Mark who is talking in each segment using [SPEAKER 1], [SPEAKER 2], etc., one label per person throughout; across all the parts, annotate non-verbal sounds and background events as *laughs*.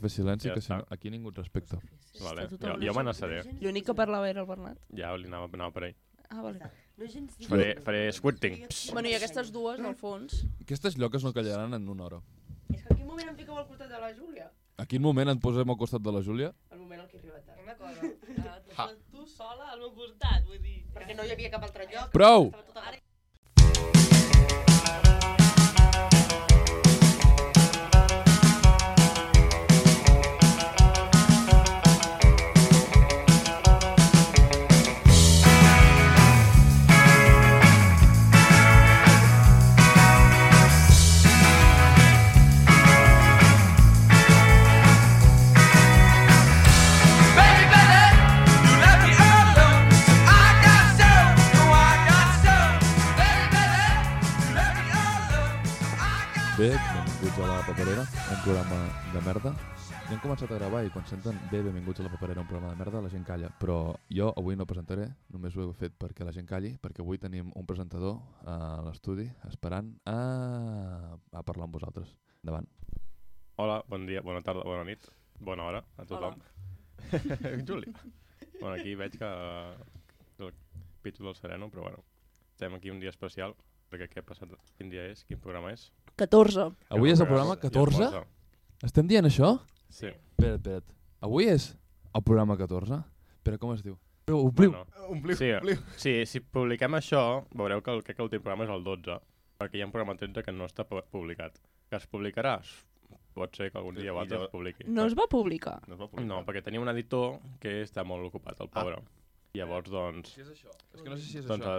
[SPEAKER 1] Fes silenci,
[SPEAKER 2] Ja
[SPEAKER 1] que si
[SPEAKER 2] està.
[SPEAKER 1] no, aquí ningú et respecta.
[SPEAKER 2] Vale.
[SPEAKER 3] Està
[SPEAKER 2] Jo,
[SPEAKER 3] totalment
[SPEAKER 2] jo m'anassaré.
[SPEAKER 3] L'únic que parlava era el Bernat.
[SPEAKER 2] Ja li anava, anava per ahí.
[SPEAKER 3] Ah, vale.
[SPEAKER 4] No és gens difícil.
[SPEAKER 2] Faré, faré squirting. Pss.
[SPEAKER 3] Bueno, i aquestes dues, al fons.
[SPEAKER 1] Aquestes lloques no callaran en una hora.
[SPEAKER 4] És que en quin moment em fiqueu al costat de la Júlia?
[SPEAKER 1] A quin moment et posem al costat de la Júlia?
[SPEAKER 4] El moment en què he arribat tard. Ah,
[SPEAKER 5] Una cosa, uh, tu sola al meu costat, vull dir...
[SPEAKER 4] Perquè no hi havia cap altre lloc.
[SPEAKER 1] Prou!
[SPEAKER 4] Estava tota la...
[SPEAKER 1] Bé, benvinguts a la paperera, un programa de merda. Ja hem començat a gravar i quan senten bé, benvinguts a la paperera, un programa de merda, la gent calla. Però jo avui no presentaré, només ho he fet perquè la gent calli, perquè avui tenim un presentador a l'estudi esperant a... a parlar amb vosaltres. Endavant.
[SPEAKER 2] Hola, bon dia, bona tarda, bona nit, bona hora a tothom. *laughs* Juli. bueno, aquí veig que eh, el pitjor del sereno, però bueno, estem aquí un dia especial, perquè què ha passat, quin dia és, quin programa és.
[SPEAKER 3] 14.
[SPEAKER 1] Avui és el programa 14? Estem dient això?
[SPEAKER 2] Sí.
[SPEAKER 1] Espera't, espera't. Avui és el programa 14? Però com es diu? Però obliu.
[SPEAKER 2] Bueno, sí, sí, si publiquem això, veureu que el, crec que l'últim programa és el 12, perquè hi ha un programa 13 que no està pu- publicat. Que es publicarà? Pot ser que algun dia o altre es publiqui. Ah,
[SPEAKER 3] No es va publicar.
[SPEAKER 6] No es va publicar. Ah.
[SPEAKER 2] No, perquè tenia un editor que està molt ocupat, el pobre. Llavors, doncs,
[SPEAKER 1] és això? És que no sé si és
[SPEAKER 2] doncs ha,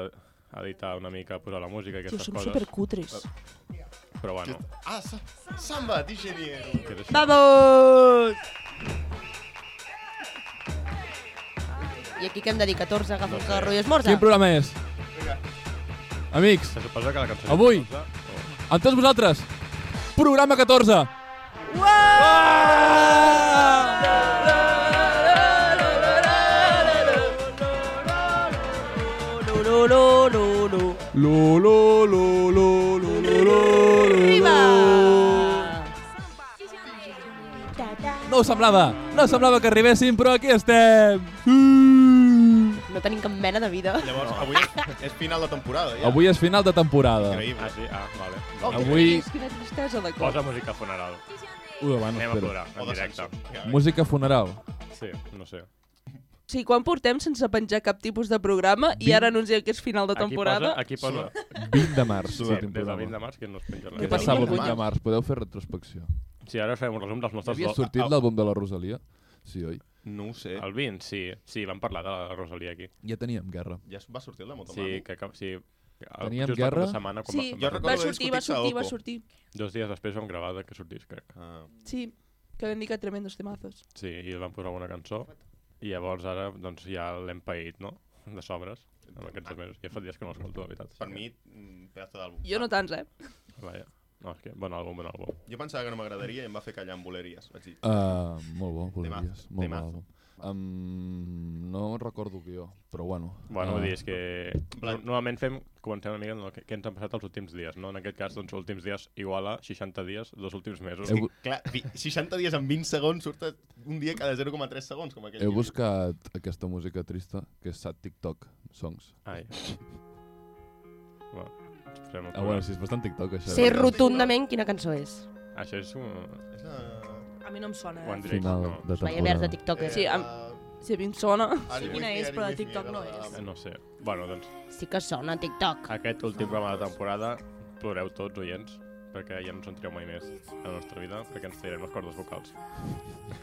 [SPEAKER 2] ha editar una mica, posar la música i
[SPEAKER 3] Tio,
[SPEAKER 2] aquestes
[SPEAKER 3] som
[SPEAKER 2] coses.
[SPEAKER 3] supercutres.
[SPEAKER 2] Però bueno,
[SPEAKER 6] Ah, sa Samba, DJ Nier.
[SPEAKER 2] que és això.
[SPEAKER 3] Vamos!
[SPEAKER 4] I aquí que hem de dir 14 agafa
[SPEAKER 2] No
[SPEAKER 4] un
[SPEAKER 2] sé.
[SPEAKER 4] carro i esmorza.
[SPEAKER 1] Quin programa és? Amics,
[SPEAKER 2] Se suposa que la cançó...
[SPEAKER 1] Avui.
[SPEAKER 2] és Oh, famosa, o-
[SPEAKER 1] amb tots vosaltres, programa 14.
[SPEAKER 3] No, no, no, no, no.
[SPEAKER 1] Lo, lo, lo, lo, lo, lo, lo, lo,
[SPEAKER 3] Arriba!
[SPEAKER 1] No ho semblava, no semblava que arribéssim, però aquí estem. Mm.
[SPEAKER 3] No tenim cap mena de vida.
[SPEAKER 6] Llavors, avui és, és final de temporada, ja.
[SPEAKER 1] Avui és final de temporada.
[SPEAKER 2] Ah,
[SPEAKER 6] Increïble.
[SPEAKER 2] sí? Ah, vale.
[SPEAKER 6] Oh,
[SPEAKER 1] Avui...
[SPEAKER 3] Quina tristesa de cop.
[SPEAKER 2] Posa música funeral.
[SPEAKER 1] Ui, bueno,
[SPEAKER 2] Anem a
[SPEAKER 1] espera.
[SPEAKER 2] plorar,
[SPEAKER 6] O
[SPEAKER 2] en
[SPEAKER 6] de
[SPEAKER 2] directe.
[SPEAKER 6] Samsung.
[SPEAKER 1] Música funeral.
[SPEAKER 2] Sí, no sé.
[SPEAKER 3] Sí, quan portem sense penjar cap tipus de programa i
[SPEAKER 1] Vint-
[SPEAKER 3] ara anunciem que és final de temporada...
[SPEAKER 2] Aquí posa... Aquí posa
[SPEAKER 1] 20 de març.
[SPEAKER 2] sí,
[SPEAKER 1] últim
[SPEAKER 2] des del
[SPEAKER 1] programa.
[SPEAKER 2] 20 de març que no es penja
[SPEAKER 1] Què
[SPEAKER 2] res.
[SPEAKER 1] passava el
[SPEAKER 6] Del
[SPEAKER 1] 20 de
[SPEAKER 6] març.
[SPEAKER 1] març? Podeu fer retrospecció.
[SPEAKER 2] Sí, ara us farem un resum dels nostres...
[SPEAKER 1] Havia
[SPEAKER 2] do-
[SPEAKER 1] sortit
[SPEAKER 2] Ah,
[SPEAKER 1] l'àlbum de la Rosalia? Sí, oi?
[SPEAKER 6] No ho sé.
[SPEAKER 2] El 20, sí. Sí, vam parlar de la Rosalia aquí.
[SPEAKER 1] Ja teníem guerra.
[SPEAKER 6] Ja es- va sortir el de Motomami.
[SPEAKER 2] Sí, que... que sí, el-
[SPEAKER 1] Teníem
[SPEAKER 2] just la
[SPEAKER 1] guerra?
[SPEAKER 2] primera setmana, quan
[SPEAKER 3] Sí,
[SPEAKER 2] va-
[SPEAKER 6] Jo
[SPEAKER 2] va-
[SPEAKER 3] va
[SPEAKER 6] recordo
[SPEAKER 3] sortir, va
[SPEAKER 6] discutir
[SPEAKER 3] sortir, va
[SPEAKER 6] Saoko.
[SPEAKER 3] sortir.
[SPEAKER 2] Dos dies després vam gravar de que sortís, crec.
[SPEAKER 6] Ah,
[SPEAKER 3] Sí, que vam dir que tremendos temazos.
[SPEAKER 2] Sí, i van posar alguna cançó. I llavors ara doncs, ja l'hem paït, no? De sobres, en aquests dos mesos. Ja fa dies que no l'escolto, la veritat.
[SPEAKER 6] ah, per mi, un pedazo d'àlbum.
[SPEAKER 3] Jo no tants, eh?
[SPEAKER 2] Vaja. No, és que bon àlbum, bon àlbum.
[SPEAKER 6] Jo pensava que no m'agradaria i em va fer callar amb boleries. Vaig dir,
[SPEAKER 1] Uh, molt bo, Bolívies.
[SPEAKER 6] Temazo,
[SPEAKER 1] Molt bo.
[SPEAKER 6] temazo.
[SPEAKER 1] àlbum. Um, no recordo guió, però bueno. Ah,
[SPEAKER 2] Bueno, vull dir, és que no,
[SPEAKER 6] plan-
[SPEAKER 2] normalment fem, comencem una mica en el que, què ens han passat els últims dies, no? En aquest cas, doncs, últims dies igual a 60 dies, dos últims mesos.
[SPEAKER 1] Heu,
[SPEAKER 6] clar, vi- 60 dies en 20 segons surt un dia cada 0,3 segons, com aquell.
[SPEAKER 1] heu
[SPEAKER 6] vídeo.
[SPEAKER 1] buscat aquesta música trista, que és Sad TikTok Songs.
[SPEAKER 2] Ai. Va, esperem el
[SPEAKER 1] Ah, bueno,
[SPEAKER 2] programa.
[SPEAKER 1] sí, és bastant TikTok, això. eh,
[SPEAKER 4] Sé rotundament quina cançó és.
[SPEAKER 2] Això és un...
[SPEAKER 6] És la...
[SPEAKER 3] A mi no em sona, eh?
[SPEAKER 2] One Direction,
[SPEAKER 1] Final
[SPEAKER 2] no.
[SPEAKER 1] de
[SPEAKER 4] Vaya merda,
[SPEAKER 1] temporada.
[SPEAKER 6] eh,
[SPEAKER 4] tiktoker.
[SPEAKER 3] Sí, amb- Si a mi em sona...
[SPEAKER 6] Ari
[SPEAKER 3] quina
[SPEAKER 6] Whitney,
[SPEAKER 3] és,
[SPEAKER 6] Ari
[SPEAKER 3] però de
[SPEAKER 6] Whitney,
[SPEAKER 3] TikTok
[SPEAKER 6] era
[SPEAKER 3] no
[SPEAKER 6] la-
[SPEAKER 3] és.
[SPEAKER 2] Eh, no sé. Bueno, doncs,
[SPEAKER 4] Sí que sona TikTok.
[SPEAKER 2] aquest últim programa de temporada ploreu tots, oients, perquè ja no ens en treu mai més a la nostra vida, perquè ens tirarem les cordes vocals.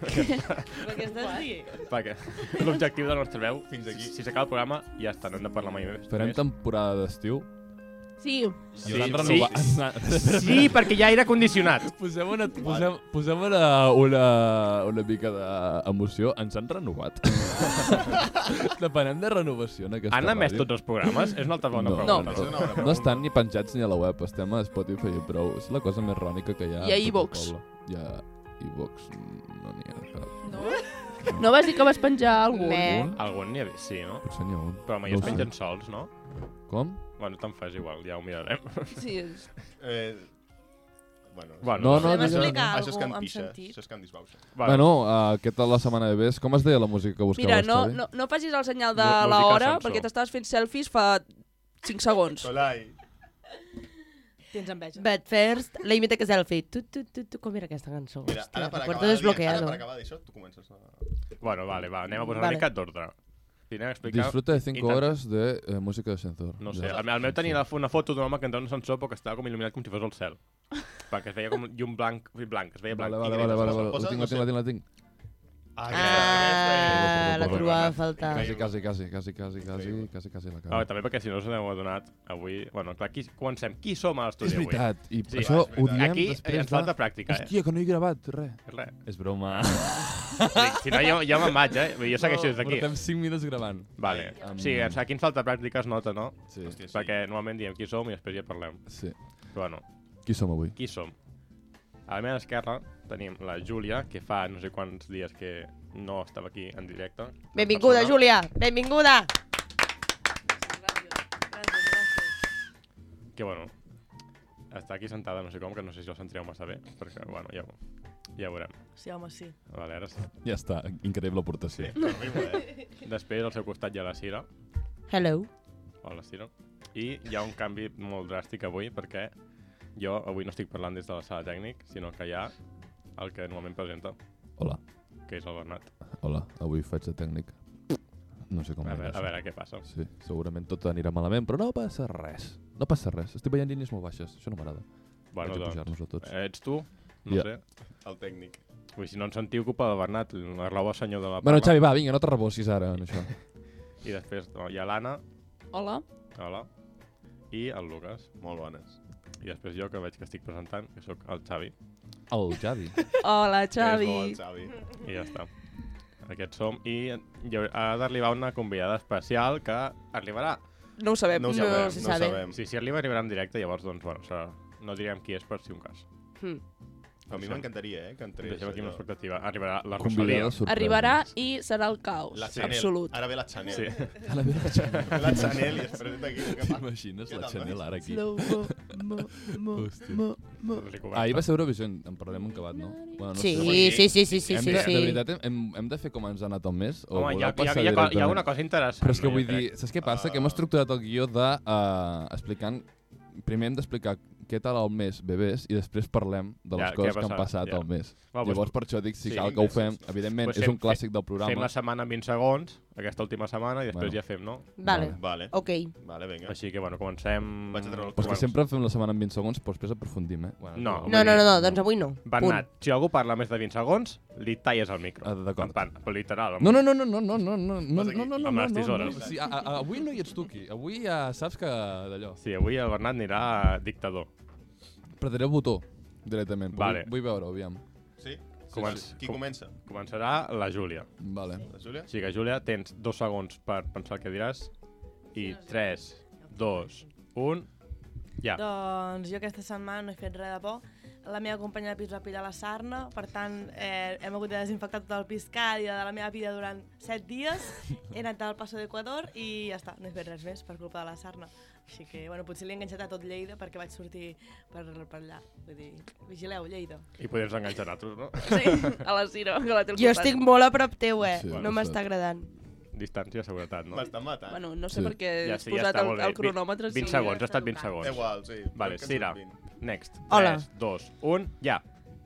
[SPEAKER 3] Però què estàs dient?
[SPEAKER 2] Perquè *laughs* l'objectiu de la nostra veu,
[SPEAKER 6] Fins aquí.
[SPEAKER 2] si si s'acaba el programa, ja està, no hem de parlar mai més.
[SPEAKER 1] Farem
[SPEAKER 2] més.
[SPEAKER 1] temporada d'estiu.
[SPEAKER 3] Sí,
[SPEAKER 1] Sí, Ah, sí.
[SPEAKER 2] sí, sí, sí, perquè hi ha aire condicionat.
[SPEAKER 1] Posem una, posem, posem una, una, una mica d'emoció. Ens han
[SPEAKER 2] *laughs*
[SPEAKER 1] renovat. Depenem de renovació en aquesta
[SPEAKER 2] Han emès
[SPEAKER 1] ràdio.
[SPEAKER 2] tots els programes? És una altra bona
[SPEAKER 1] no,
[SPEAKER 2] pregunta.
[SPEAKER 1] No,
[SPEAKER 6] És una bona
[SPEAKER 1] no, no estan ni penjats ni a la web, estem a Spotify i prou. És la cosa més rònica que hi ha.
[SPEAKER 3] I a
[SPEAKER 1] tot el
[SPEAKER 3] iVox.
[SPEAKER 1] poble. Hi ha iVox, mm, no n'hi ha cap.
[SPEAKER 3] no vas dir que vas penjar algun?
[SPEAKER 4] Me.
[SPEAKER 1] Un?
[SPEAKER 2] Algun n'hi ha vist, sí, no?
[SPEAKER 1] Potser n'hi ha un.
[SPEAKER 2] Però mai
[SPEAKER 1] No
[SPEAKER 2] no es
[SPEAKER 1] ho sé.
[SPEAKER 2] pengen sols, no?
[SPEAKER 1] Com?
[SPEAKER 2] *laughs* Bueno, te'n fas igual, ja ho mirarem.
[SPEAKER 3] Sí, és...
[SPEAKER 6] Eh, Bueno,
[SPEAKER 2] Bueno,
[SPEAKER 1] No, no,
[SPEAKER 6] això,
[SPEAKER 1] Podem
[SPEAKER 6] això,
[SPEAKER 1] explicar
[SPEAKER 4] alguna
[SPEAKER 6] això és
[SPEAKER 4] cosa
[SPEAKER 6] Can
[SPEAKER 4] amb
[SPEAKER 6] Pixa,
[SPEAKER 4] sentit?
[SPEAKER 6] això és Can Disbauxa.
[SPEAKER 1] Vale. Bueno, uh, aquesta la setmana que ve és... Com es deia la música que buscaves,
[SPEAKER 3] Mira, no,
[SPEAKER 1] Xavi?
[SPEAKER 3] no, no facis el senyal de
[SPEAKER 2] Mu-
[SPEAKER 3] la
[SPEAKER 2] música
[SPEAKER 3] hora,
[SPEAKER 2] sensor.
[SPEAKER 3] perquè t'estaves fent selfies fa 5 segons.
[SPEAKER 6] Solai,
[SPEAKER 5] Tens enveja.
[SPEAKER 4] But first, let me take a selfie. Tu, tu, tu, tu, com era aquesta cançó?
[SPEAKER 6] mira, ara per acabar,
[SPEAKER 4] Recuerdo
[SPEAKER 6] de dir- ara
[SPEAKER 4] desbloqueado.
[SPEAKER 6] per acabar d'això, tu comences a...
[SPEAKER 2] Bueno, vale, va, anem a posar una
[SPEAKER 4] Vale.
[SPEAKER 2] mica d'ordre. Sí, anem a explicar...
[SPEAKER 1] Disfruta de 5
[SPEAKER 2] Intenta-
[SPEAKER 1] hores de eh, música de sensor.
[SPEAKER 2] No sé, el, me- el meu tenia la, fo- una foto d'un home que entrava en un ascensor però que estava com il·luminat com si fos el cel. Perquè es veia com llum blanc, ui, blanc, es veia blanc.
[SPEAKER 1] Vale,
[SPEAKER 2] i
[SPEAKER 1] vale,
[SPEAKER 2] greta.
[SPEAKER 1] vale, vale, vale. La
[SPEAKER 6] Posa-
[SPEAKER 1] tinc, la tinc, la tinc, la tinc.
[SPEAKER 4] Ah,
[SPEAKER 1] aquesta és-
[SPEAKER 4] la trobava a faltar.
[SPEAKER 1] Quasi,
[SPEAKER 6] Increïble.
[SPEAKER 1] quasi, quasi, quasi, quasi, quasi,
[SPEAKER 6] Increïble.
[SPEAKER 1] quasi, quasi la
[SPEAKER 2] Ah,
[SPEAKER 1] cara.
[SPEAKER 2] també perquè si no us n'heu adonat, avui... Bueno, clar, qui, comencem. Qui som a l'estudi
[SPEAKER 1] És
[SPEAKER 2] avui?
[SPEAKER 1] veritat, i això
[SPEAKER 2] Sí,
[SPEAKER 6] és
[SPEAKER 1] ho
[SPEAKER 6] veritat.
[SPEAKER 1] diem
[SPEAKER 2] Aquí eh,
[SPEAKER 1] després
[SPEAKER 2] ens falta pràctica, eh?
[SPEAKER 1] Hòstia, que no he gravat, res.
[SPEAKER 2] Res.
[SPEAKER 1] És *laughs* broma.
[SPEAKER 2] Dic, Si no, jo, jo me'n vaig, eh? Jo segueixo des d'aquí.
[SPEAKER 1] Portem 5 minuts gravant.
[SPEAKER 2] Vale.
[SPEAKER 1] Ai,
[SPEAKER 2] Sí,
[SPEAKER 1] em-
[SPEAKER 2] ens- aquí ens falta pràctica, es nota, no?
[SPEAKER 1] Sí.
[SPEAKER 6] Hòstia, sí.
[SPEAKER 2] Perquè normalment diem qui som i després ja parlem.
[SPEAKER 1] sí.
[SPEAKER 2] Però bueno,
[SPEAKER 1] Qui som avui?
[SPEAKER 2] qui som? A la meva esquerra tenim la Júlia, que fa no sé quants dies que no estava aquí en directe.
[SPEAKER 4] Benvinguda,
[SPEAKER 2] Persona.
[SPEAKER 4] Júlia! Benvinguda!
[SPEAKER 5] Gràcies, gràcies.
[SPEAKER 2] Que bueno, està aquí sentada, no sé com, que no sé si la sentireu massa bé, perquè, bueno, ja, ho- ja ho veurem.
[SPEAKER 5] Sí, home, sí.
[SPEAKER 2] Vale, ara sí.
[SPEAKER 1] Ja està, increïble aportació.
[SPEAKER 6] Però riu, eh?
[SPEAKER 2] Després, al seu costat, hi ha la Cira.
[SPEAKER 4] Hello.
[SPEAKER 2] Hola, Ciro. I hi ha un canvi molt dràstic avui, perquè jo avui no estic parlant des de la sala tècnic, sinó que hi ha el que normalment presenta,
[SPEAKER 1] Hola,
[SPEAKER 2] que és el Bernat.
[SPEAKER 1] hola, avui faig de tècnic. No sé com
[SPEAKER 2] A
[SPEAKER 1] anirà
[SPEAKER 2] veure,
[SPEAKER 1] això.
[SPEAKER 2] a veure què passa.
[SPEAKER 1] Sí, segurament tot anirà malament, però no passa res. No passa res. Estic veient línies molt baixes, això no m'agrada. Vaig
[SPEAKER 2] Bueno,
[SPEAKER 1] a
[SPEAKER 2] doncs,
[SPEAKER 1] pujar-nos a tots.
[SPEAKER 2] ets tu? No
[SPEAKER 1] Ja.
[SPEAKER 2] sé.
[SPEAKER 6] El tècnic.
[SPEAKER 2] Ui, si no en sentiu, culpa del Bernat, arroba senyor de la
[SPEAKER 1] Bueno,
[SPEAKER 2] parla.
[SPEAKER 1] Xavi, va, vinga, no te rebossis ara en
[SPEAKER 2] *laughs*
[SPEAKER 1] això.
[SPEAKER 2] I després no, hi ha l'Anna,
[SPEAKER 3] Hola.
[SPEAKER 2] hola, i el Lucas.
[SPEAKER 6] Molt bones.
[SPEAKER 2] I després jo, que veig que estic presentant, que sóc el Xavi.
[SPEAKER 1] El Xavi.
[SPEAKER 2] Doncs
[SPEAKER 3] Hola,
[SPEAKER 6] És
[SPEAKER 3] Xavi.
[SPEAKER 6] molt, Xavi.
[SPEAKER 2] I ja
[SPEAKER 6] *laughs*
[SPEAKER 2] està. Aquests som. I hi haurà- ha d'arribar una convidada especial que arribarà.
[SPEAKER 3] No ho sabem.
[SPEAKER 6] No ho
[SPEAKER 4] No
[SPEAKER 6] sabem, no,
[SPEAKER 4] se
[SPEAKER 6] ho
[SPEAKER 4] sabe.
[SPEAKER 6] sabem.
[SPEAKER 2] Si, si arriba, arribarà en directe, llavors, doncs, bueno, serà... no direm qui és per si un cas.
[SPEAKER 4] Hm.
[SPEAKER 6] A mi m'encantaria, eh, que entrés.
[SPEAKER 2] Deixem aquí una
[SPEAKER 6] allò.
[SPEAKER 2] expectativa. Arribarà la Rosalia.
[SPEAKER 1] Convidada sorpresa.
[SPEAKER 3] Arribarà i serà el caos.
[SPEAKER 6] La Chanel.
[SPEAKER 3] absolut.
[SPEAKER 6] Ara ve la Chanel.
[SPEAKER 2] Sí.
[SPEAKER 1] A la meva Chanel.
[SPEAKER 6] La Chanel i es presenta aquí. Que pa-
[SPEAKER 1] T'imagines
[SPEAKER 6] Què
[SPEAKER 1] la
[SPEAKER 6] tal,
[SPEAKER 1] Chanel ara aquí?
[SPEAKER 3] mo, mo, mo,
[SPEAKER 1] Hòstia.
[SPEAKER 3] mo, mo.
[SPEAKER 1] Ahir va ser Eurovisió, en en parlarem un acabat, no? Bueno, no
[SPEAKER 4] Sí,
[SPEAKER 1] sé.
[SPEAKER 6] sí,
[SPEAKER 4] sí, sí, sí, sí,
[SPEAKER 1] hem,
[SPEAKER 4] sí.
[SPEAKER 1] de, de
[SPEAKER 4] sí.
[SPEAKER 1] veritat, hem, hem de fer com ens ha anat el mes? O
[SPEAKER 2] Home, hi ha,
[SPEAKER 1] voleu
[SPEAKER 2] hi, ha,
[SPEAKER 1] passar
[SPEAKER 2] hi, ha, co- hi ha
[SPEAKER 1] directament?
[SPEAKER 2] una cosa interessant.
[SPEAKER 1] Però és que
[SPEAKER 2] jo
[SPEAKER 1] vull dir,
[SPEAKER 2] crec.
[SPEAKER 1] saps què passa? Que hem
[SPEAKER 6] Ah.
[SPEAKER 1] estructurat el guió de... Uh, explicant... Primer hem d'explicar què tal el mes, bebès, i després parlem de les
[SPEAKER 2] Ja,
[SPEAKER 1] ja,
[SPEAKER 2] què
[SPEAKER 1] coses
[SPEAKER 2] ha
[SPEAKER 1] que han
[SPEAKER 2] passat,
[SPEAKER 1] passat
[SPEAKER 2] ja.
[SPEAKER 1] ja. el mes.
[SPEAKER 2] Va, doncs,
[SPEAKER 1] Llavors, per això dic, si
[SPEAKER 6] sí,
[SPEAKER 1] sí, cal que ho
[SPEAKER 6] imbècils,
[SPEAKER 1] fem,
[SPEAKER 6] no?
[SPEAKER 1] evidentment,
[SPEAKER 2] Pues
[SPEAKER 1] és
[SPEAKER 2] fem-
[SPEAKER 1] un clàssic del
[SPEAKER 2] Fem
[SPEAKER 1] programa.
[SPEAKER 2] la setmana en 20 segons, aquesta última setmana, i després
[SPEAKER 1] Bueno.
[SPEAKER 2] ja fem, no?
[SPEAKER 4] Vale.
[SPEAKER 6] Vale,
[SPEAKER 4] Ok.
[SPEAKER 6] vale, vinga.
[SPEAKER 2] Així que, bueno, comencem...
[SPEAKER 6] Vaig a treure el
[SPEAKER 1] Però és
[SPEAKER 6] Bueno.
[SPEAKER 1] que sempre fem la setmana en 20 segons, però després aprofundim, eh? Bueno,
[SPEAKER 2] No.
[SPEAKER 1] però-
[SPEAKER 4] No, no, no, no, doncs avui no.
[SPEAKER 2] Bernat, si algú parla més de 20 segons, li talles el micro.
[SPEAKER 1] Ah, d'acord.
[SPEAKER 2] En plan, però literal.
[SPEAKER 1] No, no, no, no, no, no, no, no, no,
[SPEAKER 6] Vas aquí,
[SPEAKER 1] no, no, no,
[SPEAKER 2] amb les
[SPEAKER 1] no, no,
[SPEAKER 2] tisores.
[SPEAKER 1] no, sí, a, a, avui no hi ets tu aquí, avui ja saps que d'allò.
[SPEAKER 2] Sí, avui el Bernat anirà dictador.
[SPEAKER 1] Apretaré el botó directament, però
[SPEAKER 2] Vale.
[SPEAKER 1] vull, vull veure-ho, aviam.
[SPEAKER 6] Sí?
[SPEAKER 2] Comen-
[SPEAKER 6] Sí, sí. Qui
[SPEAKER 2] com-
[SPEAKER 6] comença?
[SPEAKER 2] Començarà la Júlia.
[SPEAKER 1] Vale.
[SPEAKER 6] La Júlia?
[SPEAKER 2] Així que, Júlia, tens dos segons per pensar què diràs. I 3, 2, 1... Ja.
[SPEAKER 5] Doncs jo aquesta setmana no he fet res de por. La meva companya de pis va pillar la sarna, per tant, eh, hem hagut de desinfectar tot el pis cada dia de la meva vida durant
[SPEAKER 1] *laughs*
[SPEAKER 5] 7 dies. He anat al Paso d'Equador i ja està, no he fet res més per culpa de la sarna. Així que, bueno, potser l'he enganxat a tot Lleida perquè vaig sortir per, per allà. Vull dir, vigileu, Lleida.
[SPEAKER 2] I podries enganxar altres, no? *laughs*
[SPEAKER 3] Sí, a la Ciro, que la té al
[SPEAKER 4] Jo
[SPEAKER 3] costat.
[SPEAKER 4] estic molt a prop teu, eh?
[SPEAKER 1] Sí,
[SPEAKER 4] no
[SPEAKER 1] ho
[SPEAKER 4] m'està
[SPEAKER 1] sé.
[SPEAKER 4] agradant.
[SPEAKER 2] Distància, seguretat, no?
[SPEAKER 6] M'està matant.
[SPEAKER 3] Bueno, no sé
[SPEAKER 1] Sí.
[SPEAKER 3] per què
[SPEAKER 2] Ja
[SPEAKER 3] has
[SPEAKER 2] sí, ja
[SPEAKER 3] posat
[SPEAKER 2] està,
[SPEAKER 3] el,
[SPEAKER 2] molt bé.
[SPEAKER 3] el cronòmetre.
[SPEAKER 2] 20
[SPEAKER 5] sí,
[SPEAKER 2] segons,
[SPEAKER 5] ja
[SPEAKER 2] ha estat
[SPEAKER 5] està
[SPEAKER 2] 20
[SPEAKER 5] tocant.
[SPEAKER 6] Da
[SPEAKER 2] segons.
[SPEAKER 6] Igual, sí.
[SPEAKER 2] Vale,
[SPEAKER 6] Eh, Que ens
[SPEAKER 2] Cira.
[SPEAKER 6] surtin.
[SPEAKER 2] Next.
[SPEAKER 4] Hola.
[SPEAKER 2] 3, 2, 1, ja.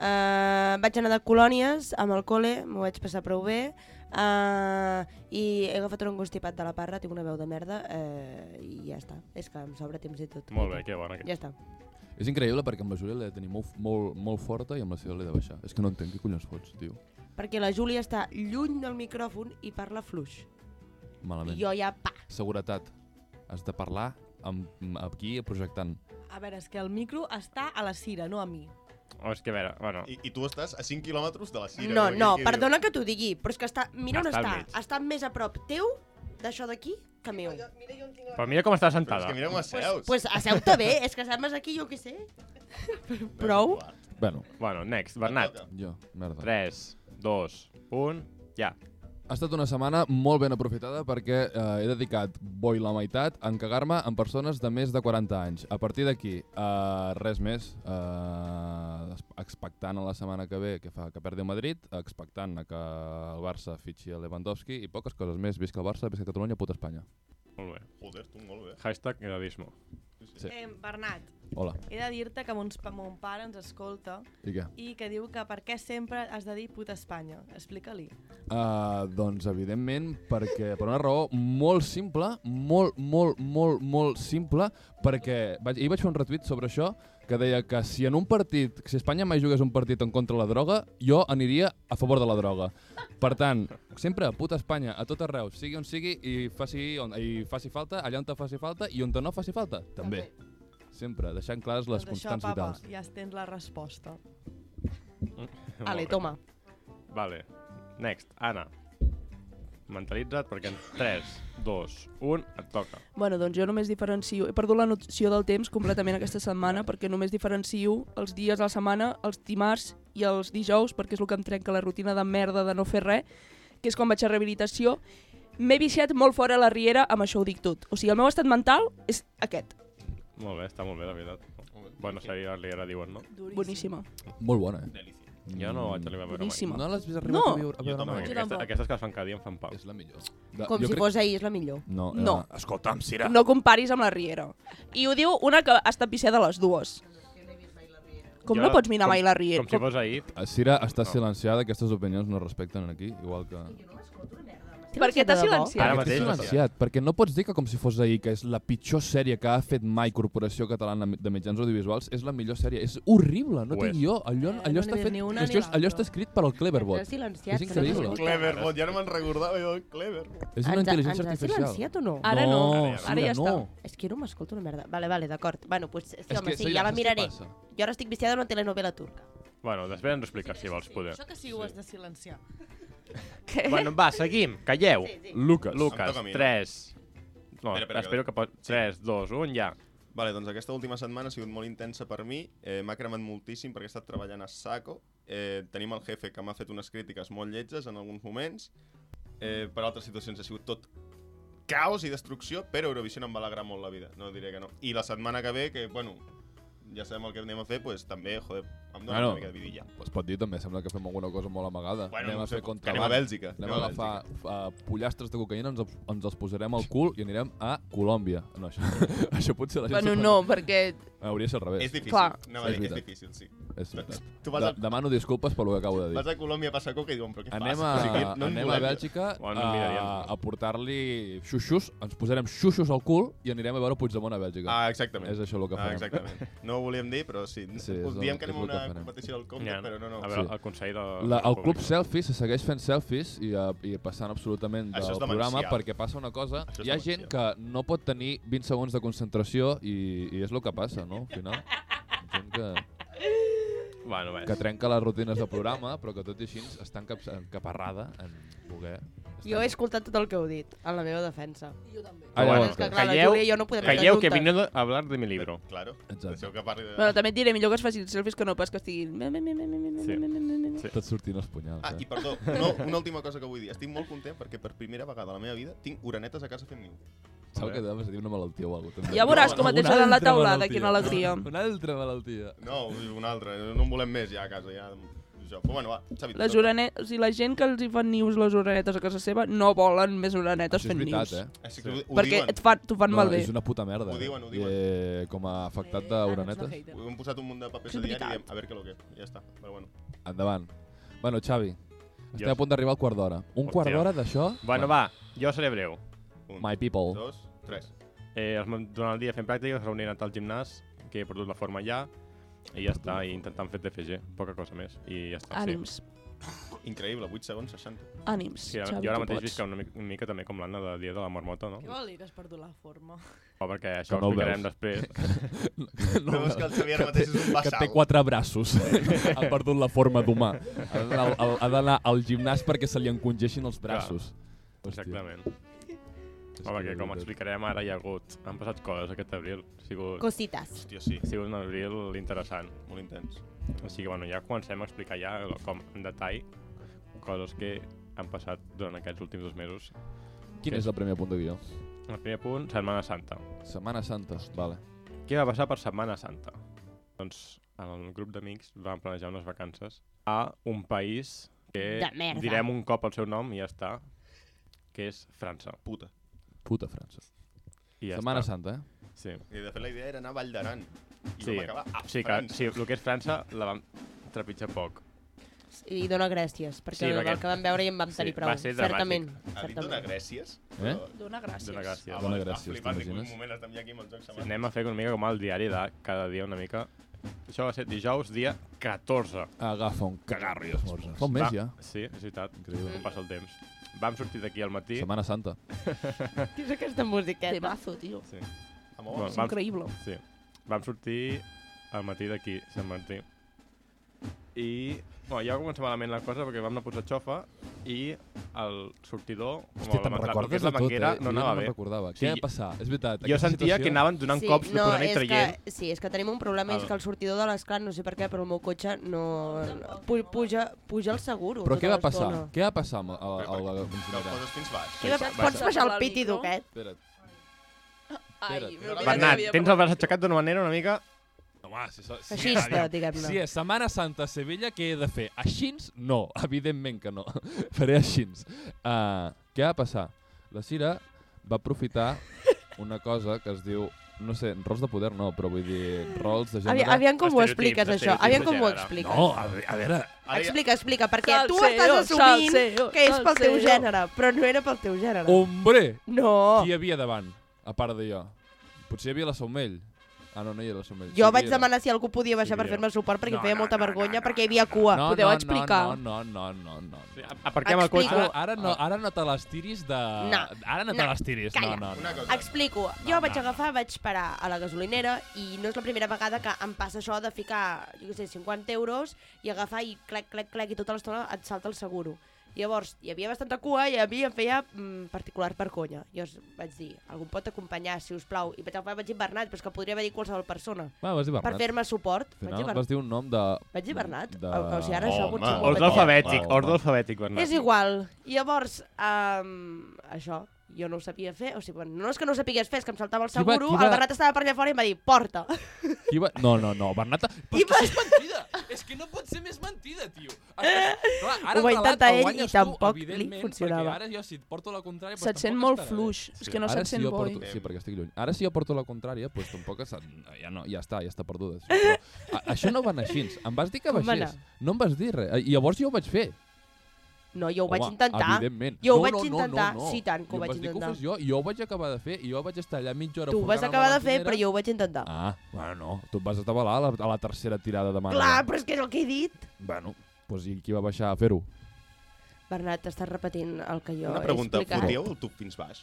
[SPEAKER 4] Uh, vaig anar de colònies amb el col·le, m'ho vaig passar prou bé, uh, i he agafat un constipat de la parra, tinc una veu de merda, uh, i ja està. És que em sobra temps i tot.
[SPEAKER 2] Molt bé, que bona. Que...
[SPEAKER 4] Ja està.
[SPEAKER 1] És increïble perquè amb la Júlia l'he de tenir molt, molt, molt forta i amb la Cira l'he de baixar. És que no entenc què collons fots, tio.
[SPEAKER 4] Perquè la Júlia està lluny del micròfon i parla fluix. I
[SPEAKER 1] Malament.
[SPEAKER 4] jo ja, pa!
[SPEAKER 1] Seguretat. Has de parlar amb, amb aquí projectant.
[SPEAKER 5] A veure, és que el micro està a la Cira, no a mi.
[SPEAKER 2] Oh, és que a veure, bueno...
[SPEAKER 6] I, I tu estàs a 5 quilòmetres de la Cira.
[SPEAKER 4] no,
[SPEAKER 6] que
[SPEAKER 4] no,
[SPEAKER 6] aquí diu-
[SPEAKER 4] perdona que t'ho digui, però és que està... Mira on
[SPEAKER 2] Està al
[SPEAKER 4] està.
[SPEAKER 2] mig.
[SPEAKER 4] Està més a prop teu d'això d'aquí que meu.
[SPEAKER 2] Però mira com està
[SPEAKER 6] Però és
[SPEAKER 2] sentada.
[SPEAKER 6] que mira com asseus.
[SPEAKER 4] Pues, pues asseu-te bé, és que estàs més aquí, jo què sé. Prou.
[SPEAKER 1] Bueno,
[SPEAKER 2] Bueno, next, Bernat.
[SPEAKER 1] jo, merda.
[SPEAKER 2] 3, 2, 1, ja.
[SPEAKER 1] Ha estat una setmana molt ben aprofitada perquè eh, he dedicat boi la meitat a encagar-me en persones de més de 40 anys. A partir d'aquí, eh, res més. Eh, es- expectant a la setmana que ve que fa que perdi el Madrid, expectant a que el Barça fitxi a Lewandowski i poques coses més. Visca el Barça, visca Catalunya, puta Espanya.
[SPEAKER 2] Molt bé.
[SPEAKER 6] Joder, tu, molt bé.
[SPEAKER 2] Hashtag edadismo.
[SPEAKER 1] Sí.
[SPEAKER 5] Eh, Bernat,
[SPEAKER 1] Hola.
[SPEAKER 5] he de dir-te que mons, mon pare ens escolta
[SPEAKER 1] I què?
[SPEAKER 5] i que diu que per què sempre has de dir puta Espanya. Explica-li.
[SPEAKER 1] Uh, doncs evidentment perquè per una raó molt simple, molt, molt, molt, molt simple, perquè vaig, ahir vaig fer un retuit sobre això que deia que si en un partit, si Espanya mai jugués un partit en contra de la droga, jo aniria a favor de la droga. Per tant, sempre puta Espanya, a tot arreu, sigui on sigui i faci, on, i faci falta, allà on te faci falta i on te no faci falta, també. Sempre, deixant clares les
[SPEAKER 5] doncs això,
[SPEAKER 1] constants
[SPEAKER 5] papa,
[SPEAKER 1] vitals.
[SPEAKER 5] ja tens la resposta.
[SPEAKER 4] Ale,
[SPEAKER 2] Molt bé.
[SPEAKER 4] toma.
[SPEAKER 2] Vale. Next, Anna. Mentalitza't perquè en 3, 2, 1 et toca.
[SPEAKER 3] Bueno, doncs jo només diferencio... He perdut la noció del temps completament aquesta setmana perquè només diferencio els dies de la setmana, els dimarts i els dijous, perquè és el que em trenca la rutina de merda de no fer res, que és quan vaig a rehabilitació. M'he viciat molt fora a la riera, amb això ho dic tot. O sigui, el meu estat mental és aquest.
[SPEAKER 2] Molt bé, està molt bé, la veritat. Bona sèrie de Riera, diuen, no?
[SPEAKER 5] Duríssim.
[SPEAKER 3] Boníssima.
[SPEAKER 1] Molt bona, eh?
[SPEAKER 6] Delícia.
[SPEAKER 2] Jo no vaig arribar a veure mai.
[SPEAKER 3] Boníssima.
[SPEAKER 1] No l'has vist arribar
[SPEAKER 3] No.
[SPEAKER 1] a viure, a veure
[SPEAKER 6] tampoc.
[SPEAKER 1] mai?
[SPEAKER 5] Jo
[SPEAKER 2] Aquesta,
[SPEAKER 5] tampoc.
[SPEAKER 2] aquestes que es fan cada dia em fan pau.
[SPEAKER 1] És la millor. De,
[SPEAKER 4] Com
[SPEAKER 1] jo
[SPEAKER 4] si
[SPEAKER 1] crec-
[SPEAKER 4] fos ahir, és la millor.
[SPEAKER 1] No,
[SPEAKER 3] No.
[SPEAKER 1] eh, Escolta'm,
[SPEAKER 4] Ah.
[SPEAKER 1] Sira.
[SPEAKER 3] No comparis amb la riera. I ho diu una que ha estat viciada a les dues. Com
[SPEAKER 2] Jo-
[SPEAKER 3] no pots mirar
[SPEAKER 2] com-
[SPEAKER 3] mai la riera?
[SPEAKER 2] Com si fos ahir,
[SPEAKER 1] Eh, Sira està silenciada, aquestes opinions no es respecten aquí, igual que...
[SPEAKER 3] Per què t'has
[SPEAKER 4] De debò?
[SPEAKER 3] silenciat?
[SPEAKER 2] Ara
[SPEAKER 1] Perquè
[SPEAKER 2] mateix,
[SPEAKER 1] està silenciat, perquè no pots dir que com si fos ahir, que és la pitjor sèrie que ha fet mai Corporació Catalana de Mitjans Audiovisuals, és la millor sèrie. És horrible, no
[SPEAKER 2] Ho
[SPEAKER 1] tinc
[SPEAKER 2] és.
[SPEAKER 1] jo. Allò,
[SPEAKER 5] Eh, no
[SPEAKER 1] allò,
[SPEAKER 5] n'he
[SPEAKER 1] està
[SPEAKER 5] vist
[SPEAKER 1] fet,
[SPEAKER 5] ni una
[SPEAKER 1] és
[SPEAKER 5] ni
[SPEAKER 1] que és- allò
[SPEAKER 5] l'altra.
[SPEAKER 1] està escrit per al
[SPEAKER 4] Ens
[SPEAKER 1] Cleverbot.
[SPEAKER 4] ha silenciat,
[SPEAKER 1] És
[SPEAKER 4] que no
[SPEAKER 1] increïble.
[SPEAKER 4] t'he escoltat.
[SPEAKER 6] Cleverbot, ja no me'n recordava jo, Cleverbot.
[SPEAKER 1] És una
[SPEAKER 4] Ens ha-
[SPEAKER 1] intel·ligència
[SPEAKER 4] Ens ha
[SPEAKER 1] artificial.
[SPEAKER 4] silenciat o no?
[SPEAKER 3] Ara no,
[SPEAKER 1] no,
[SPEAKER 3] ara
[SPEAKER 1] Sira,
[SPEAKER 3] ja està.
[SPEAKER 1] no.
[SPEAKER 4] Ah, És que jo no m'escolto una merda. Vale, vale, d'acord. Bueno, pues, sí,
[SPEAKER 1] És
[SPEAKER 4] home,
[SPEAKER 1] que,
[SPEAKER 4] sí,
[SPEAKER 1] Sira,
[SPEAKER 4] ja la
[SPEAKER 1] saps què
[SPEAKER 4] miraré.
[SPEAKER 1] passa?
[SPEAKER 4] Jo ara estic viciada a una telenovela turca.
[SPEAKER 2] Bueno, després ens ho expliques, si vols poder.
[SPEAKER 5] Això que sí ho has de silenciar.
[SPEAKER 2] Bueno, va, seguim. Calleu.
[SPEAKER 4] Sí, sí.
[SPEAKER 2] Lucas.
[SPEAKER 6] Em
[SPEAKER 2] Lucas,
[SPEAKER 6] toca a mi, no?
[SPEAKER 2] 3... No,
[SPEAKER 6] Espera, espera,
[SPEAKER 2] espero que pot... 3, 2, 1, ja.
[SPEAKER 6] Vale, doncs aquesta última setmana ha sigut molt intensa per mi, eh, m'ha cremat moltíssim perquè he estat treballant a saco, eh, tenim el jefe que m'ha fet unes crítiques molt lletges en alguns moments, eh, per altres situacions ha sigut tot caos i destrucció, però Eurovision em va alegrar molt la vida, no diré que no. I la setmana que ve, que, bueno, ja sabem el que anem a fer, pues, també, joder, em dóna
[SPEAKER 1] Bueno.
[SPEAKER 6] una mica de vidilla.
[SPEAKER 1] Es pot dir també, sembla que fem alguna cosa molt amagada.
[SPEAKER 6] Bueno,
[SPEAKER 1] anem
[SPEAKER 6] no
[SPEAKER 1] a fer
[SPEAKER 6] sé,
[SPEAKER 1] contra
[SPEAKER 6] que anem a
[SPEAKER 1] banda.
[SPEAKER 6] Bèlgica.
[SPEAKER 1] Anem a agafar uh, pollastres de cocaïna, ens, els- ens els posarem
[SPEAKER 6] *laughs*
[SPEAKER 1] al cul i anirem a Colòmbia. No, això, *laughs* això potser la gent...
[SPEAKER 3] Bueno,
[SPEAKER 1] s'ho pot-
[SPEAKER 3] no, perquè...
[SPEAKER 1] Hauria de ser al revés.
[SPEAKER 6] És difícil,
[SPEAKER 3] Clar.
[SPEAKER 6] anava a
[SPEAKER 1] És
[SPEAKER 6] dir, és
[SPEAKER 1] veritat.
[SPEAKER 6] difícil, sí.
[SPEAKER 1] És veritat.
[SPEAKER 6] Tu vas,
[SPEAKER 1] De,
[SPEAKER 6] a,
[SPEAKER 1] demano disculpes pel que acabo de dir.
[SPEAKER 6] vas a Colòmbia a passar coca i diuen, però què
[SPEAKER 1] Anem a,
[SPEAKER 6] fas? O sigui, no ens
[SPEAKER 1] anem a
[SPEAKER 6] volem.
[SPEAKER 1] Bèlgica
[SPEAKER 2] Bueno,
[SPEAKER 1] a,
[SPEAKER 2] miraríem.
[SPEAKER 1] a portar-li xuxos, ens posarem xuxos al cul i anirem a veure Puigdemont a Bèlgica.
[SPEAKER 6] Ah, exactament.
[SPEAKER 1] és això el que
[SPEAKER 6] Ah,
[SPEAKER 1] farem. *laughs*
[SPEAKER 6] exactament. No ho volíem dir, però sí.
[SPEAKER 1] Sí,
[SPEAKER 6] sí
[SPEAKER 1] és
[SPEAKER 6] Us
[SPEAKER 1] el-
[SPEAKER 6] diem que
[SPEAKER 1] és
[SPEAKER 6] anem a
[SPEAKER 1] el que
[SPEAKER 6] una
[SPEAKER 1] farem.
[SPEAKER 6] competició del compte,
[SPEAKER 2] Ja,
[SPEAKER 6] però no, no.
[SPEAKER 2] A veure,
[SPEAKER 1] Sí.
[SPEAKER 2] el consell de...
[SPEAKER 1] La, el
[SPEAKER 2] públic.
[SPEAKER 1] Club Selfie se segueix fent selfies i, uh, i passant absolutament del
[SPEAKER 6] Això és
[SPEAKER 1] programa
[SPEAKER 6] demencial.
[SPEAKER 1] perquè passa una cosa.
[SPEAKER 6] Això és
[SPEAKER 1] Hi ha gent que no pot tenir 20 segons de concentració i, i és el que passa, no? Al final. Gent que,
[SPEAKER 2] Bueno, bé.
[SPEAKER 1] que trenca les rutines del programa però que tot i així està encap encaparrada en poder... estar-
[SPEAKER 4] Jo he escoltat tot el que heu dit, en la meva defensa.
[SPEAKER 1] Ah,
[SPEAKER 2] Però
[SPEAKER 1] llavors,
[SPEAKER 2] bueno,
[SPEAKER 4] és que, clar, la
[SPEAKER 2] calleu-
[SPEAKER 4] Júlia i jo no podem estar
[SPEAKER 2] Calleu, que
[SPEAKER 4] juntes.
[SPEAKER 2] vine a hablar de mi libro.
[SPEAKER 6] Claro.
[SPEAKER 1] Exacte.
[SPEAKER 6] Deixeu que parli de...
[SPEAKER 3] Bueno, també et diré, millor que es facin selfies que no pas que estiguin... me, me, me, me, me, me, me,
[SPEAKER 2] Sí.
[SPEAKER 3] me, me, me, me.
[SPEAKER 2] Sí.
[SPEAKER 1] Tot sortint els punyals,
[SPEAKER 6] Ah, i
[SPEAKER 1] eh? *laughs*
[SPEAKER 6] perdó, no, una última cosa que vull dir. Estic molt content perquè per primera vegada a la meva vida tinc uranetes a casa fent niu.
[SPEAKER 1] Sembla que deves tenir una malaltia o alguna cosa.
[SPEAKER 3] Ja veuràs com et
[SPEAKER 1] Alguna
[SPEAKER 3] deixaran la
[SPEAKER 1] altra
[SPEAKER 3] teulada,
[SPEAKER 1] malaltia.
[SPEAKER 3] quina alegria.
[SPEAKER 1] Una altra malaltia.
[SPEAKER 6] No, una altra, no en volem més ja a casa. Ja, això. Però bueno, va, Xavi.
[SPEAKER 3] Les
[SPEAKER 6] toca.
[SPEAKER 3] uranetes, o sigui, la gent que els hi fan nius les uranetes a casa seva no volen més uranetes
[SPEAKER 1] Això és
[SPEAKER 3] fent nius.
[SPEAKER 1] veritat, eh?
[SPEAKER 6] Així que ho, ho
[SPEAKER 3] Perquè
[SPEAKER 6] diuen.
[SPEAKER 3] et fan, t'ho fan
[SPEAKER 1] No,
[SPEAKER 3] malbé.
[SPEAKER 1] és una puta merda.
[SPEAKER 6] Ho diuen, ho diuen.
[SPEAKER 1] Eh, com a afectat d'uranetes.
[SPEAKER 6] Ho hem posat un munt de papers
[SPEAKER 3] És
[SPEAKER 6] a diari i
[SPEAKER 3] veritat.
[SPEAKER 6] diem, a veure què lo que. Ja està, però bueno.
[SPEAKER 1] Endavant. Bueno, Xavi, estem
[SPEAKER 2] Jo-
[SPEAKER 1] a punt d'arribar al quart d'hora. Un
[SPEAKER 2] Hòstia.
[SPEAKER 1] quart d'hora d'això...
[SPEAKER 2] Bueno, va, jo seré breu.
[SPEAKER 6] Un,
[SPEAKER 1] My *laughs* people.
[SPEAKER 6] dos, tres.
[SPEAKER 2] Eh, es van- durant el dia fent pràctiques, reunint al gimnàs, que he perdut la forma ja, i ja està, i intentant fer TFG, poca cosa més, i ja
[SPEAKER 1] Ah,
[SPEAKER 2] està. sí.
[SPEAKER 3] Ànims,
[SPEAKER 6] Increïble, 8 segons, 60.
[SPEAKER 3] ànims.
[SPEAKER 2] Sí, ara,
[SPEAKER 3] Xavi,
[SPEAKER 2] jo ara
[SPEAKER 3] tu
[SPEAKER 2] mateix
[SPEAKER 3] pots.
[SPEAKER 2] visc una, mica, una mica també com l'Anna de Dia de la Marmota, no?
[SPEAKER 5] Què vol dir que has perdut la forma?
[SPEAKER 2] Però perquè això
[SPEAKER 1] no
[SPEAKER 2] ho
[SPEAKER 1] ho
[SPEAKER 2] explicarem després.
[SPEAKER 6] No, veus que el Xavi ara mateix és un
[SPEAKER 1] que
[SPEAKER 6] bassal.
[SPEAKER 1] té quatre braços. *laughs* ha perdut la forma d'humà. Ha d'anar al- al- Ha d'anar al gimnàs perquè se li encongeixin els braços. Hòstia,
[SPEAKER 2] Exactament.
[SPEAKER 1] és que de
[SPEAKER 2] Home, perquè com
[SPEAKER 1] veritat.
[SPEAKER 2] explicarem ara hi ha hagut... Han passat coses aquest abril. Ha sigut,
[SPEAKER 4] Cositas.
[SPEAKER 6] Hòstia, sí,
[SPEAKER 2] ha sigut un abril interessant.
[SPEAKER 6] molt intens.
[SPEAKER 2] Així que, bueno, ja comencem a explicar ja lo- com en detall coses que han passat durant aquests últims dos mesos.
[SPEAKER 1] Quin és el primer punt de guió?
[SPEAKER 2] El primer punt, Setmana Santa.
[SPEAKER 1] Setmana Santa, vale.
[SPEAKER 2] Què va passar per Setmana Santa? Doncs en el grup d'amics vam planejar unes vacances a un país que
[SPEAKER 4] De merda.
[SPEAKER 2] direm un cop el seu nom i ja està, que és França.
[SPEAKER 6] Puta.
[SPEAKER 1] Puta França.
[SPEAKER 2] I ja
[SPEAKER 1] Setmana
[SPEAKER 2] està.
[SPEAKER 1] Santa, eh?
[SPEAKER 2] Sí.
[SPEAKER 6] I de fet la idea era anar a Vall d'Aran. I
[SPEAKER 2] Sí.
[SPEAKER 6] vam acabar a
[SPEAKER 2] Sí, que,
[SPEAKER 6] França.
[SPEAKER 2] sí, el que és França la vam trepitjar poc.
[SPEAKER 4] I dona gràcies, perquè
[SPEAKER 2] Sí,
[SPEAKER 4] sí,
[SPEAKER 2] perquè-
[SPEAKER 4] el que vam veure i en vam
[SPEAKER 2] sí,
[SPEAKER 4] tenir prou.
[SPEAKER 2] va ser dramàtic.
[SPEAKER 4] certament.
[SPEAKER 6] Ha dit donar gràcies?
[SPEAKER 1] Eh?
[SPEAKER 3] Dona gràcies.
[SPEAKER 2] Dona
[SPEAKER 6] Ah,
[SPEAKER 2] gràcies.
[SPEAKER 1] Dona gràcies,
[SPEAKER 6] en un
[SPEAKER 1] t'imagines?
[SPEAKER 6] moment estem ja aquí amb el joc semàntic.
[SPEAKER 2] Anem a fer una mica com el diari de cada dia una mica. Això va ser dijous, dia 14.
[SPEAKER 1] Agafa un cagarro i esmorza. Fa un
[SPEAKER 2] Va-
[SPEAKER 1] mes ja.
[SPEAKER 2] Sí, és veritat.
[SPEAKER 1] Increïble.
[SPEAKER 2] Com passa el temps. Vam sortir d'aquí al matí.
[SPEAKER 1] Setmana Santa.
[SPEAKER 4] Tens aquesta musiqueta.
[SPEAKER 3] Temazo, tio.
[SPEAKER 2] Sí.
[SPEAKER 6] Amor,
[SPEAKER 2] Bueno,
[SPEAKER 3] És
[SPEAKER 2] vam,
[SPEAKER 3] increïble.
[SPEAKER 2] sí. vam sortir al matí d'aquí, Sant Martí. I bueno, ja va començar malament la cosa perquè vam anar a posar xofa i el sortidor, com
[SPEAKER 1] Hòstia,
[SPEAKER 2] la
[SPEAKER 1] te'n
[SPEAKER 2] man- la- el que
[SPEAKER 1] recordes
[SPEAKER 2] és la
[SPEAKER 1] de tot, eh?
[SPEAKER 2] manguera,
[SPEAKER 1] Jo
[SPEAKER 2] no anava
[SPEAKER 1] me'n
[SPEAKER 2] bé.
[SPEAKER 1] recordava.
[SPEAKER 2] Sí,
[SPEAKER 1] Què va passar? És veritat.
[SPEAKER 2] Jo
[SPEAKER 1] aquesta
[SPEAKER 2] sentia
[SPEAKER 1] situació-
[SPEAKER 2] que anaven donant cops, no, posant i
[SPEAKER 4] és
[SPEAKER 2] traient.
[SPEAKER 4] Que, sí, és que tenim un problema, és
[SPEAKER 2] El-
[SPEAKER 4] que el sortidor de les clars, no sé per què, però el meu cotxe no... pu- Puja, puja el seguro.
[SPEAKER 1] Però
[SPEAKER 4] tota
[SPEAKER 1] què va passar?
[SPEAKER 4] l'estona.
[SPEAKER 1] Què va passar amb el- el- el- el-
[SPEAKER 6] que el
[SPEAKER 1] l'incinerador?
[SPEAKER 6] poses fins baix.
[SPEAKER 4] Què va,
[SPEAKER 2] Va-
[SPEAKER 4] pots
[SPEAKER 3] va-
[SPEAKER 4] baixar el
[SPEAKER 3] va-
[SPEAKER 4] pitido
[SPEAKER 3] va-
[SPEAKER 4] aquest?
[SPEAKER 1] Espera't.
[SPEAKER 3] Ai,
[SPEAKER 1] Espera't.
[SPEAKER 3] m'he
[SPEAKER 2] Bernat,
[SPEAKER 3] oblidat
[SPEAKER 2] tens el braç aixecat d'una manera una mica...
[SPEAKER 1] Home, si, so- si,
[SPEAKER 4] Feixista, diguem-ne.
[SPEAKER 1] si és Setmana Santa a Sevilla, què he de fer? Així? No, *laughs* evidentment que no. Faré així. Uh, què va passar? La Cira va aprofitar una cosa que es diu, no sé, rols de poder no, però vull dir, rols de gènere...
[SPEAKER 4] Aviam, aviam com ho
[SPEAKER 2] Estereotips,
[SPEAKER 4] expliques, això.
[SPEAKER 2] estereotips
[SPEAKER 4] Aviam
[SPEAKER 2] de
[SPEAKER 4] com ho
[SPEAKER 2] gènere.
[SPEAKER 4] expliques.
[SPEAKER 1] No, a, ve- a veure,
[SPEAKER 6] Ara ja,
[SPEAKER 4] Explica, explica, perquè tu
[SPEAKER 3] Salseo,
[SPEAKER 4] estàs assumint
[SPEAKER 3] salseo,
[SPEAKER 4] que és pel teu
[SPEAKER 3] salseo.
[SPEAKER 4] gènere, però no era pel teu gènere.
[SPEAKER 2] Oh.
[SPEAKER 1] hombre,
[SPEAKER 4] No,
[SPEAKER 1] qui hi havia davant, a part de jo? Potser hi havia la Saumell. Ah, no, no hi era la Saumell.
[SPEAKER 4] jo
[SPEAKER 1] Sí, hi
[SPEAKER 4] vaig
[SPEAKER 1] era.
[SPEAKER 4] demanar si algú podia baixar
[SPEAKER 2] Sí,
[SPEAKER 4] per
[SPEAKER 2] mira.
[SPEAKER 4] fer-me el suport perquè
[SPEAKER 2] No,
[SPEAKER 4] em feia
[SPEAKER 2] no,
[SPEAKER 4] molta
[SPEAKER 2] no, no,
[SPEAKER 4] vergonya perquè hi havia cua.
[SPEAKER 1] No,
[SPEAKER 3] Podeu
[SPEAKER 1] no,
[SPEAKER 3] explicar?
[SPEAKER 1] No, no, no, no, no. no.
[SPEAKER 2] Aparquem el cotxe...
[SPEAKER 1] Ara,
[SPEAKER 4] Explico.
[SPEAKER 1] ara, no, ara no te les tiris de...
[SPEAKER 4] No.
[SPEAKER 1] Ara no, te
[SPEAKER 4] No.
[SPEAKER 1] les tiris.
[SPEAKER 4] Calla.
[SPEAKER 1] No, no,
[SPEAKER 6] una
[SPEAKER 1] no.
[SPEAKER 6] cosa.
[SPEAKER 4] Explico. Jo vaig agafar, vaig parar a la gasolinera i no és la primera vegada que em passa això de ficar, jo què sé, 50 euros i agafar i clac, clac, clac i tota l'estona et salta el seguro. Llavors, hi havia bastanta cua i a mi em feia mm, particular vergonya. Jo es- vaig dir, algú em pot acompanyar, si us plau. I vaig agafar, vaig dir Bernat, però és que podria haver dit qualsevol persona.
[SPEAKER 1] Va, vas dir Bernat.
[SPEAKER 4] Per fer-me suport.
[SPEAKER 1] Al
[SPEAKER 4] Vaig dir
[SPEAKER 1] final vas
[SPEAKER 4] Bernat.
[SPEAKER 1] dir un nom de...
[SPEAKER 4] Vaig dir Bernat?
[SPEAKER 1] De...
[SPEAKER 4] O- o sigui, ara això
[SPEAKER 6] Home,
[SPEAKER 4] potser ho
[SPEAKER 2] Ordre
[SPEAKER 4] vaig dir.
[SPEAKER 2] alfabètic,
[SPEAKER 1] Home.
[SPEAKER 2] ordre alfabètic, Bernat.
[SPEAKER 4] És igual. Llavors, um, això, jo no ho sabia fer, o sigui, bueno, no és que no ho sapigués fer, és que em saltava el
[SPEAKER 1] Qui va-
[SPEAKER 4] seguro,
[SPEAKER 1] qui va-
[SPEAKER 4] el Bernat estava per allà fora i em va dir, porta.
[SPEAKER 1] Qui va... No, no, no, Bernat... Però és que això és mentida! És que no pot ser més mentida, tio! Ara, clar, ara
[SPEAKER 4] Ho va
[SPEAKER 1] el relat
[SPEAKER 4] intentar
[SPEAKER 1] el
[SPEAKER 4] ell
[SPEAKER 1] guanyes
[SPEAKER 4] i tampoc li
[SPEAKER 1] evidentment,
[SPEAKER 4] funcionava.
[SPEAKER 1] Perquè ara jo, si et porto la contrària... Doncs
[SPEAKER 3] Se't sent
[SPEAKER 1] tampoc
[SPEAKER 3] molt
[SPEAKER 1] estarà bé.
[SPEAKER 3] fluix. És que no
[SPEAKER 1] ara
[SPEAKER 3] se't sent
[SPEAKER 1] si jo
[SPEAKER 3] bo.
[SPEAKER 1] porto,
[SPEAKER 3] eh?
[SPEAKER 1] Sí, perquè estic lluny. Ara si jo porto la contrària, doncs tampoc es, ja, no, ja està, ja està perduda. això. Però, a, això no va anar així. Em vas dir que
[SPEAKER 4] Com va
[SPEAKER 1] baixés. No em vas dir res. Eh, I llavors jo ho vaig fer.
[SPEAKER 4] No, jo ho vaig
[SPEAKER 1] Home,
[SPEAKER 4] intentar.
[SPEAKER 1] Evidentment.
[SPEAKER 4] Jo ho
[SPEAKER 1] no,
[SPEAKER 4] vaig
[SPEAKER 1] no,
[SPEAKER 4] intentar,
[SPEAKER 1] No, no, no.
[SPEAKER 4] sí, tant, que
[SPEAKER 1] I
[SPEAKER 4] ho
[SPEAKER 1] em
[SPEAKER 4] vaig
[SPEAKER 1] vas dir
[SPEAKER 4] intentar.
[SPEAKER 1] Que ho fes jo, i jo ho vaig acabar de fer, i jo vaig estar allà mitja hora...
[SPEAKER 4] Tu ho vas
[SPEAKER 1] pujant a la
[SPEAKER 4] acabar de fer,
[SPEAKER 1] balconera.
[SPEAKER 4] però jo ho vaig intentar.
[SPEAKER 1] Ah, bueno, no. Tu et vas atabalar a la, a la tercera tirada de mano.
[SPEAKER 4] Clar, però és que és el que he dit.
[SPEAKER 1] Bueno, doncs i qui va baixar a fer-ho?
[SPEAKER 4] Bernat, t'estàs repetint el que jo
[SPEAKER 6] Una pregunta,
[SPEAKER 4] he explicat.
[SPEAKER 6] fotíeu el tub fins baix?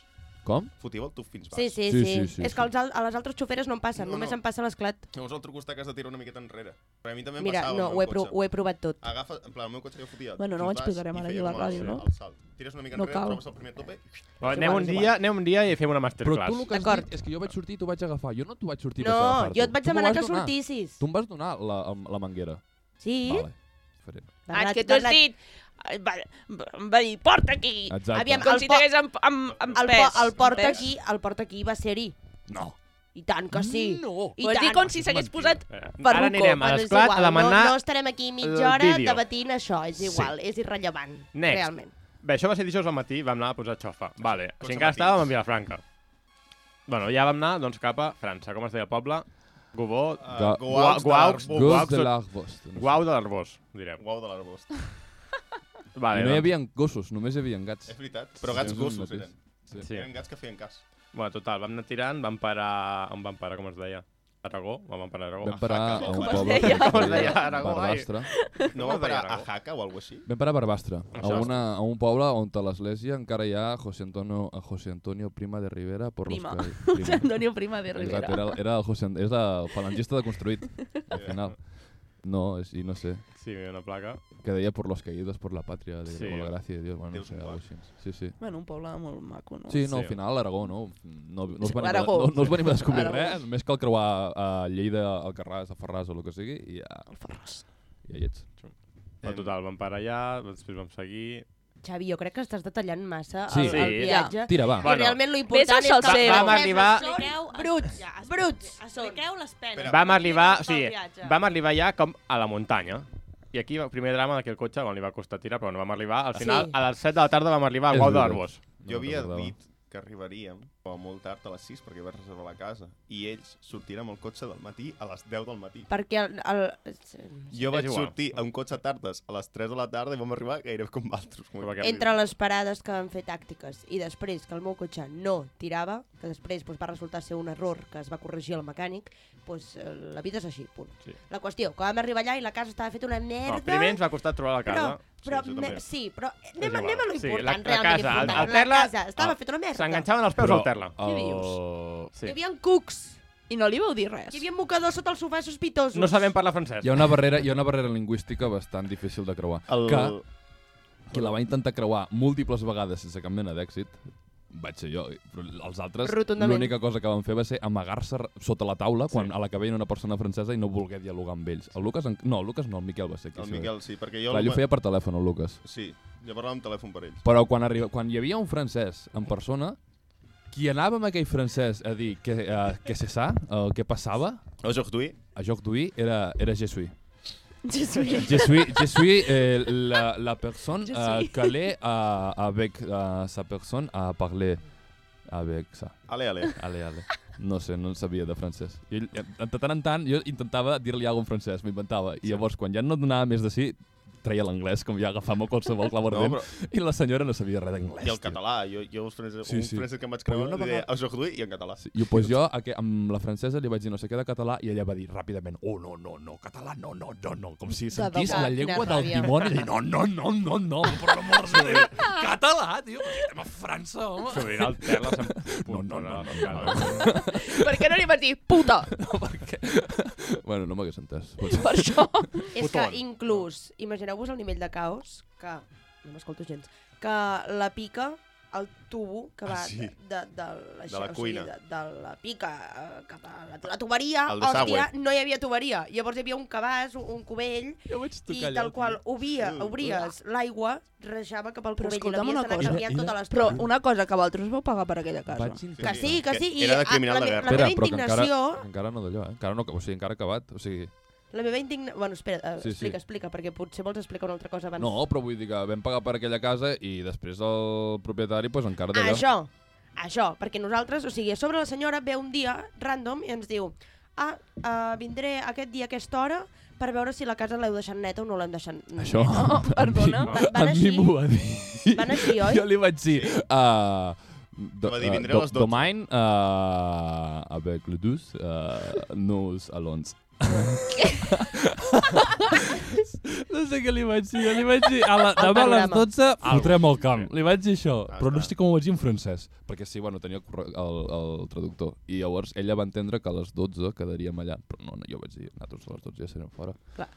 [SPEAKER 1] Com?
[SPEAKER 6] Fotíeu el tub fins baix?
[SPEAKER 4] Sí, sí,
[SPEAKER 1] Sí,
[SPEAKER 4] sí.
[SPEAKER 1] sí, sí,
[SPEAKER 4] és
[SPEAKER 1] sí.
[SPEAKER 4] que als al- a les altres xoferes no em passa,
[SPEAKER 6] No,
[SPEAKER 4] només
[SPEAKER 6] no.
[SPEAKER 4] em passa l'esclat.
[SPEAKER 6] Llavors l'altre costat que has de tirar una miqueta enrere. Perquè a mi també em
[SPEAKER 4] Mira,
[SPEAKER 6] passava
[SPEAKER 4] no,
[SPEAKER 6] amb
[SPEAKER 4] ho he,
[SPEAKER 6] el
[SPEAKER 4] pro
[SPEAKER 6] cotxe.
[SPEAKER 4] ho he provat tot.
[SPEAKER 6] Agafa, en plan, el meu cotxe jo fotia
[SPEAKER 3] Bueno, no ho
[SPEAKER 6] fins baix
[SPEAKER 3] explicarem
[SPEAKER 6] i
[SPEAKER 3] ara aquí
[SPEAKER 6] feia
[SPEAKER 3] a la
[SPEAKER 6] com el-
[SPEAKER 3] ràdio, no?
[SPEAKER 6] El salt. Tires una mica
[SPEAKER 3] No
[SPEAKER 6] enrere,
[SPEAKER 3] cal.
[SPEAKER 6] trobes el primer tope...
[SPEAKER 2] Va, anem, un
[SPEAKER 4] igual.
[SPEAKER 2] dia, anem un dia i fem
[SPEAKER 1] Però
[SPEAKER 2] una
[SPEAKER 1] tu
[SPEAKER 2] masterclass.
[SPEAKER 1] el que has
[SPEAKER 4] D'acord.
[SPEAKER 1] dit és que jo vaig sortir i tu vaig agafar. Jo no t'ho vaig sortir i vaig
[SPEAKER 4] No,
[SPEAKER 1] agafar.
[SPEAKER 4] jo et vaig demanar que sortissis.
[SPEAKER 1] Tu em vas donar la, la manguera.
[SPEAKER 4] Sí?
[SPEAKER 1] Vale. Faré.
[SPEAKER 4] Bernat,
[SPEAKER 7] Ah, que tu has
[SPEAKER 4] Bernat,
[SPEAKER 7] dit... Va, em va dir, porta aquí!
[SPEAKER 1] Exacte.
[SPEAKER 4] Aviam,
[SPEAKER 7] Com
[SPEAKER 4] el
[SPEAKER 7] si
[SPEAKER 4] po-
[SPEAKER 7] t'hagués amb, amb, amb
[SPEAKER 4] El,
[SPEAKER 7] pes.
[SPEAKER 4] po el porta
[SPEAKER 7] Amb pes.
[SPEAKER 4] aquí, el porta aquí va ser-hi.
[SPEAKER 1] No.
[SPEAKER 4] I tant que sí.
[SPEAKER 1] No.
[SPEAKER 4] I
[SPEAKER 7] Ho has dit
[SPEAKER 4] tant.
[SPEAKER 7] com si s'hagués posat...
[SPEAKER 2] Eh, Ara
[SPEAKER 7] Farruko,
[SPEAKER 2] anirem a
[SPEAKER 4] Bueno, és
[SPEAKER 2] l'esclat
[SPEAKER 4] igual,
[SPEAKER 2] a demanar...
[SPEAKER 4] No, no estarem aquí
[SPEAKER 2] el
[SPEAKER 4] mitja hora
[SPEAKER 2] vídeo.
[SPEAKER 4] debatint això, és igual, és irrellevant,
[SPEAKER 2] Next.
[SPEAKER 4] realment.
[SPEAKER 2] Bé, això va ser dijous al matí, vam anar a posar xofa. Vale,
[SPEAKER 6] Cotxe
[SPEAKER 2] si encara
[SPEAKER 6] matins.
[SPEAKER 2] estàvem a Vilafranca. Bueno, ja vam anar, doncs, cap a França. Com es deia el poble? Gobó...
[SPEAKER 1] Gua-
[SPEAKER 6] Guaux,
[SPEAKER 2] guaux,
[SPEAKER 6] Ah, de
[SPEAKER 1] Gos
[SPEAKER 6] l'arbost.
[SPEAKER 1] de l'arbost. No sé.
[SPEAKER 2] Guau de l'Arbós, direm.
[SPEAKER 6] Guau de l'arbost.
[SPEAKER 2] Vale,
[SPEAKER 1] I no hi
[SPEAKER 2] doncs-
[SPEAKER 1] havia gossos, només hi havia gats.
[SPEAKER 6] És veritat, però gats
[SPEAKER 1] Sí, és un
[SPEAKER 6] gossos
[SPEAKER 1] matís.
[SPEAKER 6] eren.
[SPEAKER 2] Sí.
[SPEAKER 6] Eren gats que feien cas.
[SPEAKER 2] Bueno, total, vam anar tirant, vam parar... On vam parar, com es deia? Aragó? Vam parar a Aragó.
[SPEAKER 1] Vam parar a un
[SPEAKER 6] Com es
[SPEAKER 1] poble
[SPEAKER 7] deia?
[SPEAKER 1] que
[SPEAKER 2] Com es
[SPEAKER 1] es deia
[SPEAKER 2] deia? Aragó, ai.
[SPEAKER 1] Barbastre.
[SPEAKER 2] Com
[SPEAKER 6] No va
[SPEAKER 2] es deia,
[SPEAKER 6] parar a
[SPEAKER 2] Aragó?
[SPEAKER 6] Jaca o alguna així?
[SPEAKER 1] Vam parar a Barbastre, a,
[SPEAKER 2] Això
[SPEAKER 1] una, a un poble on a l'església encara hi ha José Antonio, a José Antonio Prima de Rivera por
[SPEAKER 3] Prima.
[SPEAKER 1] los que...
[SPEAKER 4] *laughs*
[SPEAKER 3] *laughs* José Antonio Prima de Rivera.
[SPEAKER 1] Exacte, era, era el José, és el falangista de construït, al final. No, és, i no sé,
[SPEAKER 2] Sí, hi havia una placa.
[SPEAKER 1] que deia por los caídos, por la patria, de,
[SPEAKER 2] Sí.
[SPEAKER 1] por la gracia de Dios, bueno, no
[SPEAKER 6] Déus
[SPEAKER 1] sé,
[SPEAKER 6] guard.
[SPEAKER 1] algo així. Sí, sí.
[SPEAKER 3] Bueno, un poble molt maco, no?
[SPEAKER 1] Sí, no,
[SPEAKER 2] Sí.
[SPEAKER 1] al final l'Aragó, no? No, no, us venim, a,
[SPEAKER 3] L'Aragó.
[SPEAKER 1] no, no us venim a descobrir
[SPEAKER 3] Aragó.
[SPEAKER 1] res, només cal creuar a Lleida, Alcarràs, a Ferraz o el que sigui, i ja,
[SPEAKER 3] El Ferraz.
[SPEAKER 1] ja hi ets. Eh.
[SPEAKER 2] Però total, vam parar allà, després vam seguir...
[SPEAKER 4] Xavi, jo crec que estàs detallant massa
[SPEAKER 1] Sí.
[SPEAKER 4] el, el
[SPEAKER 8] Sí.
[SPEAKER 4] viatge.
[SPEAKER 1] Tira, va.
[SPEAKER 4] I
[SPEAKER 8] Bueno.
[SPEAKER 4] realment lo important
[SPEAKER 3] Ves al
[SPEAKER 4] és que...
[SPEAKER 3] salsero.
[SPEAKER 8] Vam arribar-
[SPEAKER 4] Bruts, bruts.
[SPEAKER 5] Expliqueu les penes.
[SPEAKER 6] Espera.
[SPEAKER 8] Vam arribar, o
[SPEAKER 5] Del
[SPEAKER 8] sigui,
[SPEAKER 5] viatge.
[SPEAKER 8] vam arribar ja com a la muntanya. I aquí el primer drama de que el cotxe bueno, li va costar tirar, però no vam arribar. Al final, sí.
[SPEAKER 4] Sí.
[SPEAKER 8] a les 7 de la tarda vam arribar
[SPEAKER 1] És
[SPEAKER 8] al Guau de
[SPEAKER 1] veritat.
[SPEAKER 8] l'Arbós.
[SPEAKER 1] No
[SPEAKER 6] Jo havia
[SPEAKER 1] recordava.
[SPEAKER 6] dit que arribaríem, però molt tard a les 6, perquè vaig reservar la casa. I ells sortiran amb el cotxe del matí a les 10 del matí.
[SPEAKER 4] Perquè el... el...
[SPEAKER 6] Jo vaig
[SPEAKER 8] igual.
[SPEAKER 6] sortir amb cotxe tardes a les 3 de la tarda i vam arribar gairebé com altres.
[SPEAKER 8] Però perquè-
[SPEAKER 4] Entre les parades que van fer tàctiques i després que el meu cotxe no tirava, que després doncs, va resultar ser un error que es va corregir el mecànic, doncs, eh, la vida és així, punt.
[SPEAKER 8] Sí.
[SPEAKER 4] La qüestió, que vam arribar allà i la casa estava feta una merda...
[SPEAKER 8] No, primer ens va costar trobar la casa.
[SPEAKER 4] Però, però,
[SPEAKER 6] Sí, això
[SPEAKER 4] me-
[SPEAKER 6] també.
[SPEAKER 4] sí, però anem,
[SPEAKER 8] igual.
[SPEAKER 4] anem a lo
[SPEAKER 8] Sí,
[SPEAKER 4] important,
[SPEAKER 8] la- la
[SPEAKER 4] realment
[SPEAKER 8] casa, el-
[SPEAKER 4] important.
[SPEAKER 8] el terra-
[SPEAKER 4] la casa estava
[SPEAKER 8] el-
[SPEAKER 4] feta una merda.
[SPEAKER 8] S'enganxaven els peus al terra.
[SPEAKER 1] Què
[SPEAKER 4] dius?
[SPEAKER 8] Sí.
[SPEAKER 4] Hi havia cucs,
[SPEAKER 3] I no li vau dir res.
[SPEAKER 4] hi havia *laughs* mocadors sota el sofà sospitosos.
[SPEAKER 8] No sabem parlar francès.
[SPEAKER 1] Hi ha una barrera, hi ha una barrera lingüística bastant difícil de creuar.
[SPEAKER 6] El...
[SPEAKER 1] Que qui la va intentar creuar múltiples vegades sense cap mena d'èxit vaig ser jo, però els altres
[SPEAKER 4] Rotundament.
[SPEAKER 1] l'única cosa que van fer va ser amagar-se r- sota la taula quan a la que veien una persona francesa i no voler dialogar amb ells. El Lucas, en... no, el Lucas no, el Miquel va ser qui
[SPEAKER 6] El
[SPEAKER 1] sí.
[SPEAKER 6] Miquel, sí, perquè jo...
[SPEAKER 1] Clar, ell ho
[SPEAKER 6] feia...
[SPEAKER 1] feia per telèfon, el Lucas.
[SPEAKER 6] Sí, jo parlava amb telèfon per ells.
[SPEAKER 1] Però quan, arriba, quan hi havia un francès en persona, qui anava amb aquell francès a dir que, uh, que se sa, el que passava,
[SPEAKER 6] Aujourd'hui,
[SPEAKER 1] a joc d'uir, era, era je suis.
[SPEAKER 3] Sí,
[SPEAKER 7] *laughs*
[SPEAKER 3] sí.
[SPEAKER 1] Je suis, je suis eh, la, la personne
[SPEAKER 3] Je
[SPEAKER 1] euh,
[SPEAKER 3] suis.
[SPEAKER 1] calée euh, avec euh, sa personne à parler avec ça.
[SPEAKER 6] ale, ale.
[SPEAKER 1] Allez, allez. No sé, no en sabia de francès. I ell, eh, de tant en tant, jo intentava dir-li alguna cosa en francès, m'inventava. I llavors, quan ja no donava més de sí, treia l'anglès, com ja agafava qualsevol clau
[SPEAKER 6] No,
[SPEAKER 1] ardent,
[SPEAKER 6] però...
[SPEAKER 1] i la senyora no sabia res d'anglès.
[SPEAKER 6] I el
[SPEAKER 1] tio.
[SPEAKER 6] català, jo, jo els francesos,
[SPEAKER 1] Sí,
[SPEAKER 6] sí,
[SPEAKER 1] sí.
[SPEAKER 6] sí. un francès que em vaig
[SPEAKER 1] Però
[SPEAKER 6] creure,
[SPEAKER 1] una
[SPEAKER 6] li deia
[SPEAKER 1] vegada-
[SPEAKER 6] aujourd'hui i en català.
[SPEAKER 1] Sí, I pues jo, a que, amb la francesa, li vaig dir no sé què de català i ella va dir ràpidament, oh, no, no, no, català, no, no, no, no, com si sentís
[SPEAKER 4] debò,
[SPEAKER 1] la
[SPEAKER 4] quina
[SPEAKER 1] llengua del
[SPEAKER 4] ràbia.
[SPEAKER 1] dimoni. I no, no, no, no, no, per l'amor de
[SPEAKER 4] *laughs*
[SPEAKER 1] Déu, català, tio, perquè estem a França, home.
[SPEAKER 2] S'obrirà el terra... se'n-
[SPEAKER 1] *laughs* No, no, no, no,
[SPEAKER 2] Puta,
[SPEAKER 1] no, no,
[SPEAKER 3] per què no li vas dir puta?
[SPEAKER 1] no, perquè... Bueno, no m'hagués entès. Potser.
[SPEAKER 4] *laughs*
[SPEAKER 3] Per això.
[SPEAKER 4] És que
[SPEAKER 2] Putón.
[SPEAKER 4] inclús, imagineu-vos el nivell de caos que... No m'escolto gens. Que la pica, el tubo que
[SPEAKER 6] Ah,
[SPEAKER 4] va
[SPEAKER 6] sí.
[SPEAKER 4] de, de, de, la,
[SPEAKER 6] De la
[SPEAKER 4] o
[SPEAKER 6] cuina.
[SPEAKER 4] Sigui, de, de la pica eh, cap a la, la tuberia,
[SPEAKER 6] El
[SPEAKER 4] hòstia,
[SPEAKER 6] desagüe.
[SPEAKER 4] no hi havia tuberia. Llavors hi havia un cabàs, un- un cubell,
[SPEAKER 1] Jo vaig
[SPEAKER 4] i tal qual obvia,
[SPEAKER 6] Uh,
[SPEAKER 4] obries l'aigua, rejava cap al
[SPEAKER 3] Però
[SPEAKER 4] cubell i
[SPEAKER 3] escolta'm
[SPEAKER 4] l'havies
[SPEAKER 3] una
[SPEAKER 4] d'anar
[SPEAKER 3] cosa.
[SPEAKER 4] canviant
[SPEAKER 1] Era-
[SPEAKER 4] tota
[SPEAKER 1] era-
[SPEAKER 3] Però
[SPEAKER 4] l'estona.
[SPEAKER 3] una cosa, que vosaltres vau pagar per aquella casa.
[SPEAKER 1] Vaig
[SPEAKER 6] Però-
[SPEAKER 4] Que sí, que sí.
[SPEAKER 6] Que
[SPEAKER 4] I
[SPEAKER 6] era de
[SPEAKER 4] ah,
[SPEAKER 6] criminal
[SPEAKER 4] la,
[SPEAKER 6] de
[SPEAKER 4] me-
[SPEAKER 6] guerra.
[SPEAKER 4] la meva
[SPEAKER 1] Espera, però que encara-
[SPEAKER 4] indignació...
[SPEAKER 1] Encara no d'allò, eh? Encara no, o sigui, encara ha acabat. O sigui,
[SPEAKER 4] La meva indigna... Bueno, espera, eh,
[SPEAKER 1] Sí, sí.
[SPEAKER 4] explica, explica, perquè potser vols explicar una altra cosa abans.
[SPEAKER 1] no, però vull dir que vam pagar per aquella casa i després el propietari, pues, encara d'allò.
[SPEAKER 4] Ah, Això, això, perquè nosaltres, o sigui, a sobre la senyora ve un dia random i ens diu ah, uh, vindré aquest dia a aquesta hora per veure si la casa l'heu deixat neta o no l'hem deixat neta. *laughs*
[SPEAKER 1] Això.
[SPEAKER 3] Oh, perdona.
[SPEAKER 1] *laughs* A mi-
[SPEAKER 4] Van-
[SPEAKER 1] a
[SPEAKER 4] van
[SPEAKER 1] mi
[SPEAKER 4] així?
[SPEAKER 1] m'ho va dir.
[SPEAKER 4] Van així,
[SPEAKER 1] *laughs*
[SPEAKER 4] oi?
[SPEAKER 1] Jo li vaig dir... Uh, do,
[SPEAKER 6] Va dir, vindré a
[SPEAKER 1] do-
[SPEAKER 6] les 12.
[SPEAKER 1] Domain, uh, avec le 12, uh, nous allons.
[SPEAKER 4] *laughs*
[SPEAKER 1] no sé què li vaig dir, jo li vaig dir a la, demà a les
[SPEAKER 4] programa.
[SPEAKER 1] 12 fotrem el camp, li vaig dir això,
[SPEAKER 6] Ah,
[SPEAKER 1] però no
[SPEAKER 6] està.
[SPEAKER 1] sé com ho vaig dir en francès, perquè sí, bueno, tenia el, corre- el, el traductor, i llavors ella va entendre que a les 12 quedaríem allà, però no, no jo vaig dir, nosaltres a les 12 ja serem fora.
[SPEAKER 4] La,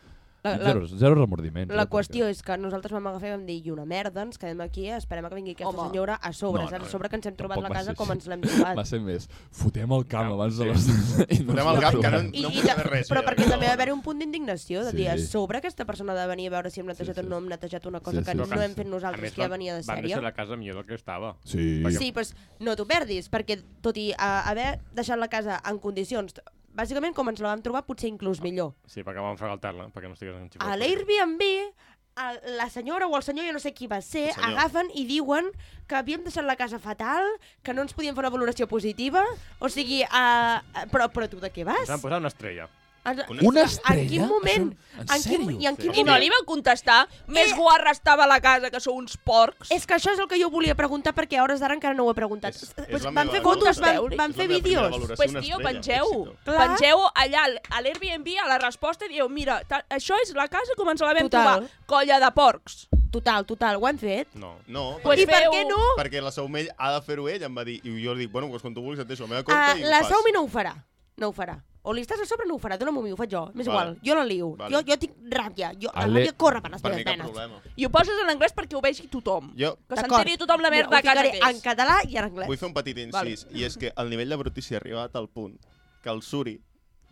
[SPEAKER 4] la,
[SPEAKER 1] Zero, zero remordiments. eh,
[SPEAKER 4] la
[SPEAKER 1] perquè-
[SPEAKER 4] qüestió és que nosaltres vam agafar i vam dir i una merda, ens quedem aquí, esperem a que vingui aquesta
[SPEAKER 3] Home.
[SPEAKER 4] senyora a
[SPEAKER 1] No,
[SPEAKER 4] sobre,
[SPEAKER 1] no,
[SPEAKER 4] no, no, a sobre que ens hem trobat
[SPEAKER 1] tampoc
[SPEAKER 4] la
[SPEAKER 1] va
[SPEAKER 4] casa
[SPEAKER 1] ser
[SPEAKER 4] com
[SPEAKER 1] així.
[SPEAKER 4] ens l'hem trobat.
[SPEAKER 1] va ser més, fotem el camp
[SPEAKER 2] Camp,
[SPEAKER 1] abans de
[SPEAKER 2] sí.
[SPEAKER 1] les 12 i no
[SPEAKER 6] Fotem
[SPEAKER 1] ens la
[SPEAKER 6] el camp, que no,
[SPEAKER 1] trobem.
[SPEAKER 4] I,
[SPEAKER 6] no
[SPEAKER 4] i
[SPEAKER 6] puc
[SPEAKER 4] ta-
[SPEAKER 6] saber res.
[SPEAKER 4] però
[SPEAKER 6] ja.
[SPEAKER 4] perquè també va haver un punt d'indignació de
[SPEAKER 1] Sí.
[SPEAKER 4] dir a sobre aquesta persona ha de venir a veure si hem netejat
[SPEAKER 1] Sí,
[SPEAKER 4] o
[SPEAKER 1] sí.
[SPEAKER 4] no hem netejat una
[SPEAKER 1] Sí,
[SPEAKER 4] cosa que
[SPEAKER 1] sí,
[SPEAKER 4] no
[SPEAKER 1] sí.
[SPEAKER 4] hem fet
[SPEAKER 2] A
[SPEAKER 4] nosaltres,
[SPEAKER 2] més,
[SPEAKER 4] que ja
[SPEAKER 2] van-
[SPEAKER 4] venia de
[SPEAKER 2] Van
[SPEAKER 4] sèrie.
[SPEAKER 2] deixar la casa millor del que estava.
[SPEAKER 1] Sí.
[SPEAKER 4] Sí, pues, no t'ho perdis, perquè tot i uh, haver deixat la casa en condicions, bàsicament com ens la vam trobar, potser inclús millor.
[SPEAKER 2] Sí, perquè vam fregar el terra, perquè no estigués enxifat.
[SPEAKER 4] A l'Airbnb, a la senyora o el senyor, jo no sé qui va ser,
[SPEAKER 6] El senyor.
[SPEAKER 4] agafen i diuen que havíem deixat la casa fatal, que no ens podien fer una valoració positiva, o sigui, uh, però, però tu de què
[SPEAKER 2] Ens
[SPEAKER 4] vas?
[SPEAKER 2] van posar una estrella.
[SPEAKER 4] Ens-
[SPEAKER 1] Una
[SPEAKER 4] En quin
[SPEAKER 1] estrella?
[SPEAKER 4] moment?
[SPEAKER 1] Això- en
[SPEAKER 4] quin,
[SPEAKER 1] sèrio?
[SPEAKER 4] I en quin
[SPEAKER 7] I no
[SPEAKER 4] moment?
[SPEAKER 7] li va contestar.
[SPEAKER 4] Eh.
[SPEAKER 7] Més guarra estava la casa, que sou uns porcs.
[SPEAKER 4] És que això és el que jo volia preguntar perquè a hores d'ara encara no ho he preguntat.
[SPEAKER 6] És- és la
[SPEAKER 4] Pues van
[SPEAKER 6] meva
[SPEAKER 4] fer
[SPEAKER 6] valoració.
[SPEAKER 4] fotos, van,
[SPEAKER 7] Veure-hi.
[SPEAKER 4] van
[SPEAKER 6] És la
[SPEAKER 4] fer
[SPEAKER 6] meva primera
[SPEAKER 4] vídeos.
[SPEAKER 6] valoració,
[SPEAKER 7] Pues,
[SPEAKER 6] una
[SPEAKER 7] tio,
[SPEAKER 6] estrella,
[SPEAKER 7] pengeu-ho.
[SPEAKER 6] èxito.
[SPEAKER 4] Clar.
[SPEAKER 7] Pengeu allà al- a l'Airbnb, a la resposta, i dieu, mira, ta- això és la casa com ens la vam
[SPEAKER 4] Total.
[SPEAKER 7] trobar. Colla de porcs.
[SPEAKER 4] Total, total, ho han fet.
[SPEAKER 2] No.
[SPEAKER 6] No,
[SPEAKER 7] Pues
[SPEAKER 4] I per
[SPEAKER 7] feu-
[SPEAKER 4] què no?
[SPEAKER 6] perquè la Saumell ha de fer-ho ell, em va dir, i jo li dic, bueno, pues quan tu vulguis et deixo la meva compte
[SPEAKER 4] Uh,
[SPEAKER 6] i ho
[SPEAKER 4] la
[SPEAKER 6] fas.
[SPEAKER 4] Saumi no ho farà. No ho farà. O li estàs a sobre no ho farà. Dóna'm un mi, ho faig jo. M'és
[SPEAKER 6] Vale.
[SPEAKER 4] igual. Jo la lio.
[SPEAKER 6] Vale.
[SPEAKER 4] Jo, jo tinc ràbia. Jo, la
[SPEAKER 1] Ale-
[SPEAKER 4] ràbia corre per les
[SPEAKER 6] Per mi
[SPEAKER 4] meves
[SPEAKER 6] cap
[SPEAKER 4] venes.
[SPEAKER 6] problema.
[SPEAKER 7] I ho poses en anglès perquè ho vegi tothom.
[SPEAKER 6] Jo
[SPEAKER 7] Que
[SPEAKER 4] D'acord.
[SPEAKER 7] s'enteri tothom la merda
[SPEAKER 4] Mira,
[SPEAKER 7] a
[SPEAKER 4] ho
[SPEAKER 7] casa
[SPEAKER 4] ficaré
[SPEAKER 7] que
[SPEAKER 4] en
[SPEAKER 7] és.
[SPEAKER 4] català i en anglès.
[SPEAKER 6] vull fer un petit incís, i és que el nivell de brutícia ha arribat al punt que el Suri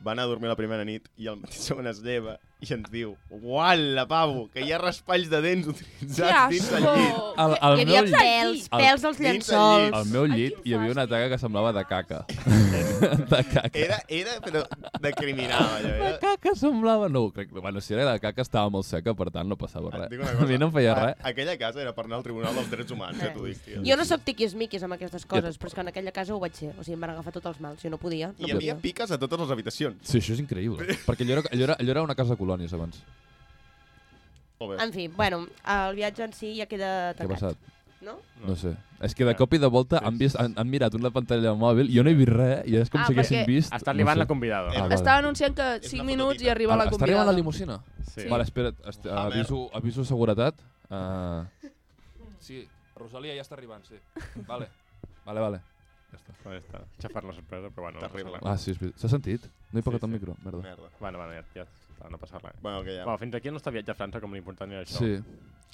[SPEAKER 6] va anar a dormir la primera nit i al matí se'n es lleva i ens diu uala, pavo, que hi ha raspalls de dents utilitzats dins del llit.
[SPEAKER 7] Fiasco!
[SPEAKER 1] Al, al,
[SPEAKER 4] Hi havia
[SPEAKER 1] meu llit,
[SPEAKER 4] pèls,
[SPEAKER 1] Al-
[SPEAKER 4] pèls als
[SPEAKER 6] dins del
[SPEAKER 4] llençols.
[SPEAKER 6] llit.
[SPEAKER 1] al meu
[SPEAKER 7] Ai,
[SPEAKER 1] llit
[SPEAKER 7] quin
[SPEAKER 1] hi havia una taca que semblava de caca. de caca.
[SPEAKER 6] Era, era, però de criminal, allò. eh?
[SPEAKER 1] La
[SPEAKER 6] Era...
[SPEAKER 1] caca semblava... No, crec que... Bueno, si era la caca estava molt seca, per tant no passava
[SPEAKER 6] Et
[SPEAKER 1] res.
[SPEAKER 6] Ah, dic una
[SPEAKER 1] A mi no em feia
[SPEAKER 6] a-
[SPEAKER 1] res.
[SPEAKER 6] Aquella casa era per anar al Tribunal dels Drets Humans, ja t'ho dic, tio.
[SPEAKER 4] Jo no sóc tiquis-miquis amb aquestes coses,
[SPEAKER 1] Jo-
[SPEAKER 4] però és que en aquella casa ho vaig ser. O sigui, em van agafar tots els mals, jo no podia. No
[SPEAKER 6] Hi havia
[SPEAKER 4] podia.
[SPEAKER 6] piques a totes les habitacions.
[SPEAKER 1] Sí, això és increïble. perquè allò era, allò era, allò era una casa de colònies abans.
[SPEAKER 6] Molt bé.
[SPEAKER 4] En fi, bueno, el viatge en si ja queda
[SPEAKER 1] Què ha
[SPEAKER 4] tancat.
[SPEAKER 1] passat?
[SPEAKER 4] No?
[SPEAKER 1] No sé. És que de cop i de volta han, vist, han, han mirat una pantalla mòbil, jo no he vist res, i és com
[SPEAKER 7] Ah,
[SPEAKER 1] si haguessin
[SPEAKER 7] perquè
[SPEAKER 1] vist...
[SPEAKER 8] Està arribant
[SPEAKER 1] no Eh,
[SPEAKER 8] la convidada.
[SPEAKER 6] Ah,
[SPEAKER 1] vale.
[SPEAKER 3] Estava anunciant que
[SPEAKER 6] És
[SPEAKER 3] 5
[SPEAKER 6] una
[SPEAKER 3] minuts
[SPEAKER 6] fototita.
[SPEAKER 3] i arriba la
[SPEAKER 1] Està arribant la
[SPEAKER 3] convidada.
[SPEAKER 1] limusina?
[SPEAKER 8] Sí.
[SPEAKER 1] Vale, espera't, est
[SPEAKER 6] A ver.
[SPEAKER 1] aviso, aviso seguretat. Uh... Sí, Rosalia ja està arribant, sí. Vale. Vale, vale. Ja està.
[SPEAKER 2] Bueno, ja està. Xafar la sorpresa, però bueno, no passa
[SPEAKER 6] Terrible.
[SPEAKER 2] res.
[SPEAKER 1] Ah, sí, és veritat. S'ha sentit? No he pagat
[SPEAKER 2] Sí,
[SPEAKER 1] el
[SPEAKER 2] sí.
[SPEAKER 1] micro, merda.
[SPEAKER 6] Merda.
[SPEAKER 2] Bueno, bueno, ja, ja està, no passa res.
[SPEAKER 6] Bueno, que ja.
[SPEAKER 2] Bueno, fins aquí el nostre viatge a França, com l'important era això.
[SPEAKER 1] Sí.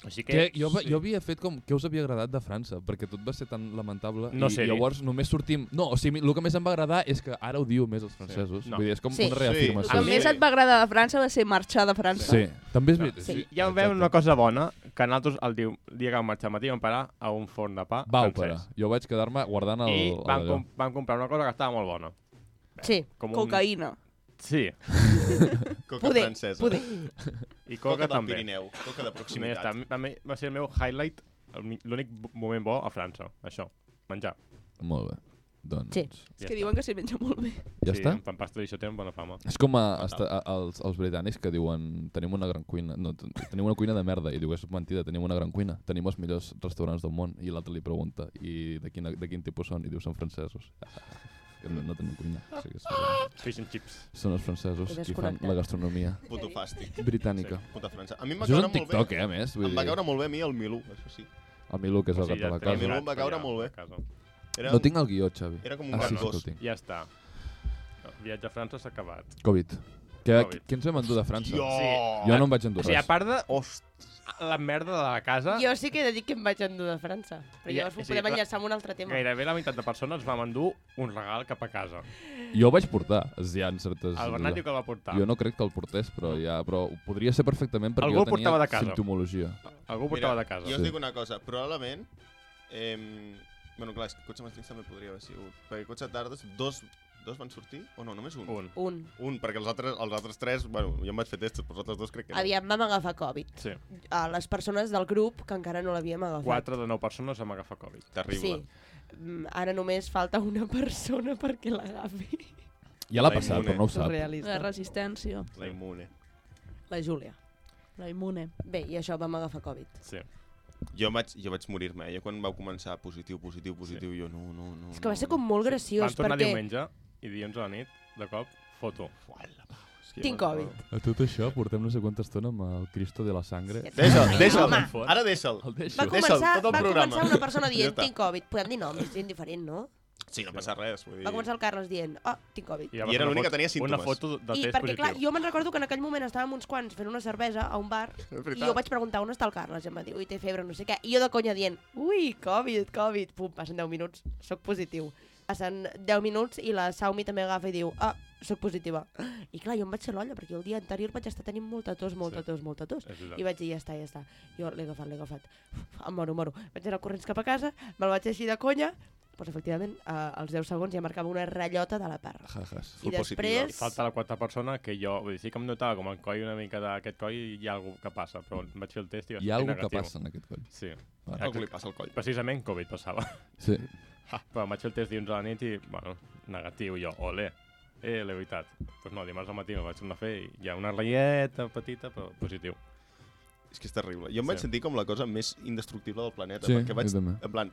[SPEAKER 2] Així
[SPEAKER 1] Que,
[SPEAKER 2] que...
[SPEAKER 1] jo, va- jo havia fet com què us havia agradat de França, perquè tot va ser tan lamentable
[SPEAKER 8] No
[SPEAKER 1] i
[SPEAKER 8] sé-hi.
[SPEAKER 1] llavors només sortim... No, o sigui, el que més em va agradar és que ara ho diu més els francesos.
[SPEAKER 8] No.
[SPEAKER 1] Vull dir, és com
[SPEAKER 4] Sí.
[SPEAKER 1] una
[SPEAKER 3] El
[SPEAKER 1] reafirmació.
[SPEAKER 3] que
[SPEAKER 6] Sí.
[SPEAKER 3] més et va agradar de França va ser marxar de França.
[SPEAKER 1] Sí, també és veritat.
[SPEAKER 4] Sí.
[SPEAKER 8] Ja vam veure una cosa bona, que nosaltres el diu, dia que vam marxar al matí vam parar a un forn de pa
[SPEAKER 1] Vau, pare.
[SPEAKER 8] francès.
[SPEAKER 1] Jo vaig quedar-me guardant el...
[SPEAKER 8] I vam,
[SPEAKER 1] allò.
[SPEAKER 8] com vam comprar una cosa que estava molt bona.
[SPEAKER 4] Sí.
[SPEAKER 8] Com
[SPEAKER 3] Cocaïna.
[SPEAKER 8] Un... Sí,
[SPEAKER 6] Coca
[SPEAKER 4] Poder,
[SPEAKER 6] francesa.
[SPEAKER 4] poder.
[SPEAKER 8] i coca,
[SPEAKER 6] Coca, del
[SPEAKER 8] també.
[SPEAKER 6] Pirineu.
[SPEAKER 8] Sí,
[SPEAKER 6] Coca de
[SPEAKER 8] ja està.
[SPEAKER 6] proximitat.
[SPEAKER 8] Va, me- va ser el meu highlight, el mi- l'únic bo- moment bo a França, això, menjar.
[SPEAKER 1] Molt bé. Doncs...
[SPEAKER 4] Sí.
[SPEAKER 3] És que diuen que s'hi menja molt bé.
[SPEAKER 1] Ja
[SPEAKER 2] sí,
[SPEAKER 1] està?
[SPEAKER 2] En pan pasta i això tenen bona fama.
[SPEAKER 1] És com a, esta, a, als, als britànics que diuen tenim una gran cuina, no, ten- tenim una cuina de merda i diu és mentida, tenim una gran cuina, tenim els millors restaurants del món i l'altre li pregunta i de, quina, de quin tipus són i diu són francesos. *laughs* Que no, no tenim cuina. O sigui, són,
[SPEAKER 2] Fish and chips.
[SPEAKER 1] són els francesos qui
[SPEAKER 4] He
[SPEAKER 1] fan
[SPEAKER 4] desconnectat.
[SPEAKER 1] la gastronomia
[SPEAKER 6] Puto fàstic.
[SPEAKER 1] britànica.
[SPEAKER 6] Puta França. A mi em va
[SPEAKER 1] Això és
[SPEAKER 6] caure
[SPEAKER 1] un
[SPEAKER 6] molt bé.
[SPEAKER 1] TikTok, eh, a més. Vull
[SPEAKER 6] Em va
[SPEAKER 1] dir,
[SPEAKER 6] caure molt bé a mi el Milú, això sí.
[SPEAKER 1] a mi el que és el gat de la
[SPEAKER 6] tenia
[SPEAKER 1] casa.
[SPEAKER 6] mil- va caure molt bé. Era,
[SPEAKER 1] No tinc el guió, Xavi.
[SPEAKER 6] era com un
[SPEAKER 1] Ah, sí, sí que
[SPEAKER 6] gandós.
[SPEAKER 1] ho tinc.
[SPEAKER 2] Ja està. El viatge a França s'ha acabat.
[SPEAKER 1] Covid. Que,
[SPEAKER 2] Covid.
[SPEAKER 1] Què ens vam endur de França?
[SPEAKER 6] Tio!
[SPEAKER 1] Jo no em vaig endur
[SPEAKER 8] O sigui, a
[SPEAKER 1] res.
[SPEAKER 8] part de host, la merda de la casa,
[SPEAKER 4] Jo sí que he de dir que em vaig endur de França. Però
[SPEAKER 8] Ja,
[SPEAKER 4] llavors ho
[SPEAKER 8] sí,
[SPEAKER 4] podem
[SPEAKER 8] clar.
[SPEAKER 4] enllaçar amb un altre tema.
[SPEAKER 8] gairebé la meitat de persones vam endur un regal cap a casa.
[SPEAKER 1] Jo ho vaig portar, hi ha certes...
[SPEAKER 8] El Bernat diu que el va portar.
[SPEAKER 1] Jo no crec que el portés, però ja, però ho podria ser perfectament perquè
[SPEAKER 8] Algú el
[SPEAKER 1] jo tenia
[SPEAKER 8] portava de casa. Ah,
[SPEAKER 1] simptomologia.
[SPEAKER 8] Algú ho portava de casa.
[SPEAKER 6] Jo us
[SPEAKER 1] Sí.
[SPEAKER 6] dic una cosa, probablement... Eh, bueno, clar, és que cotxe matins també podria haver sigut. Perquè cotxe tardes, dos, dos van sortir? O no, només un?
[SPEAKER 8] Un.
[SPEAKER 4] Un.
[SPEAKER 6] Un, perquè els altres, els altres tres, bueno, jo em vaig fer testos, però els altres dos crec que no.
[SPEAKER 4] Aviam, vam agafar Covid.
[SPEAKER 8] Sí.
[SPEAKER 4] A les persones del grup que encara no l'havíem agafat.
[SPEAKER 8] 4 de 9 persones vam agafar Covid.
[SPEAKER 6] Terrible.
[SPEAKER 4] Sí. Mm, Ara només falta una persona perquè l'agafi.
[SPEAKER 1] Ja l'ha
[SPEAKER 6] La
[SPEAKER 1] passat,
[SPEAKER 6] immune.
[SPEAKER 1] però no ho sap.
[SPEAKER 3] La
[SPEAKER 4] Realista.
[SPEAKER 3] resistència.
[SPEAKER 6] La immune.
[SPEAKER 4] La Júlia.
[SPEAKER 3] La immune.
[SPEAKER 4] Bé, i això vam agafar Covid.
[SPEAKER 8] Sí.
[SPEAKER 6] Jo vaig, jo vaig morir-me, eh? jo quan vau començar positiu, positiu, positiu, sí. jo no, no, no...
[SPEAKER 4] És que va
[SPEAKER 6] no,
[SPEAKER 4] ser com molt
[SPEAKER 8] Vam
[SPEAKER 4] graciós
[SPEAKER 8] tornar
[SPEAKER 4] perquè...
[SPEAKER 8] diumenge i dilluns a la nit, de cop, foto.
[SPEAKER 6] Sí,
[SPEAKER 4] Tinc
[SPEAKER 6] bueno,
[SPEAKER 4] Covid.
[SPEAKER 1] A tot això portem no sé quanta estona amb el Cristo de la Sangre.
[SPEAKER 4] Sí,
[SPEAKER 6] Deixa'l, deixa'l,
[SPEAKER 4] Home.
[SPEAKER 6] ara deixa'l.
[SPEAKER 1] El deixo.
[SPEAKER 4] Va
[SPEAKER 6] Deixa'l,
[SPEAKER 4] començar,
[SPEAKER 6] tot el
[SPEAKER 4] va
[SPEAKER 6] programa.
[SPEAKER 4] començar una persona
[SPEAKER 6] Ja
[SPEAKER 4] dient,
[SPEAKER 6] està.
[SPEAKER 4] tinc Covid. Podem dir noms, és indiferent, no?
[SPEAKER 6] Sí, no passa res, vull dir...
[SPEAKER 4] Va començar el Carles dient, oh, tinc Covid.
[SPEAKER 8] va
[SPEAKER 6] I
[SPEAKER 8] ser
[SPEAKER 6] era
[SPEAKER 8] una
[SPEAKER 6] l'únic
[SPEAKER 8] foto-
[SPEAKER 6] que tenia símptomes.
[SPEAKER 8] Una foto de
[SPEAKER 4] I
[SPEAKER 8] test
[SPEAKER 4] perquè,
[SPEAKER 8] positiu.
[SPEAKER 4] clar, jo me'n recordo que en aquell moment estàvem uns quants fent una cervesa a un bar
[SPEAKER 6] *laughs* És
[SPEAKER 4] i
[SPEAKER 6] veritat.
[SPEAKER 4] jo vaig preguntar on està el Carles i em va dir, ui, té febre, no sé què. I jo de conya dient, ui, Covid, Covid. Pum, passen 10 minuts, sóc positiu. Passen 10 minuts i la Saumi també agafa i diu, ah, sóc positiva. I clar, jo em vaig fer l'olla perquè el dia anterior vaig estar tenint molta tos, molta tos, molta tos.
[SPEAKER 2] És
[SPEAKER 4] I
[SPEAKER 2] veritat.
[SPEAKER 4] vaig dir, ja està, ja està. Jo l'he agafat, l'he agafat. Uf, em moro, moro. Vaig anar corrents cap a casa, me'l vaig així de conya, doncs efectivament, eh, als 10 segons ja marcava una ratllota de la part.
[SPEAKER 1] Jajas.
[SPEAKER 6] Full
[SPEAKER 4] I
[SPEAKER 6] positiva.
[SPEAKER 4] després...
[SPEAKER 8] Falta la quarta persona que jo, vull dir, sí que em notava com el coll una mica d'aquest coll i hi ha algú que passa, però em vaig fer el test i va
[SPEAKER 1] Hi
[SPEAKER 8] sortir
[SPEAKER 1] ha algú que
[SPEAKER 8] negatiu.
[SPEAKER 1] passa en aquest coll.
[SPEAKER 8] Sí.
[SPEAKER 1] Vale.
[SPEAKER 6] Algú li passa el coll.
[SPEAKER 8] Precisament Covid passava. *laughs*
[SPEAKER 1] Sí.
[SPEAKER 8] però em vaig fer el test dilluns a la nit i, bueno, negatiu, jo, ole. Eh, l'he veritat. Doncs pues no, dimarts al matí me'l vaig tornar a fer i hi ha una ratlleta petita, però positiu.
[SPEAKER 6] És que és terrible. Jo em vaig
[SPEAKER 8] Sí.
[SPEAKER 6] sentir com la cosa més indestructible del planeta,
[SPEAKER 1] Sí,
[SPEAKER 6] perquè vaig...
[SPEAKER 1] jo també.
[SPEAKER 6] En plan,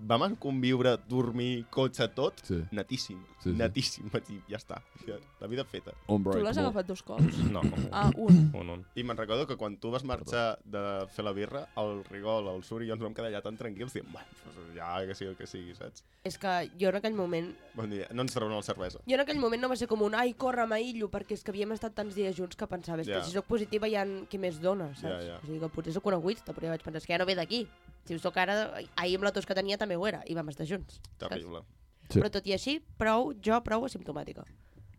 [SPEAKER 6] vam conviure, dormir, cotxe, tot,
[SPEAKER 1] Sí.
[SPEAKER 6] netíssim,
[SPEAKER 1] Sí, sí.
[SPEAKER 6] netíssim. Vaig dir, ja està, ja, la vida feta.
[SPEAKER 3] Tu l'has agafat
[SPEAKER 1] *clears throat*
[SPEAKER 3] dos cops?
[SPEAKER 8] No,
[SPEAKER 3] Ah, un.
[SPEAKER 8] un, un.
[SPEAKER 6] I me'n recordo que quan tu vas marxar de fer la birra, el Rigol, el Suri i jo ens vam quedar allà tan tranquils, dient, bueno, doncs ja que sigui el que sigui, saps?
[SPEAKER 4] És que jo en aquell moment...
[SPEAKER 6] Vam dir, no ens trauran la cervesa.
[SPEAKER 4] Jo en aquell moment no va ser com un ai, corre, m'aïllo, perquè és que havíem estat tants dies junts que pensava, és
[SPEAKER 6] Ja.
[SPEAKER 4] que si sóc positiva hi ha qui més dona, saps?
[SPEAKER 6] Ja, ja.
[SPEAKER 4] O sigui que potser sóc una egoista, però ja vaig pensar, és que ja no ve d'aquí. Si ho sóc ara, ahir amb la tos que tenia també ho era, i vam estar junts.
[SPEAKER 6] Terrible.
[SPEAKER 1] Sí.
[SPEAKER 4] Però tot i així, prou, jo prou asimptomàtica.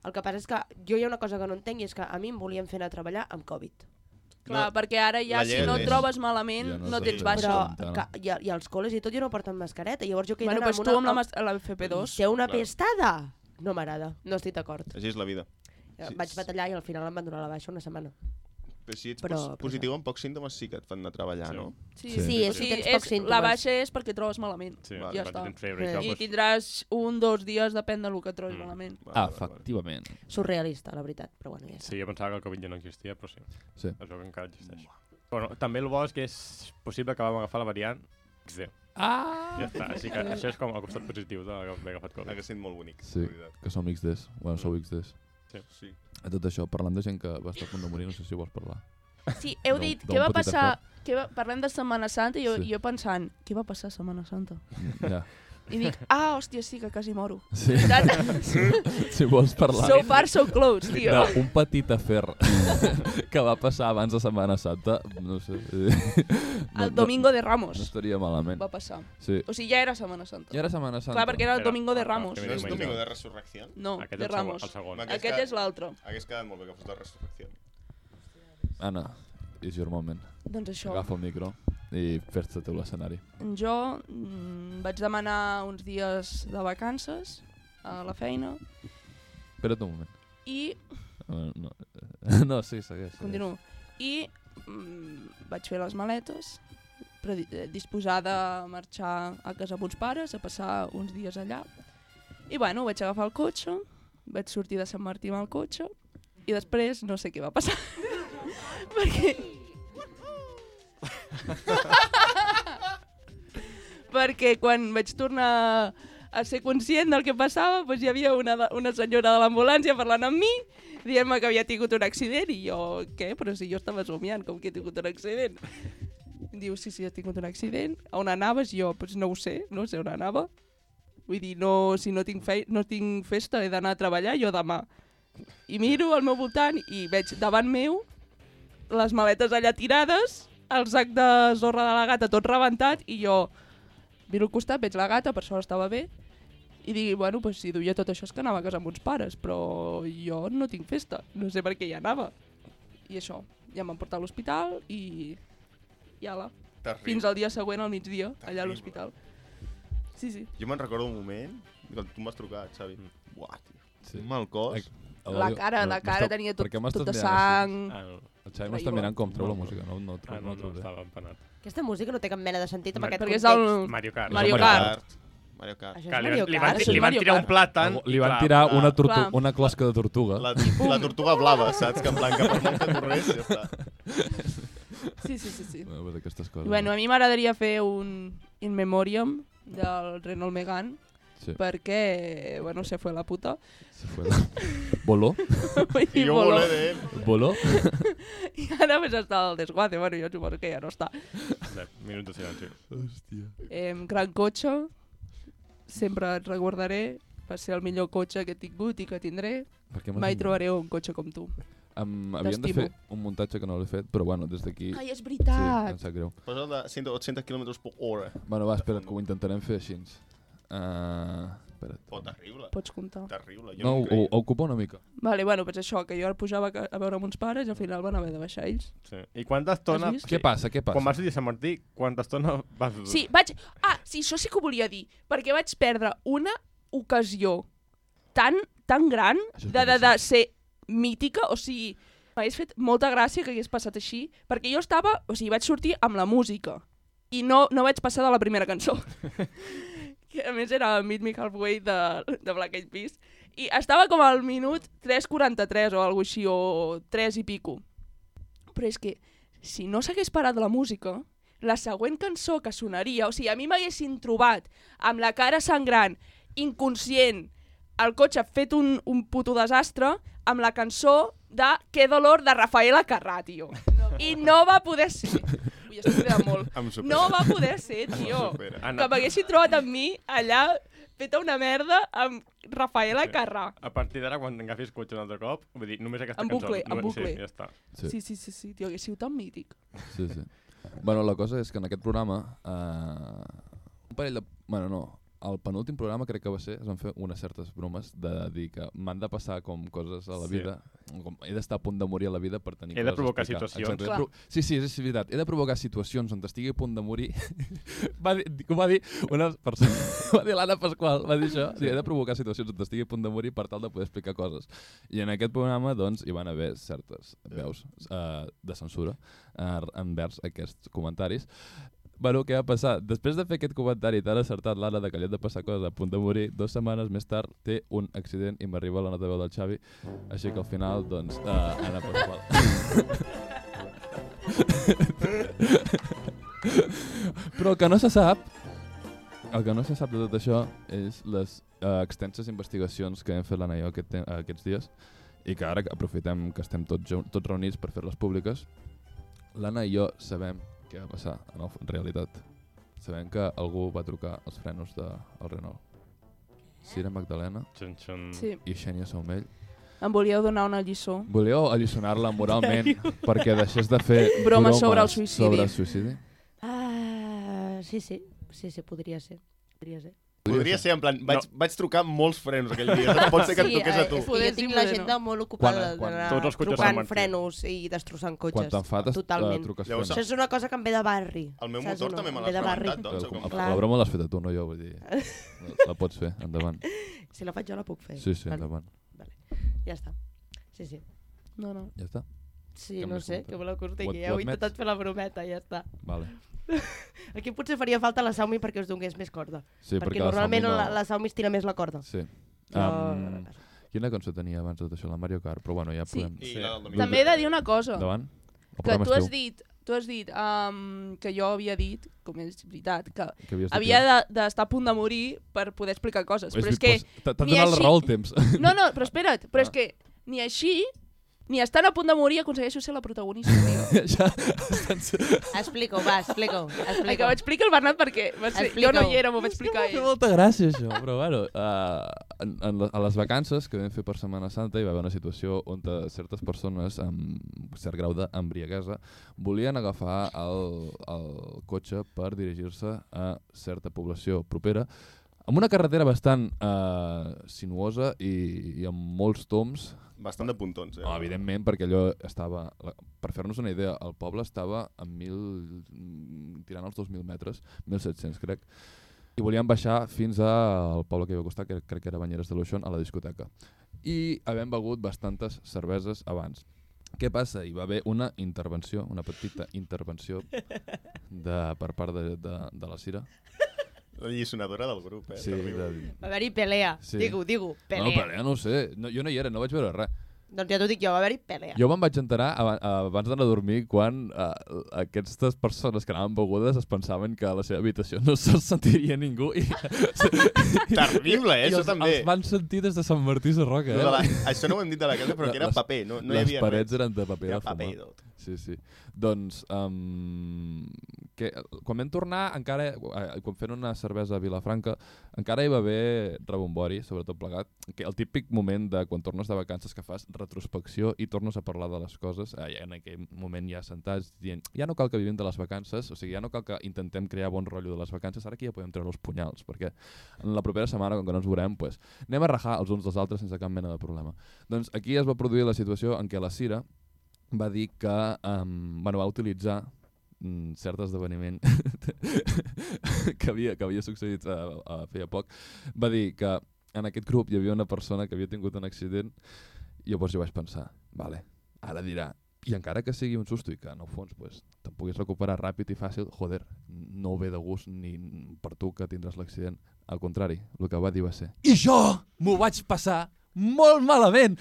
[SPEAKER 4] El que passa és que jo hi ha una cosa que no entenc i és que a mi em volien fer anar a treballar amb Covid.
[SPEAKER 3] Clar, no, perquè ara ja
[SPEAKER 6] la
[SPEAKER 3] si
[SPEAKER 6] llei
[SPEAKER 3] no
[SPEAKER 6] és-
[SPEAKER 3] et trobes malament
[SPEAKER 1] Ja no
[SPEAKER 3] no,
[SPEAKER 1] es
[SPEAKER 3] no
[SPEAKER 1] deixa.
[SPEAKER 3] tens baixa.
[SPEAKER 4] Però
[SPEAKER 1] Compte, no?
[SPEAKER 4] que, i, a- i als col·les i tot jo no porten mascareta. Llavors jo que he
[SPEAKER 3] Bueno,
[SPEAKER 4] d'anar
[SPEAKER 3] doncs tu amb la, mas- la FP2.
[SPEAKER 4] Ser una
[SPEAKER 6] Clar.
[SPEAKER 4] pestada? No m'agrada, no estic d'acord.
[SPEAKER 6] Així és la vida.
[SPEAKER 4] Sí,
[SPEAKER 6] Sí,
[SPEAKER 4] Vaig
[SPEAKER 6] sí.
[SPEAKER 4] batallar i al final em van donar la baixa una setmana.
[SPEAKER 6] Però si ets
[SPEAKER 4] Però-
[SPEAKER 6] però, positiu amb pocs símptomes sí que et fan anar a treballar,
[SPEAKER 2] Sí.
[SPEAKER 6] sí. no?
[SPEAKER 3] Sí,
[SPEAKER 1] Sí.
[SPEAKER 4] Sí, és si tens pocs
[SPEAKER 3] és, la
[SPEAKER 4] símptomes.
[SPEAKER 3] baixa és perquè trobes malament.
[SPEAKER 2] Sí,
[SPEAKER 6] Vale,
[SPEAKER 2] ja
[SPEAKER 3] ja està.
[SPEAKER 2] està. Tens febre
[SPEAKER 4] Sí.
[SPEAKER 2] i tal,
[SPEAKER 3] I
[SPEAKER 2] doncs,
[SPEAKER 3] tindràs un, dos dies, depèn del que trobes
[SPEAKER 2] Mm.
[SPEAKER 3] malament.
[SPEAKER 6] *laughs*
[SPEAKER 1] Ah,
[SPEAKER 6] Vale, vale, vale.
[SPEAKER 1] Efectivament.
[SPEAKER 4] Surrealista, la veritat, però bueno, ja està.
[SPEAKER 2] Sí, jo pensava que el Covid ja no existia, però sí.
[SPEAKER 1] Sí.
[SPEAKER 2] Es veu que encara existeix. Bueno, també el bo és que és possible que vam agafar la variant XD. Ah! Ja està, així que això és com el costat positiu d'haver agafat
[SPEAKER 6] Ha
[SPEAKER 2] Covid.
[SPEAKER 6] que sent molt bonic,
[SPEAKER 1] Sí.
[SPEAKER 6] sí. la veritat.
[SPEAKER 1] Que som XDs. Bueno, sou XDs.
[SPEAKER 6] Sí.
[SPEAKER 1] A tot això, parlant de gent que va estar a punt de morir, no sé si vols *laughs* parlar.
[SPEAKER 3] Sí, heu
[SPEAKER 1] D'un-
[SPEAKER 3] dit,
[SPEAKER 1] d'un
[SPEAKER 3] què va
[SPEAKER 1] petit
[SPEAKER 3] passar... Què va, parlem de Setmana Santa i jo,
[SPEAKER 1] Sí.
[SPEAKER 3] sí. jo pensant, què va passar a Setmana Santa?
[SPEAKER 1] Ja.
[SPEAKER 3] I dic, ah, hòstia, sí, que quasi
[SPEAKER 1] *laughs*
[SPEAKER 3] moro.
[SPEAKER 1] Sí,
[SPEAKER 3] Saps?
[SPEAKER 1] si vols parlar
[SPEAKER 3] so far, so close, tio. No.
[SPEAKER 1] d'un petit afer *laughs* que va passar abans de Setmana Santa, no sé. No,
[SPEAKER 3] El Domingo
[SPEAKER 1] No,
[SPEAKER 3] de
[SPEAKER 1] no
[SPEAKER 3] Ramos
[SPEAKER 1] estaria malament.
[SPEAKER 3] va passar.
[SPEAKER 1] Sí.
[SPEAKER 3] O sigui, ja era Setmana Santa.
[SPEAKER 1] I ara Setmana Santa.
[SPEAKER 3] Clar, perquè era el
[SPEAKER 2] Era-
[SPEAKER 3] Domingo de
[SPEAKER 2] ah,
[SPEAKER 3] Ramos.
[SPEAKER 2] que
[SPEAKER 6] No és
[SPEAKER 2] Sí.
[SPEAKER 6] Domingo de Resurrecció?
[SPEAKER 3] No,
[SPEAKER 2] Aquest
[SPEAKER 3] de
[SPEAKER 2] és el segon-
[SPEAKER 3] Ramos.
[SPEAKER 2] el segon.
[SPEAKER 6] Aquest
[SPEAKER 3] Aquest
[SPEAKER 6] que-
[SPEAKER 3] és l'altre.
[SPEAKER 6] Hagués quedat molt bé que fos de Resurrecció.
[SPEAKER 1] Anna, és your moment.
[SPEAKER 3] Doncs això.
[SPEAKER 1] Agafa el micro i fes-te tu l'escenari.
[SPEAKER 3] Jo mm, vaig demanar uns dies de vacances a la feina
[SPEAKER 1] Espera't un moment.
[SPEAKER 3] i
[SPEAKER 1] Eh, No, no *laughs* sí, segueix. segueix.
[SPEAKER 3] continuo. I mm, vaig fer les maletes, però eh, disposada a marxar a casa amb uns pares, a passar uns dies allà. I bueno, vaig agafar el cotxe, vaig sortir de Sant Martí amb el cotxe i després no sé què va passar. *laughs* perquè... *laughs* perquè quan vaig tornar a ser conscient del que passava, doncs hi havia una, de- una senyora de l'ambulància parlant amb mi, dient-me que havia tingut un accident, i jo, què? Però si jo estava somiant, com que he tingut un accident? Diu, sí, sí, he tingut un accident. A on anaves? Jo, doncs no ho sé, no sé on anava. Vull dir, no, si no tinc, fei no tinc festa, he d'anar a treballar jo demà. I miro al meu voltant i veig davant meu les maletes allà tirades, el sac de zorra de la gata tot rebentat i jo miro al costat, veig la gata, per sort estava bé, i digui, bueno, pues, si duia tot això és que anava a casa amb uns pares, però jo no tinc festa, no sé per què hi anava. I això, ja em van portar a l'hospital i... i ala,
[SPEAKER 6] Terrible.
[SPEAKER 3] fins al dia següent al migdia, allà
[SPEAKER 6] Terrible.
[SPEAKER 3] a l'hospital. Sí, sí.
[SPEAKER 6] Jo me'n recordo un moment que tu m'has trucat, Xavi. Buah, tio. Sí. Mal
[SPEAKER 1] Mm. Ai,
[SPEAKER 6] cos.
[SPEAKER 3] La cara, la cara tenia tot, tot de sang.
[SPEAKER 2] Ah, no,
[SPEAKER 1] El Xavi m'està mirant com treu la música, no, no,
[SPEAKER 2] ah,
[SPEAKER 1] treu,
[SPEAKER 2] no,
[SPEAKER 1] no,
[SPEAKER 2] no,
[SPEAKER 1] treu res.
[SPEAKER 2] estava empanat.
[SPEAKER 4] Aquesta música no té cap mena de sentit amb
[SPEAKER 2] Perquè
[SPEAKER 4] aquest
[SPEAKER 3] Perquè és
[SPEAKER 4] context.
[SPEAKER 3] el...
[SPEAKER 2] Mario Kart.
[SPEAKER 3] Mario
[SPEAKER 2] Mario
[SPEAKER 3] Kart.
[SPEAKER 6] Mario Kart.
[SPEAKER 4] Això
[SPEAKER 2] Clar, li, van-
[SPEAKER 4] és Mario
[SPEAKER 2] li,
[SPEAKER 4] Kart.
[SPEAKER 2] van,
[SPEAKER 3] Això
[SPEAKER 2] li van
[SPEAKER 3] és Mario
[SPEAKER 2] tirar un
[SPEAKER 3] Kart.
[SPEAKER 2] plat tant...
[SPEAKER 1] Li van
[SPEAKER 2] clar,
[SPEAKER 1] tirar una, tortu
[SPEAKER 3] Clar.
[SPEAKER 1] una closca de tortuga.
[SPEAKER 6] La, la tortuga blava, saps? Que en plan, que per molt que corres, ja
[SPEAKER 4] *laughs*
[SPEAKER 6] està.
[SPEAKER 3] Sí, sí, sí. sí.
[SPEAKER 1] A veure, aquestes coses.
[SPEAKER 3] Bueno, eh, a mi m'agradaria fer un in memoriam del Renault Megane,
[SPEAKER 1] Sí.
[SPEAKER 3] perquè, bueno, se fue la puta.
[SPEAKER 1] Se fue la-
[SPEAKER 3] *laughs*
[SPEAKER 1] Voló?
[SPEAKER 3] Vull
[SPEAKER 6] *laughs* I
[SPEAKER 3] dir,
[SPEAKER 6] jo
[SPEAKER 3] voló.
[SPEAKER 6] voler de...
[SPEAKER 1] Voló?
[SPEAKER 3] I ara pues està al desguace, bueno, jo suposo que ja no està.
[SPEAKER 2] Deu Minuts de silenci.
[SPEAKER 1] Hòstia.
[SPEAKER 3] Eh, gran cotxe, sempre et recordaré, va ser el millor cotxe que he tingut i que tindré.
[SPEAKER 1] Per què m'has
[SPEAKER 3] Mai
[SPEAKER 1] dit?
[SPEAKER 3] trobaré un cotxe com tu.
[SPEAKER 1] Em, havíem de
[SPEAKER 3] T'estimo.
[SPEAKER 1] fer un muntatge que no l'he fet, però bueno, des d'aquí...
[SPEAKER 3] Ai, és
[SPEAKER 1] Sí, em
[SPEAKER 3] veritat!
[SPEAKER 1] sap greu.
[SPEAKER 6] Posa de 100 800 km per hora.
[SPEAKER 1] Bueno, va, espera't, que ho intentarem fer així. Uh, espera't.
[SPEAKER 6] Oh, terrible.
[SPEAKER 3] Pots comptar.
[SPEAKER 6] Terrible. Jo
[SPEAKER 1] No,
[SPEAKER 6] no,
[SPEAKER 1] ho,
[SPEAKER 6] no
[SPEAKER 1] ho ocupa una mica.
[SPEAKER 3] Vale, bueno, pues això, que jo el pujava a a veure amb uns pares i al final van haver de baixar ells.
[SPEAKER 2] Sí. I quanta estona...
[SPEAKER 3] Has vist?
[SPEAKER 1] Què passa, què passa?
[SPEAKER 2] Quan vas dir Sant Martí, quanta estona vas...
[SPEAKER 7] Sí, vaig... Ah, sí, això sí que ho volia dir, perquè vaig perdre una ocasió tan, tan gran
[SPEAKER 1] Això és
[SPEAKER 7] de, de, de
[SPEAKER 1] boníssim.
[SPEAKER 7] ser mítica, o sigui, m'hagués fet molta gràcia que hagués passat així, perquè jo estava... O sigui, vaig sortir amb la música i no, no vaig passar de la primera
[SPEAKER 1] *laughs*
[SPEAKER 7] cançó. que a més era Meet Me Halfway de, de Black Eyed Peas. I estava com al minut 3.43 o alguna així, o 3 i pico. Però és que, si no s'hagués parat la música, la següent cançó que sonaria, o sigui, a mi m'haguessin trobat amb la cara sangrant, inconscient, el cotxe fet un, un puto desastre, amb la cançó de Qué dolor de Rafaela Carrà, tio. I no va poder ser. Ui, estic cridant molt.
[SPEAKER 6] Em supera.
[SPEAKER 7] No va poder ser, tio.
[SPEAKER 6] supera.
[SPEAKER 2] Anna,
[SPEAKER 7] Que m'haguessin trobat amb mi allà feta una merda amb Rafaela Carrà.
[SPEAKER 2] a partir d'ara, quan agafis cotxe un altre cop, vull dir, només aquesta
[SPEAKER 3] En
[SPEAKER 2] cançó.
[SPEAKER 3] bucle, en
[SPEAKER 2] només-
[SPEAKER 3] bucle.
[SPEAKER 2] Sí, ja està.
[SPEAKER 1] Sí.
[SPEAKER 3] Sí, sí, sí, sí, tio, que sigut tan mític.
[SPEAKER 1] Sí, sí. Bueno, la cosa és que en aquest programa... Uh, un parell eh, de... Bueno, no. al penúltim programa crec que va ser, es van fer unes certes bromes de dir que m'han de passar com coses a la
[SPEAKER 8] Sí.
[SPEAKER 1] vida, com he d'estar a punt de morir a la vida per tenir
[SPEAKER 8] He de
[SPEAKER 1] coses a
[SPEAKER 8] provocar
[SPEAKER 1] explicar.
[SPEAKER 8] situacions.
[SPEAKER 1] Exacte, he de
[SPEAKER 3] Clar.
[SPEAKER 1] pro- Sí, sí, és veritat. He de provocar situacions on estigui a punt de morir. *laughs* va dir, ho va dir una persona, *laughs* va dir l'Anna Pasqual, va dir això. Sí, he de provocar situacions on estigui a punt de morir per tal de poder explicar coses. I en aquest programa, doncs, hi van haver certes
[SPEAKER 8] Eh.
[SPEAKER 1] veus uh, de censura uh, envers aquests comentaris. Bueno, què va passar? Després de fer aquest comentari tan acertat l'Anna de que li han de passar coses a punt de morir, dues setmanes més tard té un accident i m'arriba la nota de veu del Xavi, així que al final, doncs, uh, Anna Pasqual. Però el que no se sap, el que no se sap de tot això és les uh, extenses investigacions que hem fet l'Anna i jo aquest, te- aquests dies i que ara que aprofitem que estem tots, ju- tots reunits per fer-les públiques. L'Anna i jo sabem què va passar en, el, en realitat. Sabem que algú va trucar els frenos del de, Renault. Cira Magdalena
[SPEAKER 8] Xun, xun.
[SPEAKER 2] Mm.
[SPEAKER 3] Sí.
[SPEAKER 1] i Xènia Saumell.
[SPEAKER 3] Em volíeu donar una lliçó.
[SPEAKER 1] Voleu alliçonar-la moralment perquè deixés de
[SPEAKER 3] *laughs*
[SPEAKER 1] fer
[SPEAKER 3] Bromes sobre el suïcidi.
[SPEAKER 1] Sobre el suïcidi?
[SPEAKER 4] Ah, sí, sí. Sí, sí, podria ser. Podria ser.
[SPEAKER 6] Podria ser, en plan, vaig, vaig trucar molts frenos aquell dia. Pot ser que et truqués a tu.
[SPEAKER 4] eh, és que jo
[SPEAKER 3] Poders i
[SPEAKER 4] tinc l'agenda
[SPEAKER 3] poders
[SPEAKER 4] molt
[SPEAKER 1] Quan-
[SPEAKER 4] ocupada
[SPEAKER 1] quan
[SPEAKER 4] d'anar
[SPEAKER 8] tots els cotxes
[SPEAKER 4] trucant
[SPEAKER 8] se'n van fer.
[SPEAKER 4] frenos i destrossant
[SPEAKER 1] Quan
[SPEAKER 4] cotxes.
[SPEAKER 1] t'enfades, eh,
[SPEAKER 4] Totalment.
[SPEAKER 1] truques
[SPEAKER 6] Llavors,
[SPEAKER 1] frenos.
[SPEAKER 4] Això és una cosa que em ve de barri.
[SPEAKER 6] El meu
[SPEAKER 4] saps
[SPEAKER 6] motor
[SPEAKER 4] o no?
[SPEAKER 6] també me
[SPEAKER 4] Em
[SPEAKER 6] l'has
[SPEAKER 4] ve de barri.
[SPEAKER 6] preguntat, doncs.
[SPEAKER 1] Però com-
[SPEAKER 6] o com-
[SPEAKER 1] La
[SPEAKER 4] Clar.
[SPEAKER 1] broma l'has fet tu, no jo,
[SPEAKER 3] *laughs*
[SPEAKER 1] vull dir... la- La pots fer, endavant.
[SPEAKER 4] Si la faig jo la puc fer.
[SPEAKER 1] Sí, sí,
[SPEAKER 4] Vale,
[SPEAKER 1] endavant.
[SPEAKER 4] Ja està. Sí, sí.
[SPEAKER 3] No, no.
[SPEAKER 1] Ja està?
[SPEAKER 4] Sí,
[SPEAKER 1] Que
[SPEAKER 4] no
[SPEAKER 1] més
[SPEAKER 4] sé,
[SPEAKER 1] compte.
[SPEAKER 4] que me la eh? curta
[SPEAKER 1] Ho-
[SPEAKER 4] i
[SPEAKER 1] ho
[SPEAKER 4] ja heu
[SPEAKER 1] admets?
[SPEAKER 4] intentat fer la brometa, ja està.
[SPEAKER 1] Vale.
[SPEAKER 4] Aquí potser faria falta la Saumi perquè us donés més corda.
[SPEAKER 1] Sí, perquè,
[SPEAKER 4] perquè
[SPEAKER 1] la
[SPEAKER 4] normalment
[SPEAKER 1] Salmi
[SPEAKER 4] la,
[SPEAKER 1] no...
[SPEAKER 4] la Saumi es tira més la corda.
[SPEAKER 1] Sí.
[SPEAKER 4] Però-
[SPEAKER 1] Um, quina cançó tenia abans de tot això? La Mario Kart, però bueno, ja
[SPEAKER 3] Sí.
[SPEAKER 1] podem...
[SPEAKER 6] I la del domingo.
[SPEAKER 3] També he de dir una cosa.
[SPEAKER 1] Endavant. El
[SPEAKER 3] que
[SPEAKER 1] programa és
[SPEAKER 3] tu has
[SPEAKER 1] teu.
[SPEAKER 3] dit, tu has dit um, que jo havia dit, com és veritat, que
[SPEAKER 1] Que havies dit
[SPEAKER 3] havia
[SPEAKER 1] tu.
[SPEAKER 3] de- d'estar a punt de morir per poder explicar coses. Però
[SPEAKER 1] dit,
[SPEAKER 3] és que...
[SPEAKER 1] doncs, T'ha t'ha
[SPEAKER 3] ni
[SPEAKER 1] donat la
[SPEAKER 3] així-
[SPEAKER 1] raó el temps. *laughs*
[SPEAKER 3] No, no, però espera't, però és
[SPEAKER 1] Ah.
[SPEAKER 3] que ni així, ni estant a punt de morir aconsegueixo ser la protagonista,
[SPEAKER 1] *laughs*
[SPEAKER 3] tio.
[SPEAKER 1] ja.
[SPEAKER 4] Explico, va, explico.
[SPEAKER 3] El que
[SPEAKER 4] explico.
[SPEAKER 3] ho explica el Bernat perquè va ser, jo no
[SPEAKER 4] Explica-ho.
[SPEAKER 3] hi era, m'ho va explicar
[SPEAKER 1] Té
[SPEAKER 3] ell.
[SPEAKER 1] molta gràcia, això, però bueno, uh, en, en, la- a les vacances que vam fer per Setmana Santa hi va haver una situació on eh, certes persones amb cert grau d'embriaguesa volien agafar el, el cotxe per dirigir-se a certa població propera amb una carretera bastant eh, sinuosa i, i amb molts toms,
[SPEAKER 6] Bastant de puntons, eh?
[SPEAKER 1] no, evidentment, perquè allò estava... la- Per fer-nos una idea, el poble estava a 1.000... mm, tirant als 2.000 metres, 1.700 crec, i volíem baixar fins al poble que hi va costar, que crec que era Banyeres de l'Oixón, a la discoteca. I havent begut bastantes cerveses abans. Què passa? Hi va haver una intervenció, una petita intervenció de, per part de, de, de la Cira.
[SPEAKER 6] La lliçonadora del grup, eh?
[SPEAKER 1] Sí,
[SPEAKER 6] Terrible.
[SPEAKER 1] de,
[SPEAKER 4] Va haver-hi pelea.
[SPEAKER 1] Sí.
[SPEAKER 4] Digo, digo, pelea.
[SPEAKER 1] no, pelea, no ho sé. No, jo no hi era, no vaig veure res.
[SPEAKER 4] Doncs ja t'ho dic jo, va haver-hi pelea.
[SPEAKER 1] Jo me'n vaig enterar aba- abans d'anar a dormir quan uh, aquestes persones que anaven begudes es pensaven que a la seva habitació no se'ls sentiria ningú i,
[SPEAKER 6] Terrible,
[SPEAKER 1] i
[SPEAKER 6] eh? Això
[SPEAKER 1] els,
[SPEAKER 6] també.
[SPEAKER 1] els van sentir des de Sant Martí Sarroca.
[SPEAKER 6] No, de la,
[SPEAKER 1] Eh?
[SPEAKER 6] això no ho hem dit de la casa, però que era
[SPEAKER 1] Les-
[SPEAKER 6] paper, no, no hi
[SPEAKER 1] Les
[SPEAKER 6] havia
[SPEAKER 1] parets
[SPEAKER 6] res.
[SPEAKER 1] eren de paper de
[SPEAKER 6] Era
[SPEAKER 1] fumar.
[SPEAKER 6] paper i tot.
[SPEAKER 1] Sí, sí. Doncs, um, que, quan vam tornar, encara, eh, quan fent una cervesa a Vilafranca, encara hi va haver rebombori, sobretot plegat, que el típic moment de quan tornes de vacances que fas retrospecció i tornes a parlar de les coses, eh, en aquell moment ja sentats, dient, ja no cal que vivim de les vacances, o sigui, ja no cal que intentem crear bon rotllo de les vacances, ara aquí ja podem treure els punyals, perquè en la propera setmana, com que no ens veurem, pues, anem a rajar els uns dels altres sense cap mena de problema. Doncs aquí es va produir la situació en què la Cira, va dir que um, bueno, va utilitzar mm, cert esdeveniment *laughs* que, havia, que havia succeït a, a feia poc, va dir que en aquest grup hi havia una persona que havia tingut un accident i llavors jo vaig pensar, vale, ara dirà, i encara que sigui un susto i que en el fons pues, te'n puguis recuperar ràpid i fàcil, joder, no ve de gust ni per tu que tindràs l'accident. Al contrari, el que va dir va ser I jo m'ho vaig passar molt malament!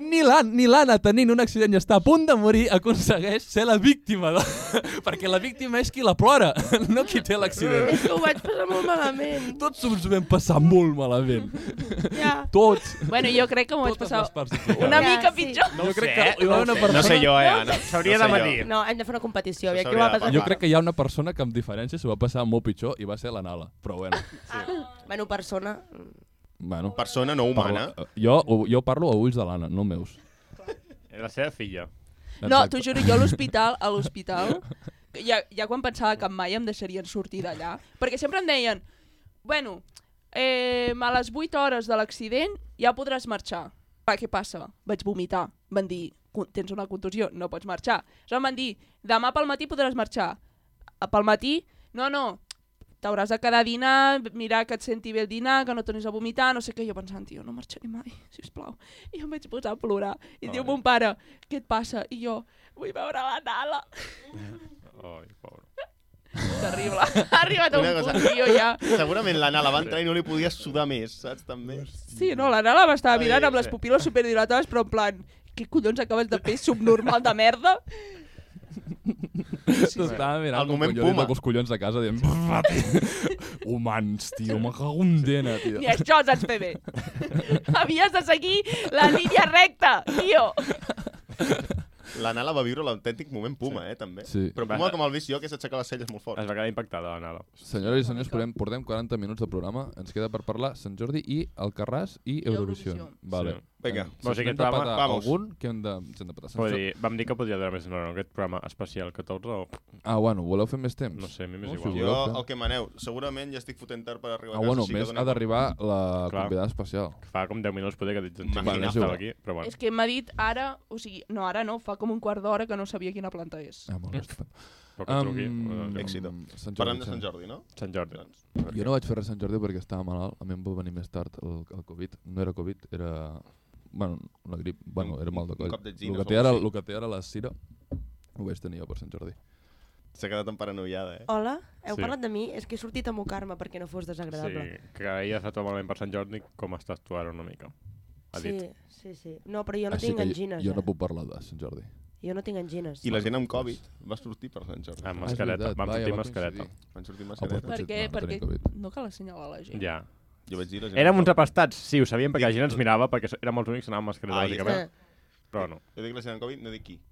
[SPEAKER 1] Ni l'An- ni l'Anna tenint un accident i està a punt de morir aconsegueix ser la víctima de... *laughs* perquè la víctima és qui la plora, *laughs* no qui té l'accident.
[SPEAKER 4] És que ho vaig passar molt malament.
[SPEAKER 1] Tots ens ho vam passar molt malament.
[SPEAKER 4] Ja.
[SPEAKER 1] Tots.
[SPEAKER 3] Bueno, jo crec que m'ho vaig
[SPEAKER 1] Totes
[SPEAKER 3] passar
[SPEAKER 1] les parts implicades.
[SPEAKER 3] una
[SPEAKER 4] Ja,
[SPEAKER 3] mica
[SPEAKER 4] sí.
[SPEAKER 3] pitjor.
[SPEAKER 1] jo crec que hi va haver una
[SPEAKER 6] No
[SPEAKER 1] persona...
[SPEAKER 6] sé jo, eh, Anna.
[SPEAKER 8] S'hauria
[SPEAKER 6] no
[SPEAKER 8] de
[SPEAKER 6] sé jo.
[SPEAKER 8] medir.
[SPEAKER 4] No, hem de fer una competició.
[SPEAKER 6] Això
[SPEAKER 4] Això qui ho
[SPEAKER 6] s'hauria
[SPEAKER 4] va
[SPEAKER 6] de
[SPEAKER 4] passar?
[SPEAKER 1] Jo crec que hi ha una persona que amb diferència s'ho va passar molt pitjor i va ser la Nala, però bueno.
[SPEAKER 4] Bueno, persona...
[SPEAKER 1] bueno
[SPEAKER 6] Persona no humana.
[SPEAKER 1] parla- jo, jo parlo a ulls de l'Anna, no meus.
[SPEAKER 8] La seva filla.
[SPEAKER 3] No,
[SPEAKER 1] Exacte.
[SPEAKER 3] t'ho juro, jo a l'hospital, a l'hospital, ja, ja quan pensava que mai em deixarien sortir d'allà, perquè sempre em deien Bueno, eh, a les 8 hores de l'accident ja podràs marxar. Va, què passa? Vaig vomitar. Van dir, "Con- tens una contusió, no pots marxar. Llavors em van dir, demà pel matí podràs marxar. A- Pel matí, no, no, t'hauràs de quedar a dinar, mirar que et senti bé el dinar, que no tornis a vomitar, no sé què. Jo pensant, tio, no marxaré mai, sisplau. I em vaig posar a plorar. I diu mon pare, què et passa? I jo, vull veure la Nala.
[SPEAKER 2] Ai, pobre.
[SPEAKER 3] *laughs* Terrible. ha arribat a un
[SPEAKER 6] Una cosa.
[SPEAKER 3] punt, tio, ja.
[SPEAKER 6] Segurament la Nala va entrar i no li podia sudar més, saps? També.
[SPEAKER 3] Sí, no, la Nala m'estava
[SPEAKER 6] Sí,
[SPEAKER 3] mirant amb les
[SPEAKER 6] sí.
[SPEAKER 3] pupil·les superdilatades, però en plan, què collons acabes de fer, subnormal de merda?
[SPEAKER 1] T'estava mirant
[SPEAKER 6] El
[SPEAKER 1] com
[SPEAKER 6] moment
[SPEAKER 1] collons
[SPEAKER 6] puma.
[SPEAKER 1] amb els collons de casa dient... "Brr, tio, Humans, tio, me cago un dena, tio.
[SPEAKER 3] Ni això saps fer bé. *laughs* Havies de seguir la línia recta, tio.
[SPEAKER 6] La Nala va viure l'autèntic moment Puma, eh, també.
[SPEAKER 1] Sí.
[SPEAKER 6] Però Puma, com el vist jo, que s'aixeca les celles molt fort.
[SPEAKER 2] Es va quedar impactada, la Nala.
[SPEAKER 1] Senyores i senyors, portem, portem 40 minuts de programa. Ens queda per parlar Sant Jordi i Alcarràs i Eurovisió.
[SPEAKER 3] Eurovisió.
[SPEAKER 1] Vale.
[SPEAKER 2] Sí.
[SPEAKER 6] Vinga.
[SPEAKER 1] Eh,
[SPEAKER 2] O sigui,
[SPEAKER 1] si
[SPEAKER 2] aquest
[SPEAKER 1] hem de
[SPEAKER 2] programa-
[SPEAKER 1] petar
[SPEAKER 6] vamos.
[SPEAKER 1] algun, que hem de, ens hem de patar. Sant
[SPEAKER 2] Vull
[SPEAKER 1] Jordi.
[SPEAKER 2] dir, vam dir que podia durar més d'una hora, no? Aquest programa especial 14 o...
[SPEAKER 1] Ah, bueno, voleu fer més temps?
[SPEAKER 2] No sé, a mi m'és
[SPEAKER 1] Oh,
[SPEAKER 2] igual.
[SPEAKER 1] sí,
[SPEAKER 6] Jo,
[SPEAKER 1] voleu fer?
[SPEAKER 6] el que maneu, segurament ja estic fotent tard per arribar
[SPEAKER 1] Ah,
[SPEAKER 6] a casa.
[SPEAKER 1] bueno,
[SPEAKER 6] així que
[SPEAKER 1] més
[SPEAKER 6] donem-
[SPEAKER 1] ha d'arribar la
[SPEAKER 2] Clar.
[SPEAKER 1] convidada especial.
[SPEAKER 2] Fa com 10 minuts poder que dic, doncs,
[SPEAKER 6] Vale,
[SPEAKER 2] vale,
[SPEAKER 1] és igual.
[SPEAKER 2] estava aquí, però bueno.
[SPEAKER 3] És que m'ha dit ara, o sigui, no, ara no, fa com un quart d'hora que no sabia quina planta és.
[SPEAKER 1] Ah, molt bé, estupendo.
[SPEAKER 2] Però que truqui.
[SPEAKER 1] Em,
[SPEAKER 2] Um,
[SPEAKER 6] Éxito.
[SPEAKER 1] Sant Jordi,
[SPEAKER 6] Parlem de
[SPEAKER 1] sí.
[SPEAKER 6] Sant Jordi, no?
[SPEAKER 2] Sant Jordi.
[SPEAKER 6] Doncs,
[SPEAKER 1] Jo no vaig fer res a Sant Jordi perquè estava malalt. A mi em va venir més tard el, el Covid. No era Covid, era... Bueno, una grip. Bueno,
[SPEAKER 6] Un-
[SPEAKER 1] era mal de
[SPEAKER 6] un
[SPEAKER 1] coll.
[SPEAKER 6] cop de
[SPEAKER 1] el,
[SPEAKER 6] gines
[SPEAKER 1] que
[SPEAKER 6] o
[SPEAKER 1] té
[SPEAKER 6] algo
[SPEAKER 1] ara,
[SPEAKER 6] així.
[SPEAKER 1] el que té ara la Cira ho vaig tenir jo per Sant Jordi.
[SPEAKER 6] S'ha quedat en paranoiada,
[SPEAKER 1] Oh.
[SPEAKER 6] eh?
[SPEAKER 4] Hola,
[SPEAKER 2] Sí.
[SPEAKER 4] heu sí. parlat de mi? És que he sortit a mocar-me perquè no fos
[SPEAKER 2] Sí,
[SPEAKER 4] desagradable.
[SPEAKER 2] que ahir has estat malament per Sant Jordi, com estàs tu ara una mica? Ha dit.
[SPEAKER 4] sí, sí, sí. No, però jo no tinc
[SPEAKER 1] Ah, que
[SPEAKER 4] angines,
[SPEAKER 1] jo, jo
[SPEAKER 4] eh?
[SPEAKER 1] no puc parlar de Sant Jordi.
[SPEAKER 4] Jo no tinc angines.
[SPEAKER 6] I la gent amb Covid va sortir per Sant Jordi.
[SPEAKER 2] Amb
[SPEAKER 1] Ah, és
[SPEAKER 2] mascareta.
[SPEAKER 1] veritat,
[SPEAKER 2] Vam
[SPEAKER 1] vaja,
[SPEAKER 2] sortir
[SPEAKER 1] va
[SPEAKER 2] amb mascareta.
[SPEAKER 1] coincidir.
[SPEAKER 6] Van sortir amb
[SPEAKER 1] Ah, doncs potser-
[SPEAKER 6] mascareta.
[SPEAKER 3] Perquè-
[SPEAKER 1] no, no tenia
[SPEAKER 3] perquè-
[SPEAKER 1] Covid.
[SPEAKER 3] No cal assenyalar la gent.
[SPEAKER 2] Ja.
[SPEAKER 6] Jo vaig dir la gent...
[SPEAKER 2] Érem uns apastats, sí, ho sabíem, perquè la gent ens mirava, perquè érem els únics que anàvem amb mascareta,
[SPEAKER 6] Ai,
[SPEAKER 2] bàsicament.
[SPEAKER 4] Ah,
[SPEAKER 2] Però no.
[SPEAKER 6] Jo dic la gent amb Covid, no dic qui.
[SPEAKER 2] Home,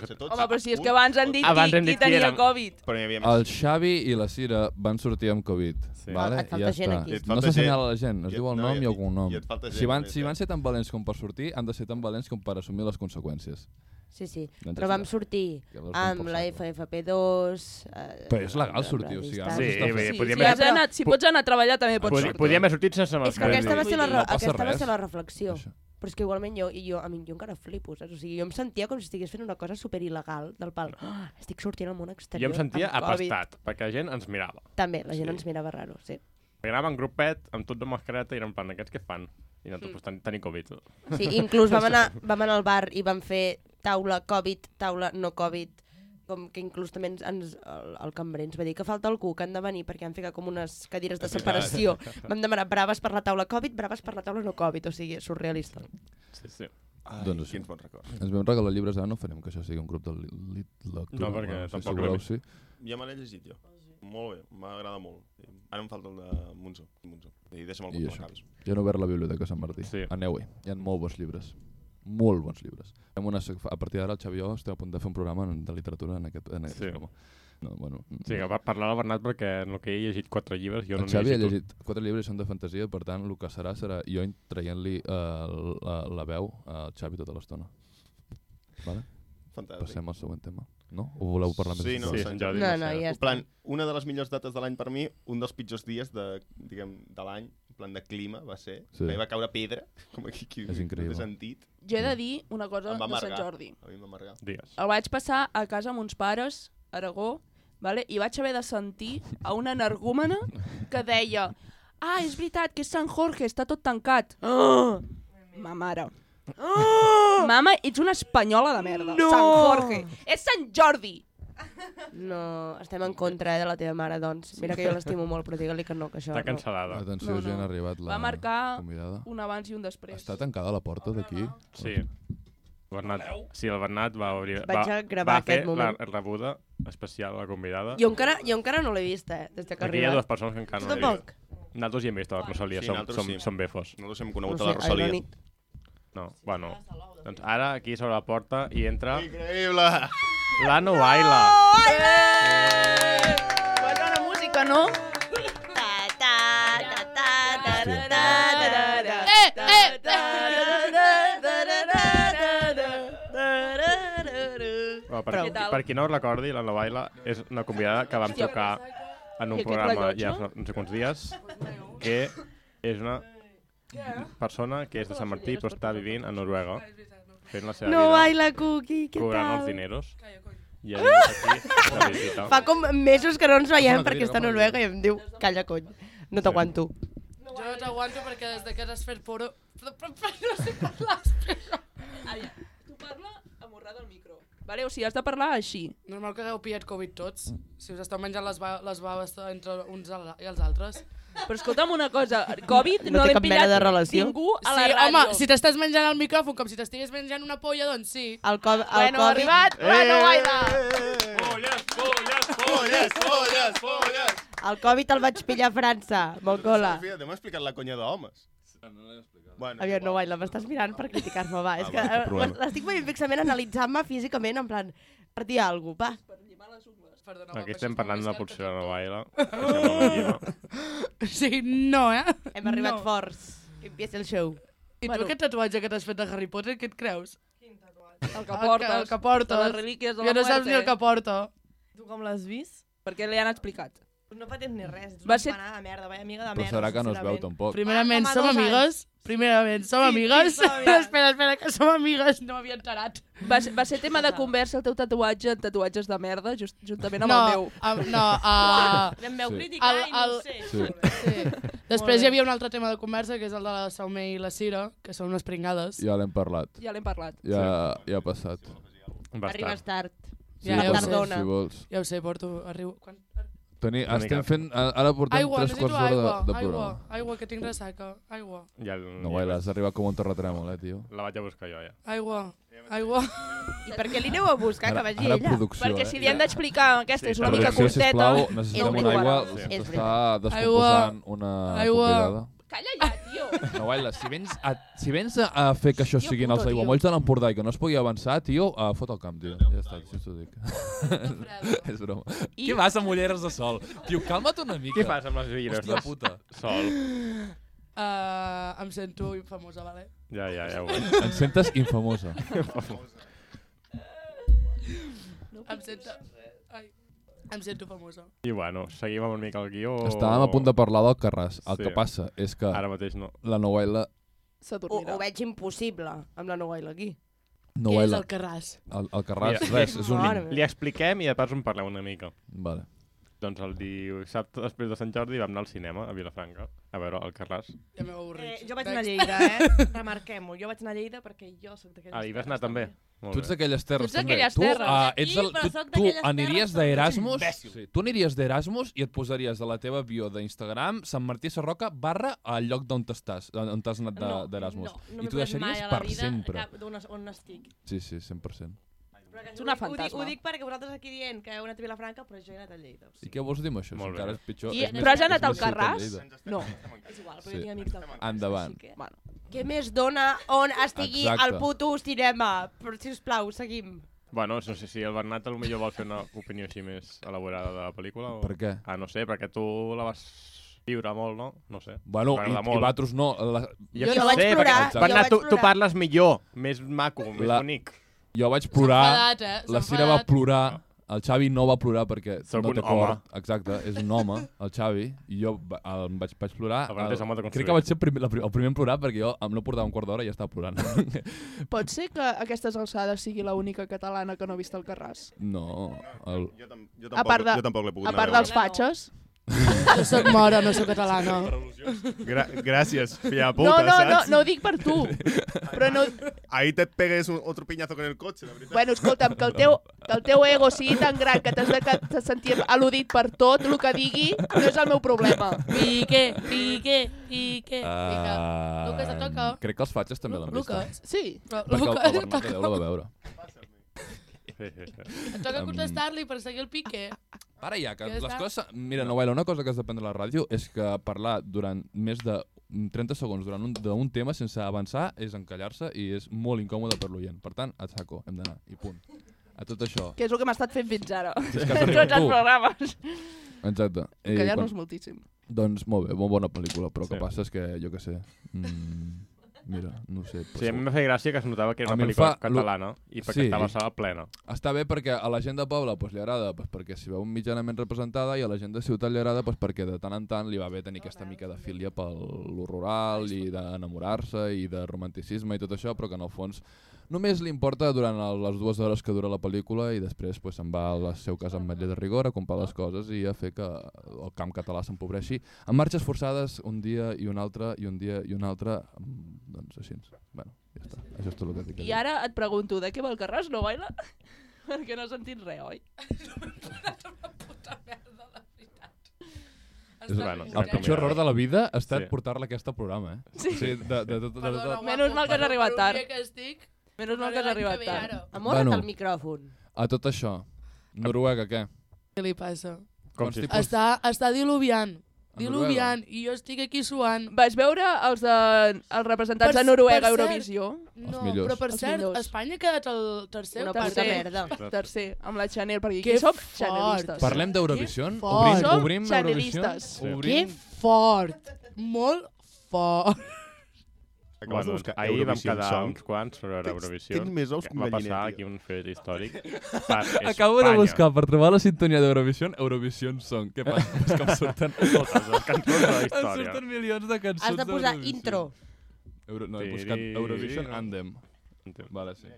[SPEAKER 2] és
[SPEAKER 6] ser
[SPEAKER 2] que
[SPEAKER 6] tots,
[SPEAKER 3] Home, però si és
[SPEAKER 6] un,
[SPEAKER 3] que abans han
[SPEAKER 6] pot-
[SPEAKER 3] dit
[SPEAKER 2] Abans
[SPEAKER 3] qui,
[SPEAKER 2] hem
[SPEAKER 3] qui
[SPEAKER 2] dit qui
[SPEAKER 3] tenia
[SPEAKER 2] érem.
[SPEAKER 3] Covid.
[SPEAKER 6] Però n'hi havia més.
[SPEAKER 1] El Xavi i la Cira van sortir amb Covid.
[SPEAKER 2] Sí.
[SPEAKER 1] Vale?
[SPEAKER 4] Et falta
[SPEAKER 1] ja
[SPEAKER 4] gent
[SPEAKER 1] està.
[SPEAKER 4] aquí.
[SPEAKER 6] Et
[SPEAKER 1] No
[SPEAKER 6] falta
[SPEAKER 1] s'assenyala la gent, es
[SPEAKER 6] I et-
[SPEAKER 1] diu el
[SPEAKER 6] no, i
[SPEAKER 1] nom
[SPEAKER 6] et-
[SPEAKER 1] i algun nom.
[SPEAKER 6] i et falta
[SPEAKER 1] Si
[SPEAKER 6] gent,
[SPEAKER 1] van,
[SPEAKER 6] més,
[SPEAKER 1] si
[SPEAKER 6] eh?
[SPEAKER 1] van ser tan valents com per sortir, han de ser tan valents com per assumir les conseqüències.
[SPEAKER 4] Sí, sí.
[SPEAKER 1] Doncs
[SPEAKER 4] Però
[SPEAKER 1] ja
[SPEAKER 4] vam
[SPEAKER 1] està.
[SPEAKER 4] sortir
[SPEAKER 1] Ja veus com
[SPEAKER 4] amb
[SPEAKER 1] per
[SPEAKER 4] la
[SPEAKER 1] saco.
[SPEAKER 4] FFP2... Eh,
[SPEAKER 1] Però és legal
[SPEAKER 4] la-
[SPEAKER 1] sortir, o sigui,
[SPEAKER 4] la
[SPEAKER 1] ara
[SPEAKER 2] Sí,
[SPEAKER 1] s'està
[SPEAKER 4] distància.
[SPEAKER 1] fent.
[SPEAKER 2] bé,
[SPEAKER 3] Sí,
[SPEAKER 2] podíem
[SPEAKER 3] si,
[SPEAKER 2] haver-
[SPEAKER 3] has anat, si pots anar a treballar també pots
[SPEAKER 2] Podi-
[SPEAKER 3] sortir.
[SPEAKER 2] Podíem haver sortit sense
[SPEAKER 4] És que
[SPEAKER 2] mascareta.
[SPEAKER 4] aquesta va ser la,
[SPEAKER 1] Vull dir,
[SPEAKER 4] re-
[SPEAKER 1] no passa
[SPEAKER 4] aquesta va
[SPEAKER 1] res.
[SPEAKER 4] ser la reflexió.
[SPEAKER 1] Això.
[SPEAKER 4] Però és que igualment jo, i jo, a mi, jo encara flipo, saps? O sigui, jo em sentia com si estigués fent una cosa super il·legal, del pal. Oh, estic sortint al món
[SPEAKER 2] Ah. Jo
[SPEAKER 4] exterior
[SPEAKER 2] em sentia
[SPEAKER 4] amb Covid."
[SPEAKER 2] apastat, perquè la gent ens mirava.
[SPEAKER 4] També, la
[SPEAKER 2] Sí.
[SPEAKER 4] gent sí. ens mirava raro,
[SPEAKER 2] *laughs*
[SPEAKER 4] sí.
[SPEAKER 2] Perquè anàvem en grupet, amb tot de mascareta, i eren en plan, aquests què fan? I
[SPEAKER 4] Mm.
[SPEAKER 2] nosaltres pues, ten tenir Covid.
[SPEAKER 4] Sí, inclús vam anar, vam anar al bar i vam fer taula Covid, taula no Covid, com que inclús també ens, ens el, el cambrer ens va dir que falta algú que han de venir perquè han ficat com unes cadires
[SPEAKER 2] Ah,
[SPEAKER 4] de separació. Vam demanar braves per la taula Covid, braves per la taula no Covid, o sigui, surrealista.
[SPEAKER 2] Sí, sí.
[SPEAKER 6] Ai,
[SPEAKER 1] Doncs sí.
[SPEAKER 6] quins bons records.
[SPEAKER 1] Ens vam regalar llibres, ara no farem que això sigui un grup de li- lit lectura.
[SPEAKER 2] No, perquè
[SPEAKER 1] bueno,
[SPEAKER 2] tampoc
[SPEAKER 1] Si
[SPEAKER 2] l'he
[SPEAKER 1] voleu,
[SPEAKER 2] vist.
[SPEAKER 1] sí.
[SPEAKER 6] Ja me l'he llegit jo. Molt bé, m'agrada molt. Sí. Ara em falta el de Monzó. Monzó. I deixa'm el
[SPEAKER 1] I
[SPEAKER 6] que
[SPEAKER 1] això.
[SPEAKER 6] acabis.
[SPEAKER 1] Jo no he obert la biblioteca a Sant Martí.
[SPEAKER 2] Sí.
[SPEAKER 1] Aneu-hi, hi ha molt bons llibres. Molt bons llibres. Fem una sec- a partir d'ara el Xavi i jo estem a punt de fer un programa en- de literatura en aquest, en aquest
[SPEAKER 2] Sí.
[SPEAKER 1] programa. No, bueno,
[SPEAKER 2] Sí, que va parlar el Bernat perquè en el que he llegit quatre llibres, jo
[SPEAKER 1] Jo
[SPEAKER 2] no
[SPEAKER 1] en
[SPEAKER 2] n'he
[SPEAKER 1] Xavi ha
[SPEAKER 2] llegit,
[SPEAKER 1] llegit quatre llibres i són de fantasia, per tant, el que serà serà jo traient-li eh, la, la veu al Xavi tota l'estona. Vale?
[SPEAKER 6] Fantàstic.
[SPEAKER 1] Passem al següent tema. No? O voleu parlar més?
[SPEAKER 6] Sí,
[SPEAKER 2] un.
[SPEAKER 6] no,
[SPEAKER 2] Sí,
[SPEAKER 6] Sant
[SPEAKER 2] Sant
[SPEAKER 6] Jordi
[SPEAKER 2] Jordi.
[SPEAKER 4] No,
[SPEAKER 2] sé.
[SPEAKER 4] no, ja
[SPEAKER 6] En plan, una de les millors dates de l'any per mi, un dels pitjors dies de, diguem, de l'any, en plan de clima, va ser.
[SPEAKER 1] Sí.
[SPEAKER 6] Sí. Perquè va caure pedra, *laughs* com aquí, aquí
[SPEAKER 1] És increïble.
[SPEAKER 6] No té sentit.
[SPEAKER 3] Jo he de dir una cosa
[SPEAKER 6] Em va
[SPEAKER 3] de Sant
[SPEAKER 6] amargar.
[SPEAKER 3] Jordi.
[SPEAKER 6] A mi m'amargà.
[SPEAKER 2] Digues.
[SPEAKER 3] El vaig passar a casa amb uns pares, a Aragó, vale? i vaig haver de sentir a una energúmena que deia «Ah, és veritat, que és Sant Jorge, està tot tancat». Oh! Ma mare. Oh! Mama, ets una espanyola de merda. No! Sant Jorge. És Sant Jordi.
[SPEAKER 4] No, estem en contra eh, de la teva mare, doncs. Mira que jo l'estimo molt, però digue-li que no, que això...
[SPEAKER 2] Està
[SPEAKER 4] No.
[SPEAKER 2] cancel·lada.
[SPEAKER 1] Atenció,
[SPEAKER 3] No,
[SPEAKER 1] no, no. ja
[SPEAKER 3] no.
[SPEAKER 1] ha arribat la
[SPEAKER 3] Va marcar-
[SPEAKER 1] convidada.
[SPEAKER 3] Un abans i un després.
[SPEAKER 1] Està tancada la porta d'aquí?
[SPEAKER 2] Sí. Bernat, sí, el Bernat va obrir...
[SPEAKER 4] Vaig
[SPEAKER 2] va,
[SPEAKER 4] a gravar
[SPEAKER 2] va fer
[SPEAKER 4] aquest moment.
[SPEAKER 2] la rebuda especial a la convidada.
[SPEAKER 4] Jo encara, jo encara no l'he vist, eh, des de que ha
[SPEAKER 2] Aquí hi ha dues
[SPEAKER 4] arribat.
[SPEAKER 2] persones que encara
[SPEAKER 4] Tu
[SPEAKER 2] no l'he vist.
[SPEAKER 4] tampoc?
[SPEAKER 2] Nosaltres hi hem vist a la Rosalia,
[SPEAKER 6] Sí,
[SPEAKER 2] som,
[SPEAKER 6] nosaltres
[SPEAKER 2] som,
[SPEAKER 6] sí.
[SPEAKER 2] som befos.
[SPEAKER 6] No sé, hem conegut
[SPEAKER 4] No
[SPEAKER 6] a la
[SPEAKER 4] sé,
[SPEAKER 6] Rosalia.
[SPEAKER 4] Aidoni.
[SPEAKER 2] No, bueno. Doncs ara, aquí sobre la porta, hi entra
[SPEAKER 6] Increïble!
[SPEAKER 2] la No Baila.
[SPEAKER 3] Posa una música, no? Eh, eh!
[SPEAKER 2] Bueno, per,
[SPEAKER 3] Què tal?
[SPEAKER 2] per qui no ho recordi, la No Baila és una convidada que vam tocar en un
[SPEAKER 3] I aquí
[SPEAKER 2] programa
[SPEAKER 3] rellotge?
[SPEAKER 2] ja fa no sé quants dies que és una persona que és de Sant Martí però està vivint a Noruega fent la seva
[SPEAKER 5] No,
[SPEAKER 2] vida,
[SPEAKER 5] ai, la Cookie, què
[SPEAKER 2] cobrant
[SPEAKER 5] tal?
[SPEAKER 2] els dineros i ha vingut aquí de visita.
[SPEAKER 4] Fa com mesos que no ens
[SPEAKER 1] Home,
[SPEAKER 4] veiem
[SPEAKER 1] que
[SPEAKER 4] perquè
[SPEAKER 1] vinga,
[SPEAKER 4] està a
[SPEAKER 1] home,
[SPEAKER 4] Noruega i em diu, calla cony, no t'aguanto.
[SPEAKER 9] Jo no t'aguanto perquè des de que has fet poro... No sé parlar, espera.
[SPEAKER 7] Aviam, tu parla amorrada al micro. Vale? O sigui, has de parlar així.
[SPEAKER 9] Normal que hagueu pillat Covid tots, si us esteu menjant les, ba les baves entre uns al- i els altres.
[SPEAKER 7] Però escolta'm una cosa, Covid
[SPEAKER 4] No
[SPEAKER 7] no,
[SPEAKER 4] té
[SPEAKER 7] l'hem
[SPEAKER 4] cap mena
[SPEAKER 7] pillat
[SPEAKER 4] de relació.
[SPEAKER 7] ningú a la
[SPEAKER 9] sí,
[SPEAKER 7] ràdio.
[SPEAKER 9] home, si t'estàs menjant el micròfon com si t'estigués menjant una polla, doncs sí. *laughs*
[SPEAKER 4] El, co el
[SPEAKER 7] Bueno, ha
[SPEAKER 4] Covid-
[SPEAKER 7] arribat, bueno, guaita.
[SPEAKER 6] Polles, polles, polles, polles, polles.
[SPEAKER 4] El Covid el vaig pillar a França, Mongola.
[SPEAKER 6] Sofia, t'hem explicat la conya d'homes. Bueno,
[SPEAKER 4] Aviam, no, Waila, m'estàs mirant per criticar-me, va. És
[SPEAKER 6] Ah,
[SPEAKER 4] que
[SPEAKER 6] va, cap
[SPEAKER 4] eh,
[SPEAKER 6] problema.
[SPEAKER 4] l'estic veient fixament analitzant-me físicament, en plan, per dir alguna cosa, va.
[SPEAKER 9] Perdona,
[SPEAKER 2] Aquí
[SPEAKER 9] guapa,
[SPEAKER 2] estem
[SPEAKER 9] això
[SPEAKER 2] parlant
[SPEAKER 9] és
[SPEAKER 2] de
[SPEAKER 9] molt
[SPEAKER 2] Pulsera
[SPEAKER 9] més
[SPEAKER 2] Novaila. Però
[SPEAKER 9] que el tatuatge. Sí, no, eh?
[SPEAKER 4] Hem arribat
[SPEAKER 9] No.
[SPEAKER 4] forts. Que empieci el show.
[SPEAKER 9] I
[SPEAKER 7] Bueno.
[SPEAKER 9] tu aquest tatuatge que t'has fet de Harry Potter, què et creus?
[SPEAKER 7] El que portes,
[SPEAKER 9] El que, el que portes.
[SPEAKER 7] de les relíquies de la
[SPEAKER 9] Ja no saps ni el
[SPEAKER 7] muerte.
[SPEAKER 9] que porta.
[SPEAKER 5] Tu com l'has vist?
[SPEAKER 7] Perquè li han explicat.
[SPEAKER 5] No patents ni res, ets
[SPEAKER 7] Va
[SPEAKER 5] una
[SPEAKER 7] ser-
[SPEAKER 5] empanada de merda, vaya amiga de merda,
[SPEAKER 1] Però serà que no es veu
[SPEAKER 5] sincerament.
[SPEAKER 1] tampoc.
[SPEAKER 9] Primerament,
[SPEAKER 5] Ah, home,
[SPEAKER 9] som
[SPEAKER 5] dos
[SPEAKER 9] amigues. Primerament, som
[SPEAKER 5] Sí, sí,
[SPEAKER 9] amigues.
[SPEAKER 5] som amigues.
[SPEAKER 9] *laughs* espera, espera, que som amigues. No m'havia enterat.
[SPEAKER 7] Va, ser- va ser tema de conversa el teu tatuatge en tatuatges de merda, just, juntament amb
[SPEAKER 9] no,
[SPEAKER 7] el meu.
[SPEAKER 9] Amb,
[SPEAKER 7] *laughs*
[SPEAKER 9] no, uh,
[SPEAKER 5] Em veu
[SPEAKER 1] Sí.
[SPEAKER 5] criticar
[SPEAKER 9] El-
[SPEAKER 5] i no
[SPEAKER 9] el-
[SPEAKER 5] ho sé.
[SPEAKER 1] Sí.
[SPEAKER 9] sí. Després hi havia un altre tema de conversa, que és el de la Salme i la Cira, que són unes pringades.
[SPEAKER 1] Ja l'hem parlat.
[SPEAKER 7] Ja l'hem parlat.
[SPEAKER 1] Ja, ja ha passat.
[SPEAKER 4] Arribes tard.
[SPEAKER 1] Sí,
[SPEAKER 9] Ja, ja ho
[SPEAKER 1] doncs,
[SPEAKER 9] sé.
[SPEAKER 4] Tardona.
[SPEAKER 1] si vols.
[SPEAKER 9] Ja ho sé, porto... Arribo. Quan?
[SPEAKER 1] Toni,
[SPEAKER 2] Una
[SPEAKER 1] estem
[SPEAKER 2] mica.
[SPEAKER 1] fent... a- Ara portem
[SPEAKER 9] Aigua,
[SPEAKER 1] tres
[SPEAKER 9] necessito
[SPEAKER 1] quarts d'hora de,
[SPEAKER 9] aigua,
[SPEAKER 1] de
[SPEAKER 9] aigua,
[SPEAKER 1] programa.
[SPEAKER 9] aigua, que tinc ressaca. Aigua,
[SPEAKER 2] Ja, el-
[SPEAKER 1] No,
[SPEAKER 2] ja
[SPEAKER 1] guai,
[SPEAKER 2] vaig-
[SPEAKER 1] has arribat com un terratrèmol, eh, tio.
[SPEAKER 2] la vaig a buscar jo, ja.
[SPEAKER 9] aigua, aigua.
[SPEAKER 4] I per què li aneu a buscar, que
[SPEAKER 1] Ara,
[SPEAKER 4] vagi
[SPEAKER 1] ara
[SPEAKER 4] ella?
[SPEAKER 1] producció,
[SPEAKER 7] Perquè
[SPEAKER 1] eh?
[SPEAKER 7] si li han d'explicar aquesta
[SPEAKER 2] Sí,
[SPEAKER 7] és una mica
[SPEAKER 1] Producció,
[SPEAKER 7] curteta...
[SPEAKER 1] sisplau, necessitem
[SPEAKER 4] És
[SPEAKER 1] una aigua.
[SPEAKER 4] veritat.
[SPEAKER 1] Sí.
[SPEAKER 4] És
[SPEAKER 1] Està descomposant
[SPEAKER 9] Aigua.
[SPEAKER 1] una
[SPEAKER 9] Aigua.
[SPEAKER 1] convidada.
[SPEAKER 7] Calla ja, *laughs* tio!
[SPEAKER 1] No, guaila, si vens, a, si vens a a fer que això
[SPEAKER 7] Tio
[SPEAKER 1] siguin
[SPEAKER 7] puto,
[SPEAKER 1] els aiguamolls de l'Empordà i que no es pugui avançar, tio, uh, fot el camp, tio. Ja està, si t'ho dic. *laughs* És broma. I... Què vas amb ulleres de sol? Tio, calma't una mica.
[SPEAKER 2] Què fas amb les ulleres
[SPEAKER 1] Hòstia
[SPEAKER 2] de
[SPEAKER 1] puta.
[SPEAKER 2] sol?
[SPEAKER 9] Uh, em sento famosa, vale?
[SPEAKER 2] Ja, ja, ja
[SPEAKER 1] *laughs*
[SPEAKER 2] ho veig.
[SPEAKER 1] Em sentes infamosa.
[SPEAKER 9] Em sento... Ai. Em sento famosa.
[SPEAKER 2] I bueno, seguim amb una mica el guió.
[SPEAKER 1] Estàvem a punt de parlar del Carràs. El
[SPEAKER 2] Oh. Sí.
[SPEAKER 1] que passa és que
[SPEAKER 2] Ara mateix no.
[SPEAKER 1] la novel·la...
[SPEAKER 7] S'ha
[SPEAKER 4] Ho,
[SPEAKER 7] dormit.
[SPEAKER 4] ho veig impossible, amb la Noguaila aquí.
[SPEAKER 9] Què és
[SPEAKER 1] Novel·la.
[SPEAKER 9] el Carràs?
[SPEAKER 1] El, el Carràs,
[SPEAKER 2] Mira.
[SPEAKER 1] res, és un...
[SPEAKER 4] Mare
[SPEAKER 1] himne.
[SPEAKER 2] Li expliquem i de pas en parleu una mica.
[SPEAKER 1] Vale.
[SPEAKER 2] Doncs el dissabte després de Sant Jordi vam anar al cinema a Vilafranca a veure el Carràs.
[SPEAKER 9] Ja m'heu avorrit.
[SPEAKER 5] Eh, jo vaig anar a Lleida, eh? Remarquem-ho. Jo vaig anar a Lleida perquè jo soc d'aquelles...
[SPEAKER 2] Ah, hi vas
[SPEAKER 5] terres,
[SPEAKER 2] anar també?
[SPEAKER 1] Tu
[SPEAKER 2] Molt
[SPEAKER 1] ets d'aquelles terres,
[SPEAKER 7] Tu ets d'aquelles
[SPEAKER 1] també.
[SPEAKER 7] terres.
[SPEAKER 1] Tu, ah, ets
[SPEAKER 5] Sí,
[SPEAKER 1] del,
[SPEAKER 5] però
[SPEAKER 1] tu,
[SPEAKER 5] soc
[SPEAKER 1] tu
[SPEAKER 5] d'aquelles
[SPEAKER 1] aniries
[SPEAKER 5] terres, però
[SPEAKER 1] d'Erasmus... Sí, tu aniries d'Erasmus i et posaries a la teva bio d'Instagram Sant Martí Sarroca barra al lloc d'on estàs, on t'has anat de- d'Erasmus.
[SPEAKER 5] No, no
[SPEAKER 1] I
[SPEAKER 5] m'he
[SPEAKER 1] t'ho
[SPEAKER 5] posat
[SPEAKER 1] deixaries
[SPEAKER 5] mai a la
[SPEAKER 1] per
[SPEAKER 5] vida
[SPEAKER 1] sempre.
[SPEAKER 5] Cap d'on es- on estic.
[SPEAKER 1] Sí, sí, 100%.
[SPEAKER 5] Però que
[SPEAKER 7] Ets una
[SPEAKER 5] ho dic- Ho
[SPEAKER 7] fantasma.
[SPEAKER 5] dic, ho dic perquè vosaltres aquí dient que heu anat a Vilafranca, però jo he anat a Lleida. O
[SPEAKER 1] I
[SPEAKER 5] sigui,
[SPEAKER 1] què vols dir amb això? Si
[SPEAKER 2] Molt bé.
[SPEAKER 1] encara és pitjor.
[SPEAKER 7] I,
[SPEAKER 1] és més-
[SPEAKER 7] però has anat
[SPEAKER 1] és
[SPEAKER 7] al
[SPEAKER 1] més ciutat
[SPEAKER 7] Carràs?
[SPEAKER 1] Lleida.
[SPEAKER 7] No.
[SPEAKER 5] és igual, però
[SPEAKER 1] Sí.
[SPEAKER 5] jo tinc amics del Carràs,
[SPEAKER 1] Endavant.
[SPEAKER 5] així que-
[SPEAKER 4] Què més dona on estigui
[SPEAKER 1] Exacte.
[SPEAKER 4] el puto cinema? Però, sisplau, seguim.
[SPEAKER 2] Bueno, no sé si el Bernat potser vol fer una opinió així més elaborada de la pel·lícula. O...
[SPEAKER 1] Per què?
[SPEAKER 2] Ah, no sé, perquè tu la vas viure molt, no? No sé.
[SPEAKER 1] Bueno,
[SPEAKER 2] M'agrada
[SPEAKER 1] i,
[SPEAKER 2] molt.
[SPEAKER 1] i vosaltres no. La,
[SPEAKER 4] Jo no vaig
[SPEAKER 2] sé,
[SPEAKER 4] plorar,
[SPEAKER 2] perquè-
[SPEAKER 1] jo
[SPEAKER 2] Bernat,
[SPEAKER 4] vaig
[SPEAKER 2] tu, tu
[SPEAKER 4] plorar.
[SPEAKER 2] parles millor, més maco, més
[SPEAKER 1] La-
[SPEAKER 2] bonic.
[SPEAKER 1] jo vaig
[SPEAKER 9] S'ha
[SPEAKER 1] plorar,
[SPEAKER 9] enfadat, eh? S'ha
[SPEAKER 1] la Cira va
[SPEAKER 9] enfadat.
[SPEAKER 1] plorar, el Xavi no va plorar perquè
[SPEAKER 2] Sóc
[SPEAKER 1] no
[SPEAKER 2] un
[SPEAKER 1] té
[SPEAKER 2] home.
[SPEAKER 1] cor. Exacte, és un home, el Xavi, i jo va- el, vaig, vaig plorar.
[SPEAKER 2] El Bernat és home de
[SPEAKER 1] crec
[SPEAKER 2] construir.
[SPEAKER 1] que vaig ser primer, la, pri- el primer en plorar perquè jo em no portava un quart d'hora i ja estava plorant. *laughs*
[SPEAKER 7] Pot ser que a aquestes alçades sigui l'única catalana que no ha vist el Carràs?
[SPEAKER 1] no, el,
[SPEAKER 6] Jo, tam jo,
[SPEAKER 7] A part
[SPEAKER 6] tampoc,
[SPEAKER 7] de-
[SPEAKER 6] jo tampoc l'he pogut
[SPEAKER 7] A part dels fatxes?
[SPEAKER 9] Jo soc mora, no soc catalana.
[SPEAKER 6] Gra gràcies, fia puta,
[SPEAKER 7] No, no, no,
[SPEAKER 6] saps?
[SPEAKER 7] no ho dic per tu. Però no...
[SPEAKER 6] Ahí te pegues un, otro piñazo con el cotxe, de veritat.
[SPEAKER 7] Bueno, escolta'm, que el teu, que el teu ego sigui tan gran que t'has de ca- te sentir al·ludit per tot el que digui, no és el meu problema.
[SPEAKER 9] Piqué, piqué, piqué.
[SPEAKER 1] Ah,
[SPEAKER 9] Lucas, et toca.
[SPEAKER 1] Crec que els fatxes també l'han vist.
[SPEAKER 9] Lucas.
[SPEAKER 7] Sí.
[SPEAKER 9] Però,
[SPEAKER 1] Perquè el, el Bernat
[SPEAKER 9] Lucas,
[SPEAKER 1] Adeu la va veure.
[SPEAKER 2] Sí, sí, sí.
[SPEAKER 9] et toca
[SPEAKER 1] Em- Ah.
[SPEAKER 9] contestar-li per seguir el piqué.
[SPEAKER 1] Para ja, que
[SPEAKER 9] Ja
[SPEAKER 1] les
[SPEAKER 9] està.
[SPEAKER 1] coses... Mira, Noel, una cosa que has d'aprendre a la ràdio és que parlar durant més de 30 segons durant un- d'un tema sense avançar és encallar-se i és molt incòmode per l'oient. Per tant, a saco, hem d'anar, i punt. A tot
[SPEAKER 2] *laughs*
[SPEAKER 1] això.
[SPEAKER 7] Que és el que m'ha estat fent fins ara.
[SPEAKER 1] És que
[SPEAKER 3] *laughs*
[SPEAKER 1] has
[SPEAKER 7] En
[SPEAKER 1] arribat
[SPEAKER 7] tots els
[SPEAKER 1] tu.
[SPEAKER 7] programes.
[SPEAKER 1] Exacte. Eh, I
[SPEAKER 7] Callar-nos moltíssim.
[SPEAKER 1] doncs molt bé, molt bona pel·lícula, però el
[SPEAKER 2] Sí.
[SPEAKER 1] que passa és que, jo que sé... Mm, Mira, no ho sé. però
[SPEAKER 2] Sí, a mi em va fer gràcia que es notava que era
[SPEAKER 1] A
[SPEAKER 2] una
[SPEAKER 1] mi em
[SPEAKER 2] pel·lícula
[SPEAKER 1] fa lo-
[SPEAKER 2] catalana i perquè
[SPEAKER 1] Sí.
[SPEAKER 2] estava a la sala plena.
[SPEAKER 1] Està bé perquè a la gent de poble pues, li agrada pues, perquè s'hi veu mitjanament representada i a la gent de ciutat li agrada pues, perquè de tant en tant li va bé tenir aquesta mica de filia pel lo rural i d'enamorar-se i de romanticisme i tot això, però que en el fons només li importa durant el- les dues hores que dura la pel·lícula i després pues, se'n va al seu cas amb Matller de Rigor a comprar les coses i a fer que el camp català s'empobreixi en marxes forçades un dia i un altre i un dia i un altre, mm, doncs així. Bueno, ja està. Això és tot el que tinc a
[SPEAKER 3] I
[SPEAKER 1] dir.
[SPEAKER 3] ara et pregunto, de què va el Carràs? No baila? *laughs* Perquè no has sentit res,
[SPEAKER 9] *laughs*
[SPEAKER 3] oi?
[SPEAKER 2] És, bueno,
[SPEAKER 1] El pitjor error de la vida ha estat
[SPEAKER 2] Sí.
[SPEAKER 1] sí. portar-la a aquest programa, eh? Sí. O sigui, de, de, de, de, de, de,
[SPEAKER 3] Menos mal que has arribat tard.
[SPEAKER 9] Que estic,
[SPEAKER 3] Menys mal
[SPEAKER 9] Ara
[SPEAKER 3] que has
[SPEAKER 9] l'any que
[SPEAKER 3] arribat
[SPEAKER 9] ve,
[SPEAKER 3] tard.
[SPEAKER 9] ara.
[SPEAKER 4] Amor, bueno.
[SPEAKER 1] Bueno.
[SPEAKER 4] el micròfon.
[SPEAKER 1] a tot això, Noruega, què?
[SPEAKER 9] què li passa?
[SPEAKER 2] Com
[SPEAKER 1] Quants
[SPEAKER 2] si
[SPEAKER 1] tipus-
[SPEAKER 9] Està, està diluviant.
[SPEAKER 1] A
[SPEAKER 9] Diluviant. I jo estic aquí suant.
[SPEAKER 3] Vas veure els, de, els representants
[SPEAKER 9] Per-
[SPEAKER 3] de Noruega
[SPEAKER 9] per
[SPEAKER 3] a
[SPEAKER 9] cert-
[SPEAKER 3] Eurovisió?
[SPEAKER 9] No,
[SPEAKER 1] millors.
[SPEAKER 9] però per
[SPEAKER 3] Els
[SPEAKER 9] cert,
[SPEAKER 3] millors.
[SPEAKER 9] Espanya ha quedat el tercer.
[SPEAKER 4] Una
[SPEAKER 9] o quart.
[SPEAKER 4] puta
[SPEAKER 3] tercer.
[SPEAKER 4] merda.
[SPEAKER 3] Tercer, amb la Chanel, perquè
[SPEAKER 9] Que
[SPEAKER 3] aquí som
[SPEAKER 9] fort.
[SPEAKER 3] chanelistes.
[SPEAKER 1] Parlem d'Eurovisió?
[SPEAKER 9] Que fort.
[SPEAKER 1] Obrim,
[SPEAKER 3] Som
[SPEAKER 1] obrim Eurovisió?
[SPEAKER 3] chanelistes.
[SPEAKER 9] Que
[SPEAKER 1] Obrim...
[SPEAKER 9] fort! Molt fort.
[SPEAKER 2] Bueno,
[SPEAKER 6] Acabes de buscar
[SPEAKER 2] ahir vam
[SPEAKER 6] Eurovision
[SPEAKER 2] quedar
[SPEAKER 6] Song.
[SPEAKER 2] uns quants sobre
[SPEAKER 6] Tens-
[SPEAKER 2] Eurovisió.
[SPEAKER 6] tens més ous que un
[SPEAKER 2] Va
[SPEAKER 6] galliner,
[SPEAKER 2] passar
[SPEAKER 6] tio.
[SPEAKER 2] aquí un
[SPEAKER 1] *laughs*
[SPEAKER 2] fet històric. Per
[SPEAKER 1] Acabo de
[SPEAKER 2] Espanya.
[SPEAKER 1] buscar per trobar la sintonia d'Eurovisió, Eurovisió Song. Què
[SPEAKER 2] *laughs*
[SPEAKER 1] passa? És que em surten,
[SPEAKER 2] totes les cançons de Tota
[SPEAKER 1] *laughs*
[SPEAKER 2] la
[SPEAKER 1] em
[SPEAKER 2] història.
[SPEAKER 1] surten milions de cançons
[SPEAKER 4] Has de posar
[SPEAKER 1] d'Eurovisió.
[SPEAKER 4] intro.
[SPEAKER 1] Euro... No, he buscat
[SPEAKER 2] Tiri-
[SPEAKER 1] Eurovision Anthem. Vale, sí.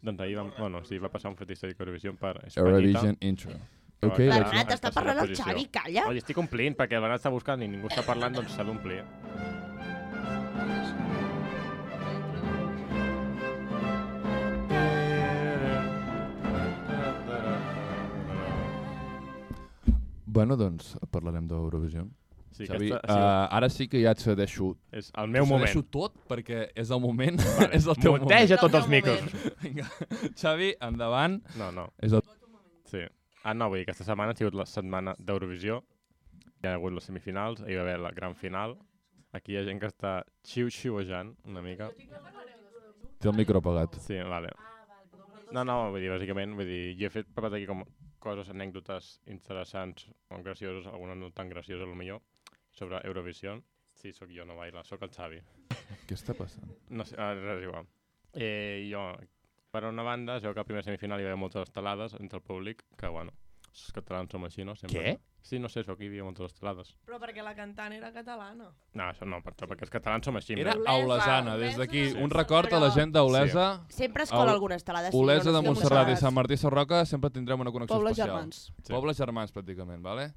[SPEAKER 2] Doncs ahir vam, bueno, sí, va passar un fet històric a Eurovisió per Espanyita.
[SPEAKER 1] Eurovision intro.
[SPEAKER 2] Ok,
[SPEAKER 1] Ok, doncs,
[SPEAKER 2] Sí,
[SPEAKER 4] La
[SPEAKER 2] vaig-
[SPEAKER 4] Renat
[SPEAKER 2] en
[SPEAKER 4] està
[SPEAKER 2] tercera
[SPEAKER 4] parlant al
[SPEAKER 2] posició.
[SPEAKER 4] Xavi, calla.
[SPEAKER 2] Oi, estic omplint, perquè el Bernat està buscant i ningú està parlant, doncs s'ha d'omplir.
[SPEAKER 1] Bueno, doncs parlarem d'Eurovisió.
[SPEAKER 2] Sí,
[SPEAKER 1] Xavi,
[SPEAKER 2] aquesta,
[SPEAKER 1] eh,
[SPEAKER 2] sí,
[SPEAKER 1] ara sí que ja et cedeixo
[SPEAKER 2] és el meu
[SPEAKER 1] T'ho
[SPEAKER 2] moment.
[SPEAKER 1] cedeixo tot perquè és el moment, *laughs* és el teu
[SPEAKER 2] Muteja tots els
[SPEAKER 9] El meu
[SPEAKER 2] micros.
[SPEAKER 1] moment. Vinga, Xavi, endavant.
[SPEAKER 2] No, no,
[SPEAKER 1] És el...
[SPEAKER 2] sí. Ah, no, vull dir, aquesta setmana ha sigut la setmana d'Eurovisió. Hi ha hagut les semifinals, hi va haver la gran final. Aquí hi ha gent que està xiu-xiuejant una mica.
[SPEAKER 1] Té el micro apagat.
[SPEAKER 2] Sí, vale. No, no, vull dir, bàsicament, vull dir, jo he fet preparat aquí com coses, anècdotes interessants, o gracioses, alguna no tan graciosa, millor, sobre Eurovisió. Sí, sóc jo, no baila, sóc el Xavi.
[SPEAKER 1] Què està passant?
[SPEAKER 2] No sé, ara és igual. Eh, jo, per una banda, es veu que a la primera semifinal hi va haver moltes estelades entre el públic, que, bueno, els catalans som així, no? Sempre.
[SPEAKER 1] Què?
[SPEAKER 2] Sí, no sé, això aquí hi havia moltes estelades.
[SPEAKER 5] Però perquè la cantant era catalana.
[SPEAKER 2] No, això no, per això, perquè els catalans som així.
[SPEAKER 1] Era
[SPEAKER 2] mira.
[SPEAKER 1] Aulesana, des d'aquí.
[SPEAKER 2] Sí.
[SPEAKER 1] Un record a la gent d'Olesa.
[SPEAKER 4] Sempre es cola
[SPEAKER 1] Au-
[SPEAKER 4] alguna estelada. sí,
[SPEAKER 1] Olesa
[SPEAKER 4] no, no
[SPEAKER 1] de
[SPEAKER 4] sé
[SPEAKER 1] Montserrat i Sant Martí Sarroca sempre tindrem una connexió
[SPEAKER 3] Pobles
[SPEAKER 1] especial.
[SPEAKER 3] germans.
[SPEAKER 2] Sí.
[SPEAKER 1] Sí. Pobles germans, pràcticament, vale?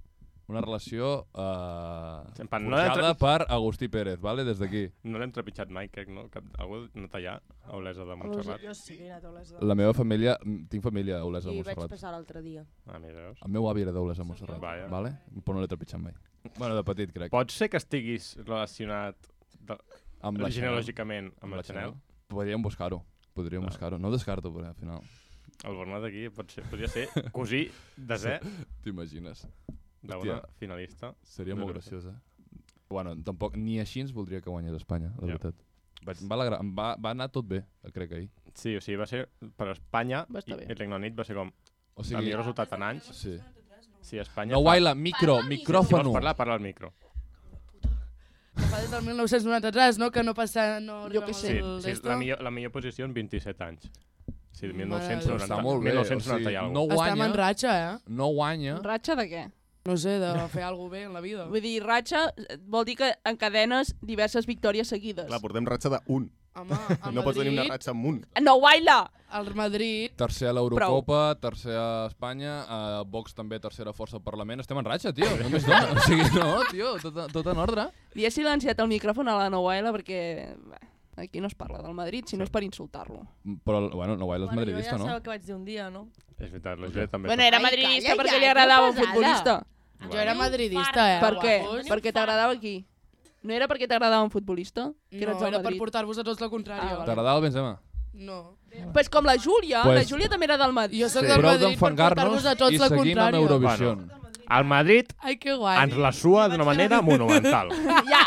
[SPEAKER 1] Una relació eh,
[SPEAKER 2] En plan, no
[SPEAKER 1] forjada
[SPEAKER 2] entre-
[SPEAKER 1] per Agustí Pérez, vale? Des d'aquí.
[SPEAKER 2] No l'hem trepitjat mai, crec, no? Cap, algú no tallar a Olesa de Montserrat.
[SPEAKER 5] Doncs Jo sí que he anat a les
[SPEAKER 1] La meva família... mm, Tinc família a Olesa
[SPEAKER 4] Sí,
[SPEAKER 1] de
[SPEAKER 4] vaig
[SPEAKER 1] Montserrat.
[SPEAKER 4] passar l'altre dia.
[SPEAKER 2] Ah, mira, veus?
[SPEAKER 1] El meu avi era d'Olesa de Montserrat,
[SPEAKER 2] Vaja.
[SPEAKER 1] vale? Però no l'he trepitjat mai. Bueno, de petit, crec.
[SPEAKER 2] Pot ser que estiguis relacionat de,
[SPEAKER 1] Amb la Chanel.
[SPEAKER 2] genealògicament amb la Chanel.
[SPEAKER 1] Podríem buscar-ho. Podríem
[SPEAKER 2] Ah.
[SPEAKER 1] buscar-ho. No ho descarto, però al final.
[SPEAKER 2] El Bernat aquí pot ser, podria ser cosí desè
[SPEAKER 1] T'imagines?
[SPEAKER 2] d'una
[SPEAKER 1] Hòstia.
[SPEAKER 2] finalista.
[SPEAKER 1] Seria molt
[SPEAKER 2] Però-
[SPEAKER 1] graciós, eh? Bueno, tampoc, ni així ens voldria que guanyés Espanya, la
[SPEAKER 2] Ja.
[SPEAKER 1] veritat. Vaig, em va, alegrar, em va, va anar tot bé, eh, crec, ahir.
[SPEAKER 2] Sí, o sigui, va ser per Espanya
[SPEAKER 3] Va
[SPEAKER 2] i,
[SPEAKER 3] estar bé.
[SPEAKER 2] i Regne Unit va ser com
[SPEAKER 1] O
[SPEAKER 2] el
[SPEAKER 1] sigui,
[SPEAKER 2] millor resultat en anys.
[SPEAKER 1] sí.
[SPEAKER 2] Sí, Espanya...
[SPEAKER 1] No,
[SPEAKER 2] fa-
[SPEAKER 1] Waila, micro,
[SPEAKER 2] Si vols
[SPEAKER 1] micròfono.
[SPEAKER 2] parlar, parla al micro.
[SPEAKER 9] Que fa des del 1993, no? Que no passa... No
[SPEAKER 3] Jo què
[SPEAKER 9] arribem
[SPEAKER 3] sé.
[SPEAKER 2] Sí,
[SPEAKER 9] al
[SPEAKER 2] sí
[SPEAKER 9] d'esto.
[SPEAKER 2] la, millor, la millor posició en 27 anys. Sí,
[SPEAKER 9] Mare
[SPEAKER 2] 1990,
[SPEAKER 1] Està molt bé,
[SPEAKER 2] 1990
[SPEAKER 1] o sigui,
[SPEAKER 2] i alguna
[SPEAKER 1] no
[SPEAKER 9] Estem en
[SPEAKER 1] guanya,
[SPEAKER 9] ratxa, eh?
[SPEAKER 1] no guanya,
[SPEAKER 3] Ratxa de què?
[SPEAKER 9] No sé, de fer alguna bé en la vida.
[SPEAKER 3] Vull dir, ratxa eh, vol dir que encadenes diverses victòries seguides.
[SPEAKER 6] Clar, portem ratxa d'un.
[SPEAKER 2] *laughs*
[SPEAKER 9] Home, el
[SPEAKER 6] No pots tenir una
[SPEAKER 9] Madrid,
[SPEAKER 6] ratxa amb un.
[SPEAKER 3] No, guaila!
[SPEAKER 9] el Madrid...
[SPEAKER 1] tercer a l'Eurocopa, tercer a Espanya, a Vox també tercera força al Parlament. Estem en ratxa, tio, no més dona. *laughs* O sigui, no, tio, tot, tot en ordre.
[SPEAKER 3] Li he silenciat el micròfon a la Noela perquè bé, aquí no es parla del Madrid, si no és per insultar-lo.
[SPEAKER 1] Però, bueno, no Waila és madridista,
[SPEAKER 5] jo ja
[SPEAKER 1] no?
[SPEAKER 5] sabeu que vaig dir un dia, no?
[SPEAKER 2] És veritat, la Júlia també...
[SPEAKER 3] Bueno,
[SPEAKER 2] és-
[SPEAKER 3] era
[SPEAKER 4] Ai,
[SPEAKER 3] madridista
[SPEAKER 4] calla,
[SPEAKER 3] perquè
[SPEAKER 4] ja,
[SPEAKER 3] li agradava un
[SPEAKER 4] quina pesada.
[SPEAKER 3] futbolista.
[SPEAKER 9] Jo era madridista, eh?
[SPEAKER 3] Per què?
[SPEAKER 9] guapos.
[SPEAKER 3] Perquè t'agradava aquí. No era perquè t'agradava un futbolista? Que eres
[SPEAKER 9] No,
[SPEAKER 3] del
[SPEAKER 9] era per
[SPEAKER 3] Madrid.
[SPEAKER 9] portar-vos a tots la
[SPEAKER 3] Ah,
[SPEAKER 9] contrària.
[SPEAKER 3] vale.
[SPEAKER 1] T'agradava el Benzema?
[SPEAKER 9] No.
[SPEAKER 3] Pues com la Júlia, la
[SPEAKER 1] Pues-
[SPEAKER 3] Júlia també era del Madrid.
[SPEAKER 9] Jo sóc
[SPEAKER 1] Sí.
[SPEAKER 9] del
[SPEAKER 1] Prou
[SPEAKER 9] Madrid per
[SPEAKER 1] d'enfangar-nos
[SPEAKER 9] portar-vos a tots
[SPEAKER 1] i
[SPEAKER 9] la
[SPEAKER 1] seguim amb
[SPEAKER 9] contrària.
[SPEAKER 1] Eurovisió.
[SPEAKER 2] El Madrid
[SPEAKER 9] Ai, que guai.
[SPEAKER 2] ens la sua d'una manera monumental.
[SPEAKER 3] Ja,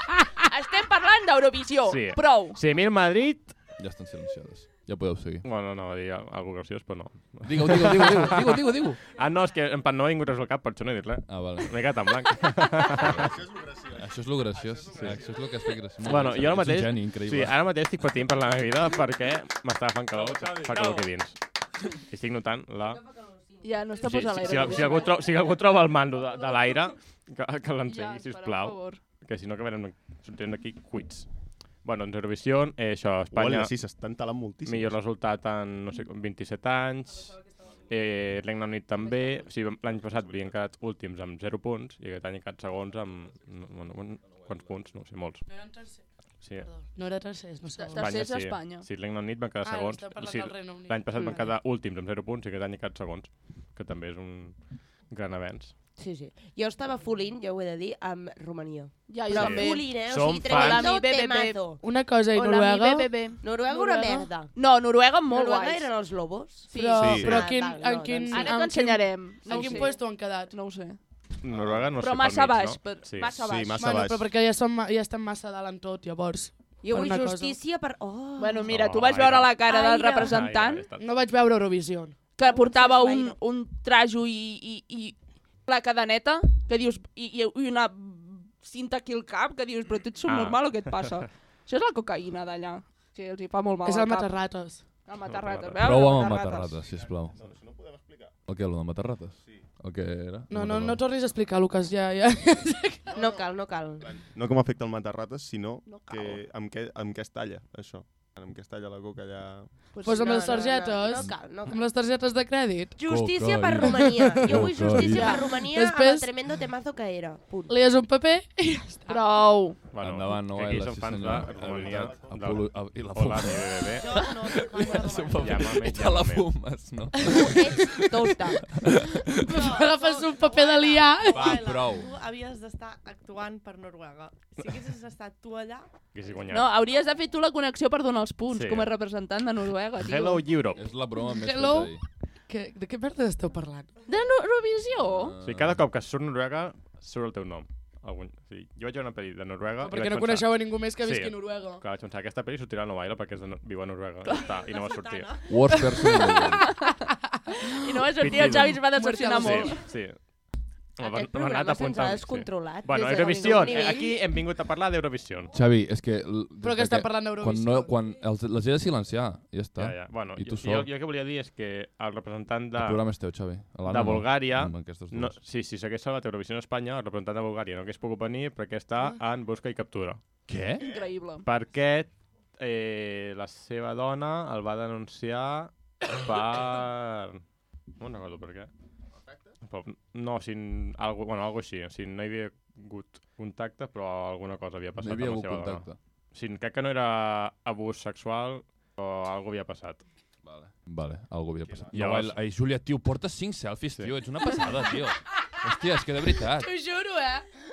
[SPEAKER 3] estem parlant d'Eurovisió.
[SPEAKER 2] Sí.
[SPEAKER 3] Prou.
[SPEAKER 2] 100.000 Madrid...
[SPEAKER 1] Ja estan silenciades. Ja podeu seguir.
[SPEAKER 2] Bueno, no, dir algú graciós, però no.
[SPEAKER 1] Digue-ho, digue-ho, digue-ho, digue-ho, digue-ho. Digue
[SPEAKER 2] Ah, no, és que en plan no ha vingut res al cap, per això no he dit res.
[SPEAKER 1] *laughs* ah, vale.
[SPEAKER 2] M'he quedat en blanc.
[SPEAKER 6] Això és un graciós.
[SPEAKER 1] Això és lo graciós. Sí. Això és lo que està graciós.
[SPEAKER 2] Bueno, jo ara
[SPEAKER 1] Ets Un
[SPEAKER 2] mateix-
[SPEAKER 1] geni, increïble.
[SPEAKER 2] Sí, ara mateix estic patint per la meva vida perquè m'està agafant calor, fa calor aquí dins. I estic notant la...
[SPEAKER 3] Ja, no està
[SPEAKER 2] Si,
[SPEAKER 3] posant
[SPEAKER 2] si, si,
[SPEAKER 3] l'aire.
[SPEAKER 2] si, algú troba, si algú troba el mando de, de l'aire, que, que l'encengui,
[SPEAKER 3] espera, per
[SPEAKER 2] sisplau,
[SPEAKER 3] favor.
[SPEAKER 2] que si no acabarem sortint d'aquí cuits. Bueno, doncs Eurovisió, eh, això, Espanya,
[SPEAKER 6] Espanya... sí, s'estan talant moltíssim.
[SPEAKER 2] millor resultat en, no sé, com 27 anys, eh, Regne Unit també, o sigui, l'any passat havien quedat últims amb 0 punts i aquest any han quedat segons amb... No, no, no, quants punts? No ho sé, molts.
[SPEAKER 9] No eren tercers.
[SPEAKER 2] Sí,
[SPEAKER 9] No era tercers, no sé.
[SPEAKER 3] Estàs- Tercers a Espanya.
[SPEAKER 2] Sí, l'any Unit van quedar
[SPEAKER 9] Ah,
[SPEAKER 2] segons.
[SPEAKER 9] esteu parlant
[SPEAKER 2] sí,
[SPEAKER 9] del Regne Unit.
[SPEAKER 2] L'any passat van
[SPEAKER 9] Mm.
[SPEAKER 2] quedar últims amb 0 punts i aquest any han quedat segons, que també és un gran avenç.
[SPEAKER 4] Sí, sí. Jo estava fulint, jo ho he de dir, amb Romania.
[SPEAKER 3] Ja,
[SPEAKER 4] Però
[SPEAKER 3] jo
[SPEAKER 2] Sí.
[SPEAKER 3] també.
[SPEAKER 4] fulint, eh?
[SPEAKER 2] Som
[SPEAKER 4] o sigui, tremendo
[SPEAKER 3] fans.
[SPEAKER 4] temazo.
[SPEAKER 9] Una cosa, i
[SPEAKER 3] Hola, mi
[SPEAKER 9] Noruega...
[SPEAKER 3] bebé.
[SPEAKER 4] Noruega una merda.
[SPEAKER 3] No, Noruega molt
[SPEAKER 4] Noruega
[SPEAKER 3] guais.
[SPEAKER 4] eren els lobos.
[SPEAKER 9] Però,
[SPEAKER 6] Sí.
[SPEAKER 9] però
[SPEAKER 4] Ah,
[SPEAKER 9] quin,
[SPEAKER 4] val,
[SPEAKER 9] en
[SPEAKER 4] no,
[SPEAKER 9] quin...
[SPEAKER 4] doncs sí.
[SPEAKER 3] Ara
[SPEAKER 9] en
[SPEAKER 3] t'ensenyarem.
[SPEAKER 9] Quin, en quin puesto han quedat?
[SPEAKER 3] No ho sé.
[SPEAKER 2] Noruega no
[SPEAKER 3] Però
[SPEAKER 2] sé
[SPEAKER 3] massa
[SPEAKER 2] pel mig,
[SPEAKER 3] baix,
[SPEAKER 2] no?
[SPEAKER 3] per-
[SPEAKER 2] sí.
[SPEAKER 3] massa
[SPEAKER 6] Sí,
[SPEAKER 3] baix.
[SPEAKER 6] massa
[SPEAKER 9] bueno,
[SPEAKER 6] baix.
[SPEAKER 9] però perquè ja, som, ja estem massa dalt en tot, llavors.
[SPEAKER 4] Jo
[SPEAKER 9] Per
[SPEAKER 4] vull
[SPEAKER 9] una cosa.
[SPEAKER 4] justícia per... Oh.
[SPEAKER 3] Bueno, mira, tu
[SPEAKER 2] Oh,
[SPEAKER 3] vas veure
[SPEAKER 2] aire.
[SPEAKER 3] la cara del
[SPEAKER 5] Aire.
[SPEAKER 3] representant
[SPEAKER 2] Ah, ja, ja està.
[SPEAKER 9] No vaig veure Eurovisió.
[SPEAKER 3] que portava un, un trajo i, i, i la cadeneta que dius, i, i i una cinta aquí al cap que dius, però tu ets
[SPEAKER 1] Ah.
[SPEAKER 3] subnormal o què
[SPEAKER 1] *laughs*
[SPEAKER 3] et passa? Això és la cocaïna d'allà. Sí, els hi fa molt mal
[SPEAKER 9] és
[SPEAKER 3] al
[SPEAKER 9] el
[SPEAKER 3] cap.
[SPEAKER 9] Matarrates.
[SPEAKER 3] El matarrates.
[SPEAKER 1] Prou
[SPEAKER 3] Veus?
[SPEAKER 1] amb el
[SPEAKER 3] Matarrates.
[SPEAKER 1] matarrates, sisplau. No, això no podem explicar. El que, el del matarrates? Sí. El que era?
[SPEAKER 9] No, no, no tornis a explicar, Lucas, ja... *laughs* ja.
[SPEAKER 4] No cal, no cal.
[SPEAKER 6] No com afecta el matarrates, sinó
[SPEAKER 3] No cal.
[SPEAKER 6] que amb, què, amb què es talla, això. Amb què es talla la coca allà...
[SPEAKER 9] Pues amb
[SPEAKER 4] No,
[SPEAKER 9] les
[SPEAKER 4] no, no,
[SPEAKER 9] targetes.
[SPEAKER 4] No cal, no
[SPEAKER 9] Amb
[SPEAKER 4] cal.
[SPEAKER 9] les targetes de crèdit.
[SPEAKER 4] Justícia per
[SPEAKER 1] Cocaïna.
[SPEAKER 4] Romania. Jo vull justícia
[SPEAKER 9] Cocaïna.
[SPEAKER 4] per Romania amb
[SPEAKER 9] Després-
[SPEAKER 4] el tremendo temazo que era. Punt. Ah.
[SPEAKER 9] Lies un paper i ja està.
[SPEAKER 3] Prou.
[SPEAKER 2] Bueno,
[SPEAKER 1] Endavant, no,
[SPEAKER 2] Aquí
[SPEAKER 1] Ela,
[SPEAKER 2] som
[SPEAKER 1] sí,
[SPEAKER 2] fans
[SPEAKER 1] senyor.
[SPEAKER 2] de Romania.
[SPEAKER 1] veritat, Apolo- a- I la
[SPEAKER 2] Hola,
[SPEAKER 1] fumes.
[SPEAKER 2] mi bebé.
[SPEAKER 5] Jo no soc fan de
[SPEAKER 1] *laughs*
[SPEAKER 5] Romania.
[SPEAKER 2] Llámame,
[SPEAKER 1] I te la
[SPEAKER 2] llámame.
[SPEAKER 1] fumes,
[SPEAKER 9] *laughs*
[SPEAKER 1] no?
[SPEAKER 4] Ets tota. *laughs* tosta.
[SPEAKER 9] Agafes un paper de liar.
[SPEAKER 1] Va,
[SPEAKER 5] Ela,
[SPEAKER 1] prou.
[SPEAKER 5] Tu havies d'estar actuant per Noruega. Si haguessis estat tu allà...
[SPEAKER 2] Que si guanyat.
[SPEAKER 3] No, hauries de fer tu la connexió per donar els punts
[SPEAKER 2] Sí.
[SPEAKER 3] com a representant de Noruega, tio.
[SPEAKER 2] Hello, Europe.
[SPEAKER 1] És la broma més
[SPEAKER 9] Hello?
[SPEAKER 1] feta ahir.
[SPEAKER 9] Que, de què merda esteu parlant?
[SPEAKER 3] De Eurovisió?
[SPEAKER 2] O sigui, cada cop que surt Noruega, surt el teu nom. Algun... Sí, jo vaig veure una pel·li de Noruega i
[SPEAKER 9] Perquè
[SPEAKER 2] vaig
[SPEAKER 9] no
[SPEAKER 2] pensar...
[SPEAKER 9] coneixeu a ningú més que
[SPEAKER 2] Ah, Sí.
[SPEAKER 9] visqui a Noruega.
[SPEAKER 2] Clar, vaig pensar, aquesta pel·li sortirà a Nova Ila perquè és de no... viu a Noruega. Ja està, i no va sortir.
[SPEAKER 5] Sultana.
[SPEAKER 1] Ah, Worst person in the world. Ah.
[SPEAKER 3] I no va sortir, el Xavi es va decepcionar
[SPEAKER 9] Muerte a
[SPEAKER 3] molt.
[SPEAKER 2] Sí, sí. Home, m'ha
[SPEAKER 4] Aquest
[SPEAKER 2] anat
[SPEAKER 4] programa se'ns ha
[SPEAKER 2] apuntant, sí.
[SPEAKER 4] descontrolat.
[SPEAKER 2] Bueno,
[SPEAKER 4] des de
[SPEAKER 2] Eurovisió.
[SPEAKER 4] ningú nivell.
[SPEAKER 2] Aquí hem vingut a parlar d'Eurovisió.
[SPEAKER 1] Xavi, és que... l-
[SPEAKER 9] Però
[SPEAKER 1] des
[SPEAKER 9] que
[SPEAKER 1] de
[SPEAKER 9] estem parlant
[SPEAKER 1] Quan,
[SPEAKER 9] d'Eurovisió.
[SPEAKER 1] no, quan els, les he de silenciar, ja està.
[SPEAKER 2] Ja, ja. Bueno,
[SPEAKER 1] I tu
[SPEAKER 2] jo, jo,
[SPEAKER 1] sol.
[SPEAKER 2] jo el que volia dir és que el representant de,
[SPEAKER 1] El programa és teu, Xavi. L'Anna
[SPEAKER 2] de
[SPEAKER 1] no,
[SPEAKER 2] Bulgària...
[SPEAKER 1] Amb aquestes
[SPEAKER 2] No,
[SPEAKER 1] dues.
[SPEAKER 2] sí, si s'hagués salvat Eurovisió en Espanya, el representant de Bulgària no hagués pogut venir perquè està en busca i captura.
[SPEAKER 1] Què?
[SPEAKER 3] Increïble.
[SPEAKER 2] Perquè eh, la seva dona el va denunciar per... No me'n recordo per què. Però, no, si, algo, bueno, algo així. O sigui, no hi havia hagut contacte, però alguna cosa havia
[SPEAKER 1] No hi
[SPEAKER 2] passat
[SPEAKER 1] havia
[SPEAKER 2] amb la
[SPEAKER 1] hagut
[SPEAKER 2] seva dona.
[SPEAKER 1] contacte.
[SPEAKER 2] Sí, crec que no era abús sexual, però algo havia passat.
[SPEAKER 1] Vale, algo havia passat.
[SPEAKER 2] Llavors-
[SPEAKER 1] Llavors... Ai, Júlia, tio, portes 5 selfies, tio. Ets una passada,
[SPEAKER 3] *laughs*
[SPEAKER 1] tio. Hòstia, és que de veritat.
[SPEAKER 3] T'ho juro, eh?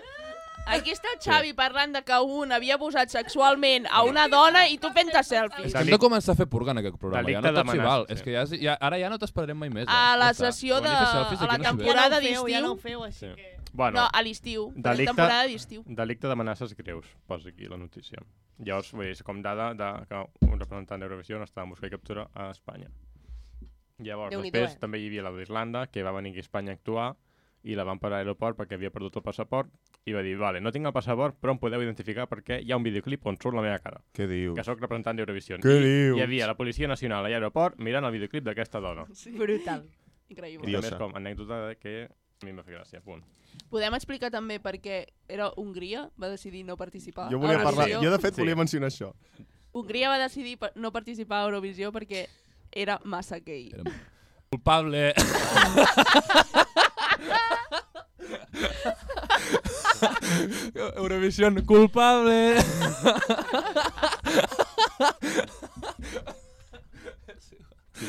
[SPEAKER 3] Aquí està el Xavi parlant de que un havia abusat sexualment a una dona i tu fent-te
[SPEAKER 1] És
[SPEAKER 3] selfies.
[SPEAKER 1] que hem de
[SPEAKER 2] Delic-
[SPEAKER 1] començar a fer purga en aquest programa.
[SPEAKER 2] Delicte
[SPEAKER 1] ja no tot s'hi
[SPEAKER 2] d'amenaça,
[SPEAKER 1] val.
[SPEAKER 2] sí.
[SPEAKER 1] És que ja, és- ja, ara ja no t'esperarem mai més. Eh?
[SPEAKER 3] A
[SPEAKER 1] Ja
[SPEAKER 3] la
[SPEAKER 1] està.
[SPEAKER 3] sessió
[SPEAKER 1] Quan
[SPEAKER 3] de-
[SPEAKER 1] hi ha selfies,
[SPEAKER 3] a
[SPEAKER 1] aquí
[SPEAKER 3] la
[SPEAKER 1] no s'hi veu.
[SPEAKER 5] Ja no
[SPEAKER 3] Temporada
[SPEAKER 5] ho feu, ja no ho
[SPEAKER 3] d'estiu.
[SPEAKER 5] feu, així
[SPEAKER 2] Sí.
[SPEAKER 5] que...
[SPEAKER 2] Bueno,
[SPEAKER 3] No, a l'estiu.
[SPEAKER 2] Ah, Delicte-
[SPEAKER 3] Delicte... Temporada d'estiu.
[SPEAKER 2] Delicte d'amenaces greus, posa aquí la notícia. Llavors, vull dir, és com dada de que un representant d'Eurovisió no estava en busca i captura a Espanya. Llavors,
[SPEAKER 4] Déu-n'hi-do,
[SPEAKER 2] després
[SPEAKER 4] eh?
[SPEAKER 2] també hi havia la d'Irlanda, que va venir aquí a Espanya a actuar i la van parar a l'aeroport perquè havia perdut el passaport i va dir, vale, no tinc el passaport, però em podeu identificar perquè hi ha un videoclip on surt la meva cara,
[SPEAKER 6] Què dius?
[SPEAKER 2] que sóc representant d'Eurovisió.
[SPEAKER 6] Què
[SPEAKER 2] Hi
[SPEAKER 6] dius?
[SPEAKER 2] havia la Policia Nacional a l'aeroport mirant el videoclip d'aquesta dona.
[SPEAKER 4] Brutal.
[SPEAKER 3] Increïble.
[SPEAKER 2] I també és
[SPEAKER 6] Diosa.
[SPEAKER 2] com anècdota de que a mi em va fer gràcia, punt.
[SPEAKER 3] Podem explicar també per què era Hongria va decidir no participar
[SPEAKER 6] Jo volia
[SPEAKER 3] a
[SPEAKER 6] parlar...
[SPEAKER 3] Eurovisió?
[SPEAKER 6] Jo, de fet,
[SPEAKER 2] Sí.
[SPEAKER 6] volia mencionar això.
[SPEAKER 3] Hongria va decidir per- no participar a Eurovisió perquè era massa gay.
[SPEAKER 1] Era-
[SPEAKER 3] *laughs*
[SPEAKER 1] Culpable. Eurovisión, culpable.
[SPEAKER 2] Sí, sí.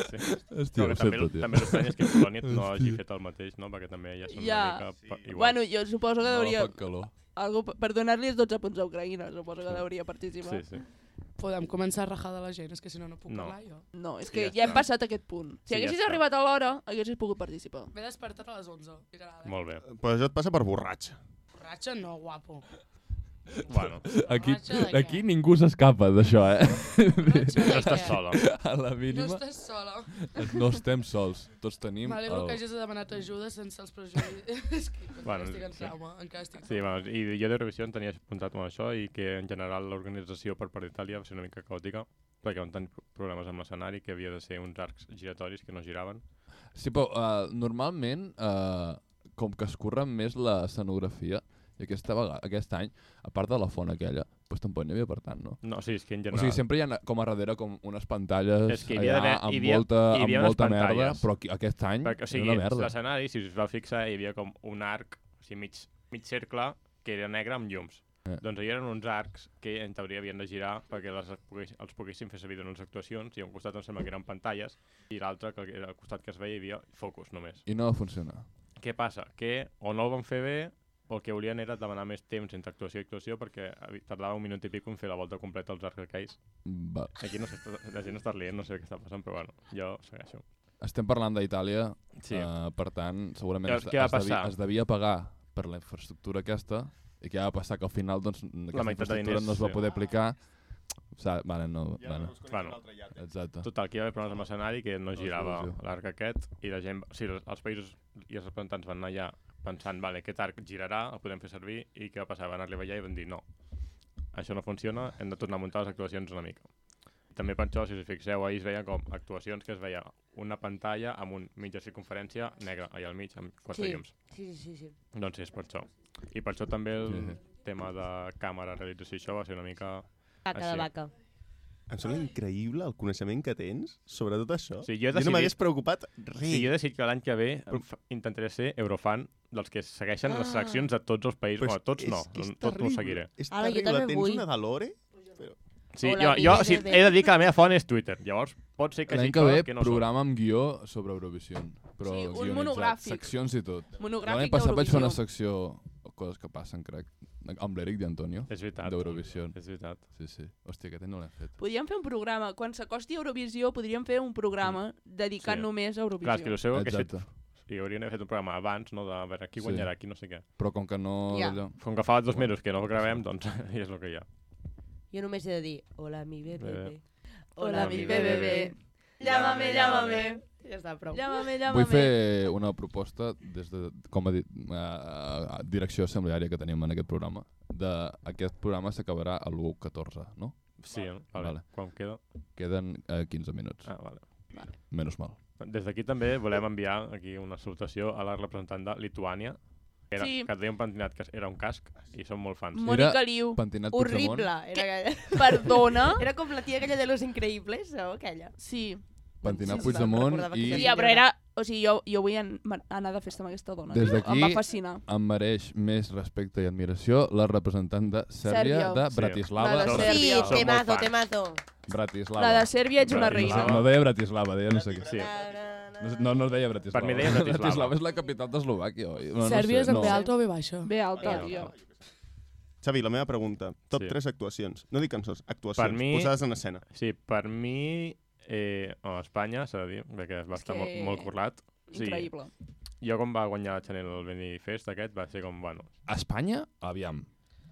[SPEAKER 1] Hòstia,
[SPEAKER 2] No, que també, també l'estrany és que
[SPEAKER 1] *laughs*
[SPEAKER 2] Polònia no hagi fet el mateix, no? Perquè també ja són
[SPEAKER 3] Ja.
[SPEAKER 2] una mica pa- igual.
[SPEAKER 3] Bueno, jo suposo que
[SPEAKER 1] No,
[SPEAKER 3] hauria...
[SPEAKER 1] Oh, fa calor.
[SPEAKER 3] Algú, per donar-li els 12 punts a Ucraïna, suposo que hauria participar.
[SPEAKER 2] sí, sí.
[SPEAKER 9] Podem començar a rajar de la gent, és que si no, no puc
[SPEAKER 2] No.
[SPEAKER 9] parlar jo.
[SPEAKER 3] No, és
[SPEAKER 2] Sí,
[SPEAKER 3] que
[SPEAKER 2] ja
[SPEAKER 3] ja hem
[SPEAKER 2] està.
[SPEAKER 3] passat aquest punt.
[SPEAKER 2] Sí,
[SPEAKER 3] Si
[SPEAKER 2] ja
[SPEAKER 3] haguessis
[SPEAKER 2] està.
[SPEAKER 3] arribat a l'hora, haguessis pogut participar.
[SPEAKER 9] M'he despertat a les 11. Era la
[SPEAKER 1] Eh,
[SPEAKER 2] Molt bé.
[SPEAKER 6] Però això et passa per borratxa.
[SPEAKER 9] borratxa, no, guapo.
[SPEAKER 1] *laughs*
[SPEAKER 2] Bueno,
[SPEAKER 1] Aquí,
[SPEAKER 9] Borratxa de què?
[SPEAKER 1] aquí ningú s'escapa d'això, eh?
[SPEAKER 2] no estàs sola.
[SPEAKER 1] *laughs* A la
[SPEAKER 9] No
[SPEAKER 1] mínima
[SPEAKER 9] estàs sola.
[SPEAKER 1] no estem sols, tots tenim...
[SPEAKER 9] M'alegro
[SPEAKER 1] el-
[SPEAKER 9] que hagis demanat ajuda sense els prejudicis. *laughs*
[SPEAKER 2] Bueno,
[SPEAKER 9] bueno, estic en
[SPEAKER 2] sí.
[SPEAKER 9] trauma, encara estic en
[SPEAKER 2] Sí, bueno, i jo d'Eurovisió en tenia apuntat amb això i que en general l'organització per part d'Itàlia va ser una mica caòtica perquè van tenir problemes amb l'escenari que havia de ser uns arcs giratoris que no giraven.
[SPEAKER 1] Sí, però uh, normalment, uh, com que es curra més l'escenografia, i aquesta vegada, aquest any, a part de la font aquella, doncs tampoc n'hi havia per tant, no?
[SPEAKER 2] No, sí, és que en
[SPEAKER 1] O
[SPEAKER 2] general...
[SPEAKER 1] sigui, sempre hi ha com a darrere com unes pantalles
[SPEAKER 2] És que hi havia
[SPEAKER 1] allà
[SPEAKER 2] d'haver-
[SPEAKER 1] amb
[SPEAKER 2] hi havia-
[SPEAKER 1] molta,
[SPEAKER 2] hi havia
[SPEAKER 1] amb
[SPEAKER 2] unes
[SPEAKER 1] molta merda,
[SPEAKER 2] pantalles.
[SPEAKER 1] però aquí, aquest any
[SPEAKER 2] Perquè, o sigui,
[SPEAKER 1] era Mm. una merda.
[SPEAKER 2] l'escenari, si us va fixar, hi havia com un arc, o sigui, mig, mig cercle, que era negre amb llums.
[SPEAKER 1] Eh.
[SPEAKER 2] Eh. Doncs hi eren uns arcs que en teoria havien de girar perquè les pogués, els poguessin fer servir en les actuacions i a un costat em sembla que eren pantalles i l'altre, que era al costat que es veia, hi havia focus només.
[SPEAKER 1] I no va funcionar.
[SPEAKER 2] Què passa? Que o no ho van fer bé o el que volien era demanar més temps entre actuació i actuació perquè havi- tardava un minut i pico en fer la volta completa als arcs aquells.
[SPEAKER 1] Va.
[SPEAKER 2] Aquí no sé, la gent està rient, no sé què està passant, però bueno, jo segueixo. Ah.
[SPEAKER 1] Estem parlant d'Itàlia,
[SPEAKER 2] Sí.
[SPEAKER 1] eh, per tant, segurament
[SPEAKER 2] Què-
[SPEAKER 1] es,
[SPEAKER 2] què va
[SPEAKER 1] es, devia,
[SPEAKER 2] passar?
[SPEAKER 1] es devia pagar per la infraestructura aquesta i què va passar? Que al final doncs, aquesta
[SPEAKER 2] meitat de
[SPEAKER 1] infraestructura
[SPEAKER 2] diners,
[SPEAKER 1] no es va
[SPEAKER 2] sí.
[SPEAKER 7] Ah.
[SPEAKER 1] poder aplicar. O sigui, vale, no, bueno,
[SPEAKER 2] Bueno.
[SPEAKER 1] exacte.
[SPEAKER 2] Total, que hi va haver problemes amb l'escenari que no
[SPEAKER 1] és
[SPEAKER 2] girava
[SPEAKER 1] il·lusió.
[SPEAKER 2] l'arc aquest i la gent, o sigui, els- els països i els representants van anar allà pensant, vale, aquest arc girarà, el podem fer servir, i què va passar? Van arribar allà i van dir, no, això no funciona, hem de tornar a muntar les actuacions una mica. També per això, si us hi fixeu, ahir es veia com actuacions que es veia una pantalla amb un mitja circunferència negra allà al mig, amb quatre
[SPEAKER 4] Sí.
[SPEAKER 2] llums.
[SPEAKER 4] Sí, sí, sí. sí.
[SPEAKER 2] Doncs sí, és per això. I per això també el
[SPEAKER 1] Sí, sí.
[SPEAKER 2] tema de càmera, realització, i això va ser una mica...
[SPEAKER 4] Caca
[SPEAKER 2] Així.
[SPEAKER 4] de vaca.
[SPEAKER 6] Em sembla increïble el coneixement que tens sobre tot això.
[SPEAKER 2] Sí, jo he
[SPEAKER 6] no
[SPEAKER 2] decidit-
[SPEAKER 6] m'hagués preocupat
[SPEAKER 2] Sí, jo
[SPEAKER 6] res.
[SPEAKER 2] he decidit que l'any que ve em fa- intentaré ser eurofan dels que segueixen ah. les seleccions de tots els països. Bueno, tots no, tots no ho seguiré.
[SPEAKER 6] És
[SPEAKER 4] Ara, jo
[SPEAKER 6] terrible.
[SPEAKER 4] també
[SPEAKER 6] tens
[SPEAKER 4] vull.
[SPEAKER 6] una d'alore?
[SPEAKER 2] Sí,
[SPEAKER 4] Hola,
[SPEAKER 2] jo, jo
[SPEAKER 4] vida,
[SPEAKER 2] sí,
[SPEAKER 4] bebé.
[SPEAKER 2] he de dir que la meva font és Twitter, llavors pot ser que
[SPEAKER 1] L'any
[SPEAKER 2] sigui
[SPEAKER 1] que ve,
[SPEAKER 2] que no soc.
[SPEAKER 1] programa amb guió sobre Eurovisió. Però
[SPEAKER 7] Sí, un
[SPEAKER 1] guionitzat,
[SPEAKER 7] monogràfic.
[SPEAKER 1] Seccions i tot. L'any
[SPEAKER 7] Monogràfic
[SPEAKER 1] passat vaig
[SPEAKER 7] d'Eurovisió.
[SPEAKER 1] fer una secció coses que passen, crec, amb l'Eric i Antonio,
[SPEAKER 2] És veritat.
[SPEAKER 1] d'Eurovisió.
[SPEAKER 2] És veritat.
[SPEAKER 1] Sí, sí. Hòstia, aquest any no l'hem fet.
[SPEAKER 7] Podríem fer un programa, quan s'acosti a Eurovisió, podríem fer un programa dedicat
[SPEAKER 2] Sí.
[SPEAKER 7] sí. només a Eurovisió.
[SPEAKER 2] Clar, és que el seu que fet,
[SPEAKER 1] Exacte.
[SPEAKER 2] i haurien d'haver fet un programa abans, no? De, a veure qui
[SPEAKER 1] Sí.
[SPEAKER 2] guanyarà, qui no sé què.
[SPEAKER 1] Però com que no...
[SPEAKER 4] Ja.
[SPEAKER 1] d'allò-
[SPEAKER 2] Com que fa dos mesos que no ho gravem, doncs *laughs* ja és el que hi ha.
[SPEAKER 4] Jo només he de dir, hola mi bebé.
[SPEAKER 2] Bebé.
[SPEAKER 7] Hola, mi bebé. Llámame, llámame.
[SPEAKER 4] Ja està, prou.
[SPEAKER 7] Llámame, llámame.
[SPEAKER 1] Vull fer una proposta des de, com a di uh, direcció assembleària que tenim en aquest programa. De, aquest programa s'acabarà a l'1.14, no?
[SPEAKER 2] Sí, vale.
[SPEAKER 1] Vale.
[SPEAKER 2] vale. Quan queda?
[SPEAKER 1] Queden uh, 15 minuts,
[SPEAKER 2] Ah, vale.
[SPEAKER 1] menys mal.
[SPEAKER 2] Des d'aquí també volem enviar aquí una salutació a la representant de Lituània, que, era,
[SPEAKER 7] Sí.
[SPEAKER 2] que tenia un pentinat que era un casc i som molt fans.
[SPEAKER 7] Mònica
[SPEAKER 1] Era-
[SPEAKER 7] Liu, *laughs*
[SPEAKER 1] Pentinat
[SPEAKER 4] Horrible.
[SPEAKER 1] Puigdemont,
[SPEAKER 4] Era, aquella.
[SPEAKER 7] perdona.
[SPEAKER 4] *laughs* era com la tia aquella de Los Increïbles, o aquella?
[SPEAKER 7] Sí.
[SPEAKER 1] Pentinat
[SPEAKER 4] Sí, sí,
[SPEAKER 1] Puigdemont
[SPEAKER 4] recordava
[SPEAKER 1] i
[SPEAKER 4] que
[SPEAKER 7] I,
[SPEAKER 4] seria-
[SPEAKER 7] però era... O sigui, jo, jo vull an anar de festa amb aquesta dona.
[SPEAKER 1] Des
[SPEAKER 7] tio. Em va
[SPEAKER 1] d'aquí-
[SPEAKER 7] fascinar.
[SPEAKER 1] em mereix més respecte i admiració la representant de
[SPEAKER 7] Sèrbia.
[SPEAKER 1] Sèrbia de
[SPEAKER 2] Sí.
[SPEAKER 1] Bratislava.
[SPEAKER 7] La de
[SPEAKER 2] Sèrbia.
[SPEAKER 4] Sí,
[SPEAKER 2] Som molt
[SPEAKER 4] temazo,
[SPEAKER 2] fans.
[SPEAKER 4] temazo.
[SPEAKER 1] Bratislava.
[SPEAKER 7] La de Sèrbia ets una reina.
[SPEAKER 1] No deia Bratislava, deia no sé què.
[SPEAKER 2] Sí.
[SPEAKER 1] No, sé- no, no es deia Bratislava.
[SPEAKER 2] Per mi deia Bratislava.
[SPEAKER 1] Bratislava és la capital d'Eslovàquia, oi? No,
[SPEAKER 9] Sèrbia és
[SPEAKER 1] no
[SPEAKER 9] en
[SPEAKER 1] sé,
[SPEAKER 9] B
[SPEAKER 1] no.
[SPEAKER 9] alta o B baixa?
[SPEAKER 7] Bé alta,
[SPEAKER 2] Bé alta.
[SPEAKER 7] tio.
[SPEAKER 6] Xavi, la meva pregunta. Top
[SPEAKER 2] Sí.
[SPEAKER 6] 3 tres actuacions. No dic cançons, actuacions.
[SPEAKER 2] Per mi-
[SPEAKER 6] Posades en escena.
[SPEAKER 2] Sí, per mi, eh, a Espanya, s'ha de dir, perquè va
[SPEAKER 7] És
[SPEAKER 2] estar
[SPEAKER 7] que-
[SPEAKER 2] molt, molt currat. Sí.
[SPEAKER 7] Increïble.
[SPEAKER 2] Jo quan va guanyar la Chanel el Benifest aquest, va ser com, bueno...
[SPEAKER 1] A Espanya, aviam,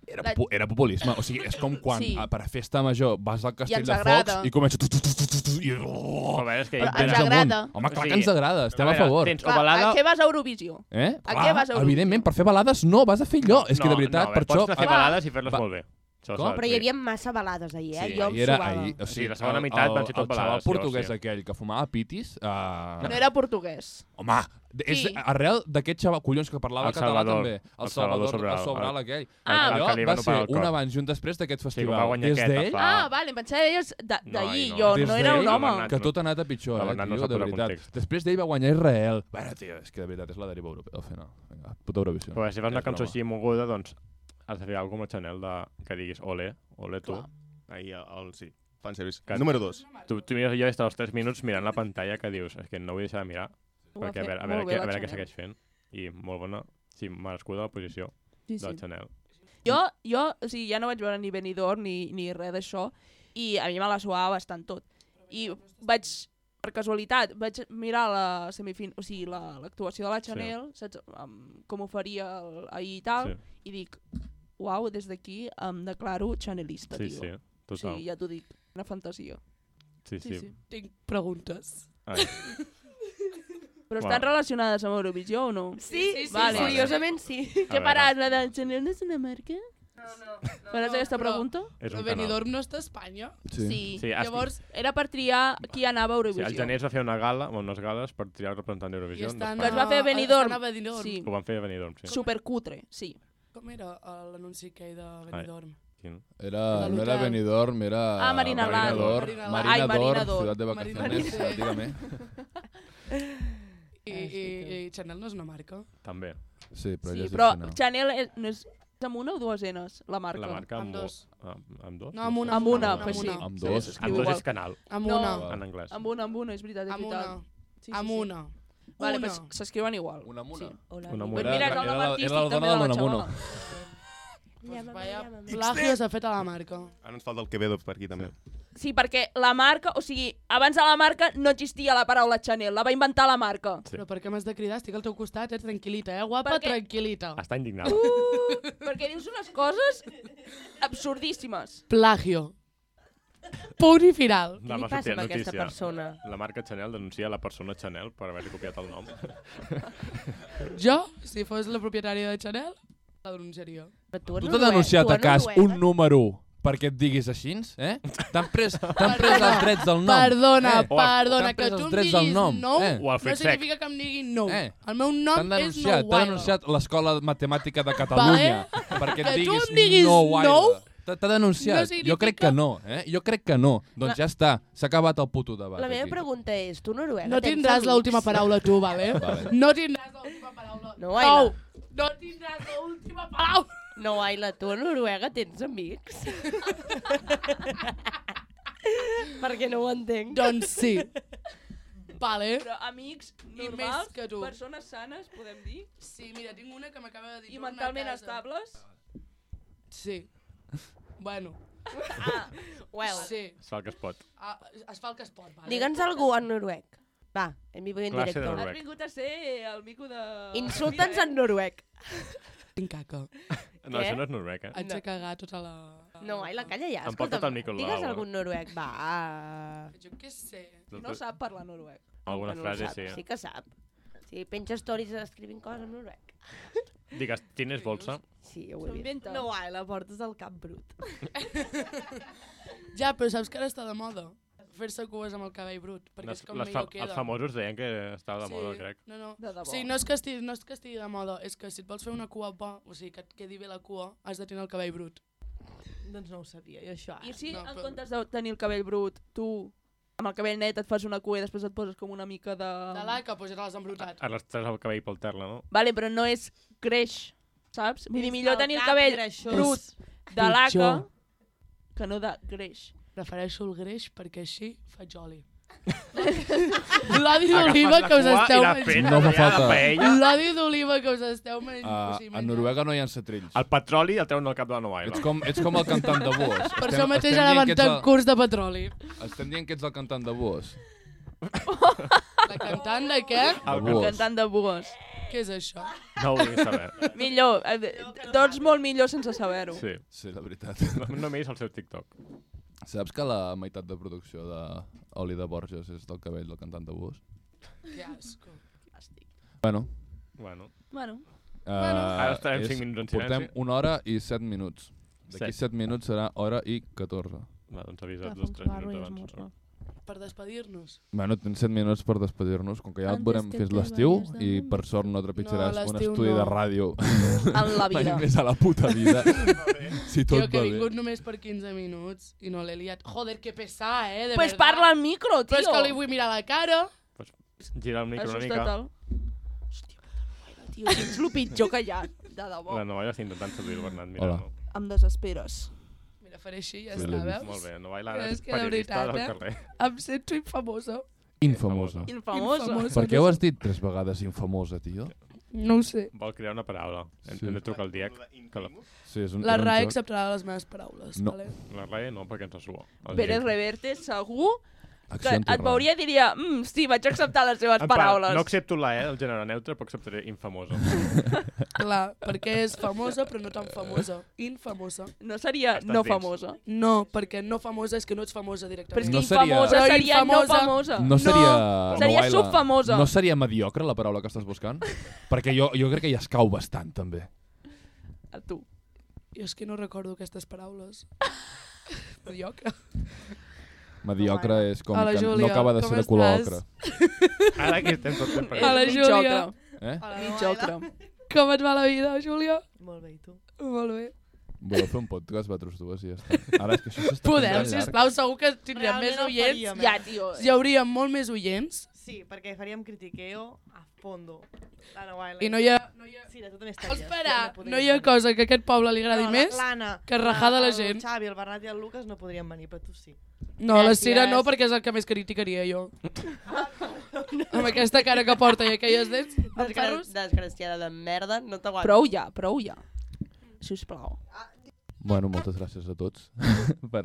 [SPEAKER 1] era,
[SPEAKER 7] La-
[SPEAKER 1] pu- era populisme. O sigui, és
[SPEAKER 7] *laughs*
[SPEAKER 1] com quan
[SPEAKER 7] Sí.
[SPEAKER 1] a, per a festa major vas al castell
[SPEAKER 7] ens
[SPEAKER 1] de
[SPEAKER 7] agrada.
[SPEAKER 1] Focs i comença... Tu, tu, tu, tu, tu, tu, i... Oh,
[SPEAKER 2] a veure, és que...
[SPEAKER 7] Però
[SPEAKER 2] tens-
[SPEAKER 7] ens agrada.
[SPEAKER 1] Home, clar
[SPEAKER 2] O
[SPEAKER 1] que
[SPEAKER 2] sigui,
[SPEAKER 1] ens agrada, estem a
[SPEAKER 2] veure,
[SPEAKER 1] favor.
[SPEAKER 2] Tens o
[SPEAKER 7] Clar,
[SPEAKER 2] balada...
[SPEAKER 7] a què vas a Eurovisió?
[SPEAKER 1] Eh?
[SPEAKER 7] A
[SPEAKER 1] Clar,
[SPEAKER 7] què vas a Eurovisió?
[SPEAKER 1] Evidentment, per fer balades no vas a fer allò. és que de veritat,
[SPEAKER 2] no,
[SPEAKER 1] per això... Ah,
[SPEAKER 2] Pots fer balades i fer-les
[SPEAKER 1] Va.
[SPEAKER 2] molt bé. Això
[SPEAKER 1] Com?
[SPEAKER 2] s'ha de
[SPEAKER 4] Però hi
[SPEAKER 2] dir.
[SPEAKER 4] havia massa balades ahir, eh?
[SPEAKER 2] Sí,
[SPEAKER 4] jo em
[SPEAKER 1] Ahir era,
[SPEAKER 4] suava.
[SPEAKER 1] ahir, o
[SPEAKER 2] Sí,
[SPEAKER 1] sigui,
[SPEAKER 2] la segona
[SPEAKER 1] el-
[SPEAKER 2] meitat
[SPEAKER 1] el,
[SPEAKER 2] van ser
[SPEAKER 1] el
[SPEAKER 2] tot
[SPEAKER 1] xaval
[SPEAKER 2] balades, sí,
[SPEAKER 1] portuguès
[SPEAKER 2] hòstia.
[SPEAKER 1] aquell que fumava pitis... Uh...
[SPEAKER 7] No era portuguès.
[SPEAKER 1] Home, d- és
[SPEAKER 7] Qui?
[SPEAKER 1] arrel d'aquest xaval, collons, que parlava
[SPEAKER 2] El
[SPEAKER 1] català
[SPEAKER 2] Salvador.
[SPEAKER 1] també.
[SPEAKER 2] El Salvador Sobral.
[SPEAKER 1] el Sobral aquell.
[SPEAKER 7] Ah.
[SPEAKER 1] Allò
[SPEAKER 2] El que li
[SPEAKER 1] va
[SPEAKER 2] van
[SPEAKER 1] ser
[SPEAKER 2] opar el
[SPEAKER 1] un
[SPEAKER 2] cor.
[SPEAKER 1] abans i un després d'aquest
[SPEAKER 2] Sí, que ho
[SPEAKER 1] festival.
[SPEAKER 2] va guanyar
[SPEAKER 1] Des
[SPEAKER 2] aquest.
[SPEAKER 1] d'ell,
[SPEAKER 2] fa-
[SPEAKER 7] Ah, vale, em pensava que deies de- d'ahir.
[SPEAKER 2] no,
[SPEAKER 7] Jo
[SPEAKER 1] des
[SPEAKER 7] no era
[SPEAKER 1] d'ell,
[SPEAKER 7] un home.
[SPEAKER 2] Bernat.
[SPEAKER 1] que tot ha anat a pitjor,
[SPEAKER 2] La
[SPEAKER 1] eh,
[SPEAKER 2] Bernat no
[SPEAKER 1] tio,
[SPEAKER 2] sap
[SPEAKER 1] de
[SPEAKER 2] el
[SPEAKER 1] veritat.
[SPEAKER 2] context.
[SPEAKER 1] Després d'ell va guanyar Israel. Bueno, tio, és que de veritat és la deriva europea. Al final, vinga, puta Eurovisió.
[SPEAKER 2] Però si fas una
[SPEAKER 1] És
[SPEAKER 2] cançó
[SPEAKER 1] broma.
[SPEAKER 2] així moguda, doncs has de fer alguna cosa amb la Chanel de... que diguis ole, ole tu.
[SPEAKER 6] Clar. Ahir, el, el, sí. Fanservice.
[SPEAKER 2] Cat-
[SPEAKER 6] Número 2.
[SPEAKER 2] Tu, tu mires allò i estàs els 3 minuts mirant la pantalla que dius, és que no vull deixar de mirar,
[SPEAKER 7] Ho va
[SPEAKER 2] perquè a
[SPEAKER 7] fer
[SPEAKER 2] veure, a
[SPEAKER 7] molt
[SPEAKER 2] veure,
[SPEAKER 7] bé
[SPEAKER 2] què,
[SPEAKER 7] la
[SPEAKER 2] a veure
[SPEAKER 7] Chanel.
[SPEAKER 2] què segueix fent. I molt bona, sí, merescuda la posició
[SPEAKER 7] Sí,
[SPEAKER 2] de
[SPEAKER 7] sí.
[SPEAKER 2] la Chanel.
[SPEAKER 7] Jo, jo o sigui, ja no vaig veure ni Benidorm ni, ni res d'això i a mi me la suava bastant tot. I vaig, per casualitat, vaig mirar la semifin... o sigui, la- l'actuació la, de la Chanel, sí. saps, um, com ho faria el, ahir i tal,
[SPEAKER 2] Sí.
[SPEAKER 7] sí. i dic,
[SPEAKER 3] uau, des d'aquí em declaro chanelista,
[SPEAKER 2] Sí,
[SPEAKER 3] tio.
[SPEAKER 2] sí, total.
[SPEAKER 3] sí, ja t'ho dic, una fantasia.
[SPEAKER 2] Sí, sí.
[SPEAKER 3] sí.
[SPEAKER 9] Tinc preguntes.
[SPEAKER 2] Ai,
[SPEAKER 3] Però
[SPEAKER 2] Uau.
[SPEAKER 3] estan relacionades amb Eurovisió o no?
[SPEAKER 4] Sí, sí, sí,
[SPEAKER 3] Vale.
[SPEAKER 4] curiosament sí.
[SPEAKER 2] a
[SPEAKER 3] Què
[SPEAKER 2] veure,
[SPEAKER 3] parat, la de Chanel és una marca? No, no. Faràs
[SPEAKER 9] no,
[SPEAKER 3] aquesta
[SPEAKER 9] però-
[SPEAKER 3] pregunta?
[SPEAKER 2] És
[SPEAKER 9] Però
[SPEAKER 2] un canal.
[SPEAKER 9] Benidorm no està a Espanya.
[SPEAKER 2] Sí, has-
[SPEAKER 9] Llavors,
[SPEAKER 3] Era per triar qui anava a
[SPEAKER 2] sí,
[SPEAKER 3] Eurovisió.
[SPEAKER 2] el gener es va fer una gala, bueno, unes gales, per triar el representant
[SPEAKER 9] i
[SPEAKER 2] d'Eurovisió.
[SPEAKER 9] estan
[SPEAKER 3] Que
[SPEAKER 2] d'Espanya.
[SPEAKER 3] es va fer a Benidorm.
[SPEAKER 9] Estan a Benidorm.
[SPEAKER 3] Sí.
[SPEAKER 2] Ho van fer a Benidorm, sí.
[SPEAKER 3] Supercutre, sí.
[SPEAKER 9] Com era eh, l'anunci que hi de Benidorm?
[SPEAKER 2] Quin-
[SPEAKER 1] Era,
[SPEAKER 9] De
[SPEAKER 1] no era
[SPEAKER 9] l'hotel.
[SPEAKER 1] Benidorm, era...
[SPEAKER 3] Ah, Marina
[SPEAKER 2] Land.
[SPEAKER 1] Marinador,
[SPEAKER 9] Marina Land.
[SPEAKER 3] Ai, Marina
[SPEAKER 1] Marinador,
[SPEAKER 3] d'Or.
[SPEAKER 1] ciutat de
[SPEAKER 9] Marina
[SPEAKER 1] vacaciones,
[SPEAKER 9] d'Or.
[SPEAKER 1] eh, dígame.
[SPEAKER 9] I, i, I Chanel no és una marca.
[SPEAKER 2] També.
[SPEAKER 1] Sí, però
[SPEAKER 3] sí,
[SPEAKER 1] ella és
[SPEAKER 3] però
[SPEAKER 1] opcional.
[SPEAKER 3] Chanel és, no és, és amb una o dues enes, la marca?
[SPEAKER 2] La marca
[SPEAKER 9] Amb
[SPEAKER 2] amb, amb,
[SPEAKER 9] dos.
[SPEAKER 2] amb, amb dos?
[SPEAKER 9] No, amb una.
[SPEAKER 3] Amb una,
[SPEAKER 1] Amb
[SPEAKER 3] pues sí.
[SPEAKER 9] una.
[SPEAKER 1] Amb
[SPEAKER 3] Sí,
[SPEAKER 1] dos.
[SPEAKER 3] s'escriu
[SPEAKER 2] Amb dos
[SPEAKER 3] igual.
[SPEAKER 2] és canal,
[SPEAKER 9] Amb
[SPEAKER 3] No.
[SPEAKER 9] una.
[SPEAKER 2] en anglès.
[SPEAKER 3] Amb una, amb una, és veritat, és
[SPEAKER 9] Amb
[SPEAKER 3] veritat.
[SPEAKER 9] una.
[SPEAKER 3] Sí, sí,
[SPEAKER 9] Amb
[SPEAKER 3] sí.
[SPEAKER 9] una.
[SPEAKER 3] Vale,
[SPEAKER 9] Una.
[SPEAKER 3] pues s'escriuen igual.
[SPEAKER 1] Una mona.
[SPEAKER 3] Sí.
[SPEAKER 4] Hola,
[SPEAKER 2] Una
[SPEAKER 3] Pues
[SPEAKER 2] mura.
[SPEAKER 3] mira, és el nom artístic també de la xavala.
[SPEAKER 9] Pues vaya plagio s'ha fet a la marca.
[SPEAKER 6] Ara ens falta el Quevedo per aquí també.
[SPEAKER 3] Sí, perquè la marca, o sigui, abans de la marca no existia la paraula Chanel, la va inventar la
[SPEAKER 9] *laughs*
[SPEAKER 3] marca.
[SPEAKER 2] Sí.
[SPEAKER 9] Però per què m'has de cridar? Estic al teu costat, ets tranquil·lita, eh? Guapa,
[SPEAKER 3] Perquè-
[SPEAKER 9] tranquil·lita.
[SPEAKER 2] Està indignat.
[SPEAKER 3] perquè dius unes coses absurdíssimes.
[SPEAKER 9] Plagio. Punt i final.
[SPEAKER 2] Demà
[SPEAKER 4] Què li passa
[SPEAKER 2] sortirà
[SPEAKER 4] amb aquesta
[SPEAKER 2] notícia.
[SPEAKER 4] persona?
[SPEAKER 2] La marca Chanel denuncia la persona Chanel per haver-li copiat el nom.
[SPEAKER 9] Jo, si fos la propietària de Chanel, la denunciaria.
[SPEAKER 4] Però
[SPEAKER 1] Tu t'ha denunciat a cas un número perquè et diguis així, eh? T'han pres,
[SPEAKER 3] *laughs*
[SPEAKER 1] t'han pres els drets del nom.
[SPEAKER 9] Perdona,
[SPEAKER 1] eh?
[SPEAKER 9] eh, perdona,
[SPEAKER 1] T'han
[SPEAKER 9] que
[SPEAKER 1] pres
[SPEAKER 9] tu
[SPEAKER 1] els
[SPEAKER 9] em
[SPEAKER 1] drets del
[SPEAKER 9] diguis
[SPEAKER 1] nom,
[SPEAKER 9] nou
[SPEAKER 1] eh?
[SPEAKER 2] O el
[SPEAKER 9] no
[SPEAKER 2] fet sec.
[SPEAKER 9] significa que em diguin nou.
[SPEAKER 1] Eh.
[SPEAKER 9] El meu
[SPEAKER 1] T'han
[SPEAKER 9] nom és nou
[SPEAKER 1] denunciat, t'ha denunciat l'Escola de Matemàtica de Catalunya perquè
[SPEAKER 9] eh? Que
[SPEAKER 1] et
[SPEAKER 9] tu
[SPEAKER 1] diguis,
[SPEAKER 9] em diguis
[SPEAKER 1] no,
[SPEAKER 9] nou
[SPEAKER 1] Wilder. T'ha t'ha denunciat.
[SPEAKER 9] no significa-
[SPEAKER 1] Jo crec que no, eh? Jo crec que no. Doncs ja està, s'ha acabat el puto debat.
[SPEAKER 4] La meva
[SPEAKER 1] aquí.
[SPEAKER 4] pregunta és, tu Noruega
[SPEAKER 9] No
[SPEAKER 4] tens
[SPEAKER 9] tindràs
[SPEAKER 4] amics?
[SPEAKER 9] l'última paraula tu,
[SPEAKER 1] *laughs*
[SPEAKER 9] vale?
[SPEAKER 1] Vale.
[SPEAKER 9] No tindràs l'última paraula.
[SPEAKER 4] No, Aina.
[SPEAKER 9] No tindràs l'última paraula.
[SPEAKER 4] No, Aila, tu a Noruega tens amics?
[SPEAKER 2] *laughs*
[SPEAKER 4] Perquè no ho entenc.
[SPEAKER 9] doncs sí. Vale.
[SPEAKER 3] Però amics
[SPEAKER 9] I
[SPEAKER 3] normals,
[SPEAKER 9] més que tu.
[SPEAKER 3] persones sanes, podem dir,
[SPEAKER 9] Sí, mira, tinc una que m'acaba de dir.
[SPEAKER 3] i mentalment estables.
[SPEAKER 9] Sí. Bueno,
[SPEAKER 4] Well,
[SPEAKER 9] sí.
[SPEAKER 2] Es fa el que es pot.
[SPEAKER 9] Ah, es fa el que es pot, vale?
[SPEAKER 4] digue'ns algú en noruec. Va, en vivo i en
[SPEAKER 2] Classe de
[SPEAKER 4] directe.
[SPEAKER 2] noruec.
[SPEAKER 3] Has vingut a ser el mico de...
[SPEAKER 4] Insulta'ns en noruec.
[SPEAKER 9] Tinc caca.
[SPEAKER 2] No,
[SPEAKER 4] Què?
[SPEAKER 2] això no és noruec, eh?
[SPEAKER 9] Haig de cagar tota la...
[SPEAKER 4] No, Aila, calla ja.
[SPEAKER 2] Em
[SPEAKER 4] Escolta'm,
[SPEAKER 2] porta't el Nicolau,
[SPEAKER 4] digues
[SPEAKER 2] eh?
[SPEAKER 4] algun noruec, va.
[SPEAKER 9] Jo què sé.
[SPEAKER 3] No sap parlar noruec.
[SPEAKER 2] Alguna
[SPEAKER 4] Que no ho
[SPEAKER 2] frase,
[SPEAKER 4] sap,
[SPEAKER 2] sí.
[SPEAKER 4] Sí que sap. Sí, penja stories escrivint coses en noruec.
[SPEAKER 2] Digues, tines bolsa?
[SPEAKER 4] Sí, ho
[SPEAKER 3] S'ho
[SPEAKER 4] he vist.
[SPEAKER 3] inventa.
[SPEAKER 10] No, ai, la portes al cap brut.
[SPEAKER 9] Ja, però saps que ara està de moda? Fer-se cues amb el cabell brut, perquè
[SPEAKER 2] Les,
[SPEAKER 9] és com
[SPEAKER 2] les fa
[SPEAKER 9] millor queda.
[SPEAKER 2] els famosos deien que estava de moda, crec.
[SPEAKER 9] No, no.
[SPEAKER 3] De debò.
[SPEAKER 9] Sí, no és, que estigui, no és que estigui de moda, és que si et vols fer una cua bo, o sigui, que et quedi bé la cua, has de tenir el cabell brut.
[SPEAKER 10] Doncs no ho sabia, jo això.
[SPEAKER 3] I
[SPEAKER 10] Ara.
[SPEAKER 3] si
[SPEAKER 9] No,
[SPEAKER 3] en
[SPEAKER 9] però-
[SPEAKER 3] comptes de tenir el cabell brut, tu amb el cabell net et fas una cua i després et poses com una mica de...
[SPEAKER 9] De laca, doncs ja te l'has embrutat.
[SPEAKER 2] Ara estàs el cabell pel terra, no?
[SPEAKER 3] Vale, però no és creix, saps? Vull dir,
[SPEAKER 10] És
[SPEAKER 3] millor
[SPEAKER 10] el
[SPEAKER 3] tenir el
[SPEAKER 10] cap
[SPEAKER 3] cabell
[SPEAKER 10] greixós.
[SPEAKER 3] brut de laca
[SPEAKER 9] pitjor.
[SPEAKER 3] que no de greix.
[SPEAKER 9] Prefereixo el greix perquè així faig oli. L'oli d'oliva
[SPEAKER 2] Agafes
[SPEAKER 9] que us
[SPEAKER 2] la cua i
[SPEAKER 9] esteu
[SPEAKER 2] la
[SPEAKER 9] menjant.
[SPEAKER 2] penes
[SPEAKER 1] No fa
[SPEAKER 2] allà a la
[SPEAKER 1] falta.
[SPEAKER 2] paella.
[SPEAKER 9] L'oli d'oliva que us esteu menjant.
[SPEAKER 1] Ah, a Noruega no hi ha setrills.
[SPEAKER 2] El petroli el treuen del cap de la Nova
[SPEAKER 1] Ets
[SPEAKER 2] Isla.
[SPEAKER 1] com, ets com el cantant de Boas.
[SPEAKER 9] Per
[SPEAKER 1] Estem-
[SPEAKER 9] això mateix
[SPEAKER 1] estem
[SPEAKER 9] ara
[SPEAKER 1] dient
[SPEAKER 9] van
[SPEAKER 1] que ets
[SPEAKER 9] tant curs de petroli.
[SPEAKER 1] el, estem dient que ets el cantant de Boas.
[SPEAKER 9] La cantant de què?
[SPEAKER 1] De
[SPEAKER 2] El
[SPEAKER 1] Boas.
[SPEAKER 3] Cantant de bugues.
[SPEAKER 9] Què és això?
[SPEAKER 2] No ho vull saber.
[SPEAKER 3] Millor, eh, tots molt millor sense saber-ho.
[SPEAKER 2] Sí.
[SPEAKER 1] Sí, la veritat.
[SPEAKER 2] No, no miris el seu TikTok.
[SPEAKER 1] Saps que la meitat de producció d'Oli de Borges és del cabell del cantant de Boas?
[SPEAKER 9] Que asco.
[SPEAKER 1] Bueno,
[SPEAKER 2] Bueno,
[SPEAKER 3] Bueno,
[SPEAKER 1] Uh,
[SPEAKER 2] Ara estarem cinc minuts en silenci.
[SPEAKER 1] Portem una hora i set minuts. D'aquí
[SPEAKER 2] Set.
[SPEAKER 1] set minuts serà hora i 14.
[SPEAKER 2] va, doncs avisa't dos tres minuts abans. no?
[SPEAKER 9] Per despedir-nos.
[SPEAKER 1] Bueno, tens set minuts per despedir-nos, com que ja et
[SPEAKER 7] Antes
[SPEAKER 1] veurem
[SPEAKER 7] que
[SPEAKER 1] fins
[SPEAKER 7] te
[SPEAKER 1] l'estiu
[SPEAKER 7] vayas
[SPEAKER 1] i
[SPEAKER 7] dando
[SPEAKER 1] per sort no trepitjaràs
[SPEAKER 9] No, a
[SPEAKER 1] un
[SPEAKER 9] l'estiu
[SPEAKER 1] estudi
[SPEAKER 9] no.
[SPEAKER 1] de ràdio
[SPEAKER 3] en la
[SPEAKER 1] mai
[SPEAKER 3] vida.
[SPEAKER 1] més a la puta vida, si tot
[SPEAKER 9] Tot jo que
[SPEAKER 1] va
[SPEAKER 9] he
[SPEAKER 1] bé.
[SPEAKER 9] vingut només per 15 minuts i no l'he liat. Joder, que pesar, eh? De
[SPEAKER 3] Pues
[SPEAKER 9] verdad.
[SPEAKER 3] parla al micro, tio.
[SPEAKER 9] Però és que li vull mirar la cara.
[SPEAKER 2] Gira el micro una mica.
[SPEAKER 3] el... Hòstia, puta noia, tio, ets el pitjor que hi ha, de debò.
[SPEAKER 2] La Nova Isla està intentant seduir el Bernat.
[SPEAKER 1] Hola.
[SPEAKER 2] Mira, no.
[SPEAKER 3] Em desesperes.
[SPEAKER 9] Mira, faré així, ja
[SPEAKER 1] Sí,
[SPEAKER 9] està,
[SPEAKER 1] l'he vist.
[SPEAKER 9] veus?
[SPEAKER 2] Molt bé, Nova Isla
[SPEAKER 9] Però
[SPEAKER 2] és
[SPEAKER 9] és que de
[SPEAKER 2] periodista del
[SPEAKER 9] veritat, eh?
[SPEAKER 2] carrer.
[SPEAKER 9] Em sento infamosa.
[SPEAKER 1] Infamosa.
[SPEAKER 3] Infamosa.
[SPEAKER 9] Infamosa.
[SPEAKER 1] Per què ho has dit tres vegades infamosa, tio?
[SPEAKER 9] No ho sé.
[SPEAKER 2] Vol crear una paraula. Hem,
[SPEAKER 1] Sí.
[SPEAKER 2] hem de trucar al DIEC. Que la,
[SPEAKER 1] Sí, és un,
[SPEAKER 9] La
[SPEAKER 1] era un
[SPEAKER 9] RAE
[SPEAKER 1] joc.
[SPEAKER 9] acceptarà les meves paraules,
[SPEAKER 1] No.
[SPEAKER 9] vale?
[SPEAKER 2] la RAE no, perquè ens la sua. El
[SPEAKER 3] Pérez
[SPEAKER 2] DIEC.
[SPEAKER 3] Reverte, segur que et veuria i diria, mm, sí, vaig acceptar les seves
[SPEAKER 2] En plan,
[SPEAKER 3] paraules.
[SPEAKER 2] No accepto la E, el gènere neutre, però acceptaré
[SPEAKER 9] *laughs*
[SPEAKER 2] infamosa.
[SPEAKER 9] Clar, perquè és famosa però no tan famosa. Infamosa.
[SPEAKER 3] no seria
[SPEAKER 2] Estàs
[SPEAKER 3] no
[SPEAKER 2] dins.
[SPEAKER 3] famosa.
[SPEAKER 9] No, perquè no famosa és que no ets famosa
[SPEAKER 3] Però és
[SPEAKER 9] directament.
[SPEAKER 3] que
[SPEAKER 1] No seria-
[SPEAKER 3] infamosa
[SPEAKER 9] Però
[SPEAKER 3] seria no
[SPEAKER 9] infamosa-
[SPEAKER 3] famosa.
[SPEAKER 1] No seria...
[SPEAKER 3] No, seria
[SPEAKER 1] Noelia,
[SPEAKER 3] subfamosa.
[SPEAKER 1] No seria mediocre la paraula que estàs buscant? Perquè jo, jo crec que ja es cau bastant, també.
[SPEAKER 3] A tu.
[SPEAKER 9] Jo és que no recordo aquestes *laughs* paraules. Mediocre.
[SPEAKER 1] Mediocre és com
[SPEAKER 9] Hola,
[SPEAKER 1] que
[SPEAKER 9] Júlia,
[SPEAKER 1] no acaba de
[SPEAKER 9] com
[SPEAKER 1] ser de color
[SPEAKER 9] estàs?
[SPEAKER 1] ocre.
[SPEAKER 2] Ara que estem tots fent per
[SPEAKER 9] Hola,
[SPEAKER 3] És mig
[SPEAKER 9] Júlia.
[SPEAKER 3] ocre,
[SPEAKER 1] Eh?
[SPEAKER 3] mig ocre.
[SPEAKER 9] Com et va la vida, Júlia?
[SPEAKER 10] Molt bé, i tu?
[SPEAKER 9] Molt bé.
[SPEAKER 1] Voleu fer un podcast, vosaltres dues, i ja està. Ara és que això s'està fent
[SPEAKER 9] Podem,
[SPEAKER 1] tan llarg.
[SPEAKER 9] sisplau, segur que tindrem
[SPEAKER 10] Realment
[SPEAKER 9] més
[SPEAKER 10] el
[SPEAKER 9] oients.
[SPEAKER 10] faríem, eh?
[SPEAKER 3] Ja, tio.
[SPEAKER 9] Hi hauria molt més oients
[SPEAKER 10] Sí, perquè faríem critiqueo a fondo. L'Anna Wiley.
[SPEAKER 9] i no hi ha... No hi ha...
[SPEAKER 10] Sí, tu també estaries.
[SPEAKER 9] Espera, no hi ha cosa que a aquest poble li agradi més.
[SPEAKER 10] l'Anna,
[SPEAKER 9] que rajar de la gent.
[SPEAKER 10] El Xavi, el Bernat i el Lucas no podrien venir, però tu sí.
[SPEAKER 9] No, la Cira
[SPEAKER 10] Gràcies.
[SPEAKER 9] no, perquè és el que més criticaria jo. Amb aquesta cara que porta i aquelles dents, els
[SPEAKER 4] Desgra
[SPEAKER 9] carros...
[SPEAKER 4] desgraciada de merda, no t'aguanto.
[SPEAKER 3] Prou ja, prou ja. Sisplau.
[SPEAKER 1] Bueno, moltes gràcies a tots *laughs* per,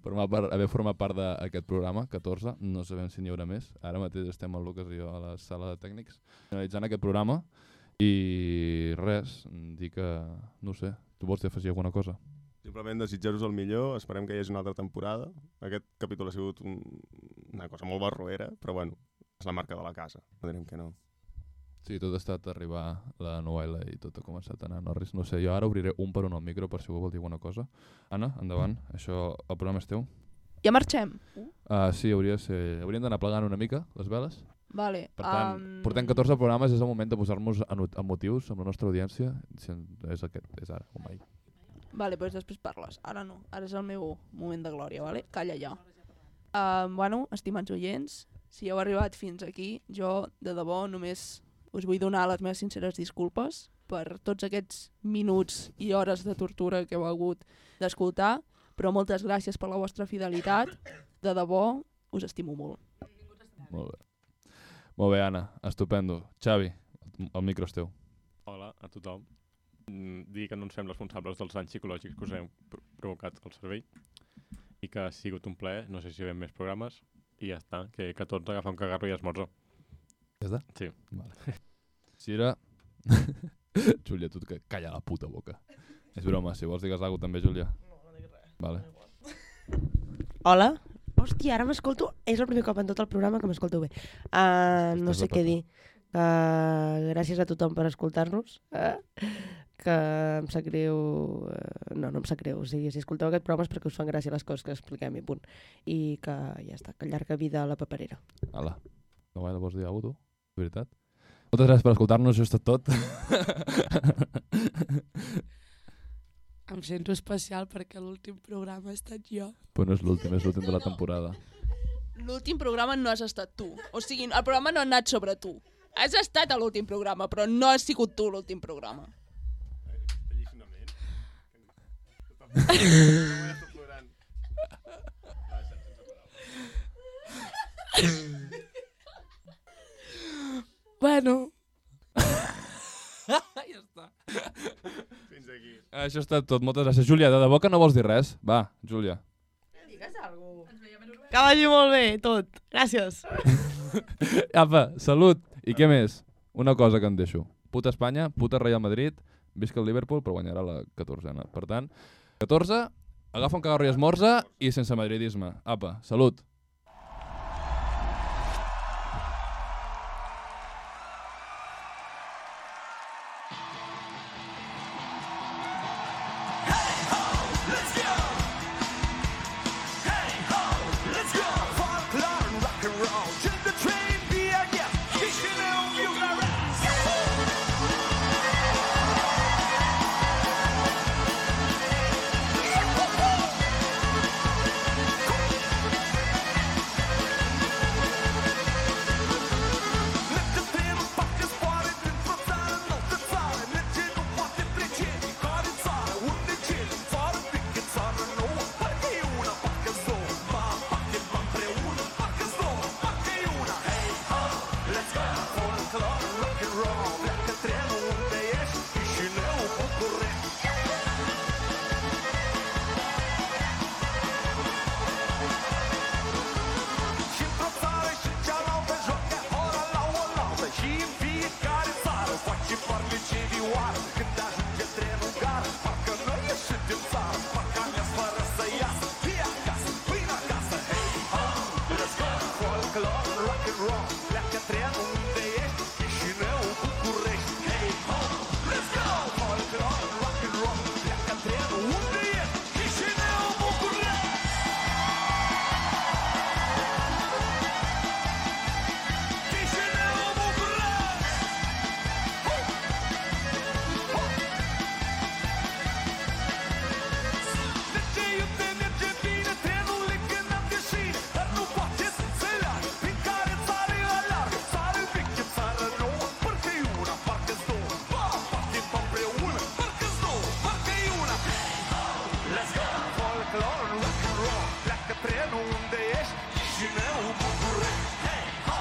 [SPEAKER 1] formar part, haver format part d'aquest programa, 14. No sabem si n'hi haurà més. Ara mateix estem el Lucas i jo a la sala de tècnics analitzant aquest programa i res, dir que, no ho sé, tu vols afegir alguna cosa?
[SPEAKER 6] Simplement desitjar-vos el millor, esperem que hi hagi una altra temporada. Aquest capítol ha sigut un, una cosa molt barroera, però bueno, és la marca de la casa, no direm que no.
[SPEAKER 1] Sí, tot ha estat arribar la novel·la i tot ha començat a anar a Norris. No sé, jo ara obriré un per un al micro per si algú vol dir alguna cosa. Anna, endavant, això, el programa és teu.
[SPEAKER 3] Ja marxem.
[SPEAKER 1] Uh, sí, hauria de ser... hauríem d'anar plegant una mica les veles.
[SPEAKER 3] Vale.
[SPEAKER 1] Per tant, um...
[SPEAKER 3] em,
[SPEAKER 1] portem 14 programes, és el moment de posar-nos motius amb la nostra audiència. Si en- És aquest, és ara, o mai.
[SPEAKER 3] Vale, doncs després parles. Ara no, ara és el meu moment de glòria, vale? Calla ja. Um, bueno, estimats oients, si heu arribat fins aquí, jo de debò només us vull donar les meves sinceres disculpes per tots aquests minuts i hores de tortura que heu hagut d'escoltar, però moltes gràcies per la vostra fidelitat. De debò, us estimo molt.
[SPEAKER 1] Molt bé. Molt bé, Anna, estupendo. Xavi, el micro és teu.
[SPEAKER 2] Hola a tothom. Mm, Dir que no ens fem responsables dels danys psicològics que us hem pr- provocat al cervell i que ha sigut un plaer, no sé si hi haurà més programes, i ja està, que 14 agafa un cagarro i esmorza.
[SPEAKER 1] Ja està?
[SPEAKER 2] Sí.
[SPEAKER 1] Vale. Si era... *laughs* Júlia, tu que calla la puta boca. És broma, si vols digues alguna cosa també, Júlia. No, no dic res. Vale.
[SPEAKER 4] Hola. Hòstia, ara m'escolto... És el primer cop en tot el programa que m'escolto bé. Uh, no
[SPEAKER 1] Estàs
[SPEAKER 4] sé
[SPEAKER 1] de
[SPEAKER 4] què
[SPEAKER 1] papa.
[SPEAKER 4] dir. Uh, gràcies a tothom per escoltar-nos. Uh, que em sap greu... Uh, no, no em sap greu. O sigui, si escolteu aquest programa és perquè us fan gràcia les coses que expliquem i punt. I que ja està, que llarga vida a la paperera.
[SPEAKER 1] Hola. No, vale, vols dir alguna cosa, tu? De veritat? Moltes gràcies per escoltar-nos, això és tot *laughs* tot.
[SPEAKER 9] Em sento especial perquè l'últim programa he estat jo.
[SPEAKER 1] Però no és l'últim, és l'últim de la temporada.
[SPEAKER 7] L'últim programa no has estat tu. O sigui, el programa no ha anat sobre tu. Has estat a l'últim programa, però no has sigut tu l'últim programa.
[SPEAKER 9] Bueno,
[SPEAKER 1] Això ha estat tot, moltes gràcies. Júlia, de debò que no vols dir res? Va, Júlia.
[SPEAKER 5] Que vagi molt bé, tot. Gràcies.
[SPEAKER 1] Apa, salut. I
[SPEAKER 11] Eh.
[SPEAKER 1] què més? Una cosa que em deixo. Puta Espanya, puta Real Madrid, visca el Liverpool, però guanyarà la 14 Per tant, 14, agafa un cagarro i esmorza i sense madridisme. Apa, salut.
[SPEAKER 11] Hey ho, let's go! Folklore and rock and roll, till the train be a yes. Kicking on you,
[SPEAKER 12] rock and rock and roll, la que pren un d'ells i si aneu un popurrí. Hey, ho,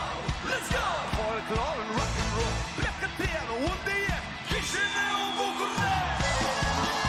[SPEAKER 12] let's go! Folklore and rock and roll, la que pren un d'ells i si aneu un popurrí.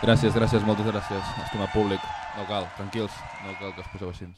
[SPEAKER 11] Gràcies, gràcies, moltes gràcies, estimat públic. No cal, tranquils, no cal que us poseu així.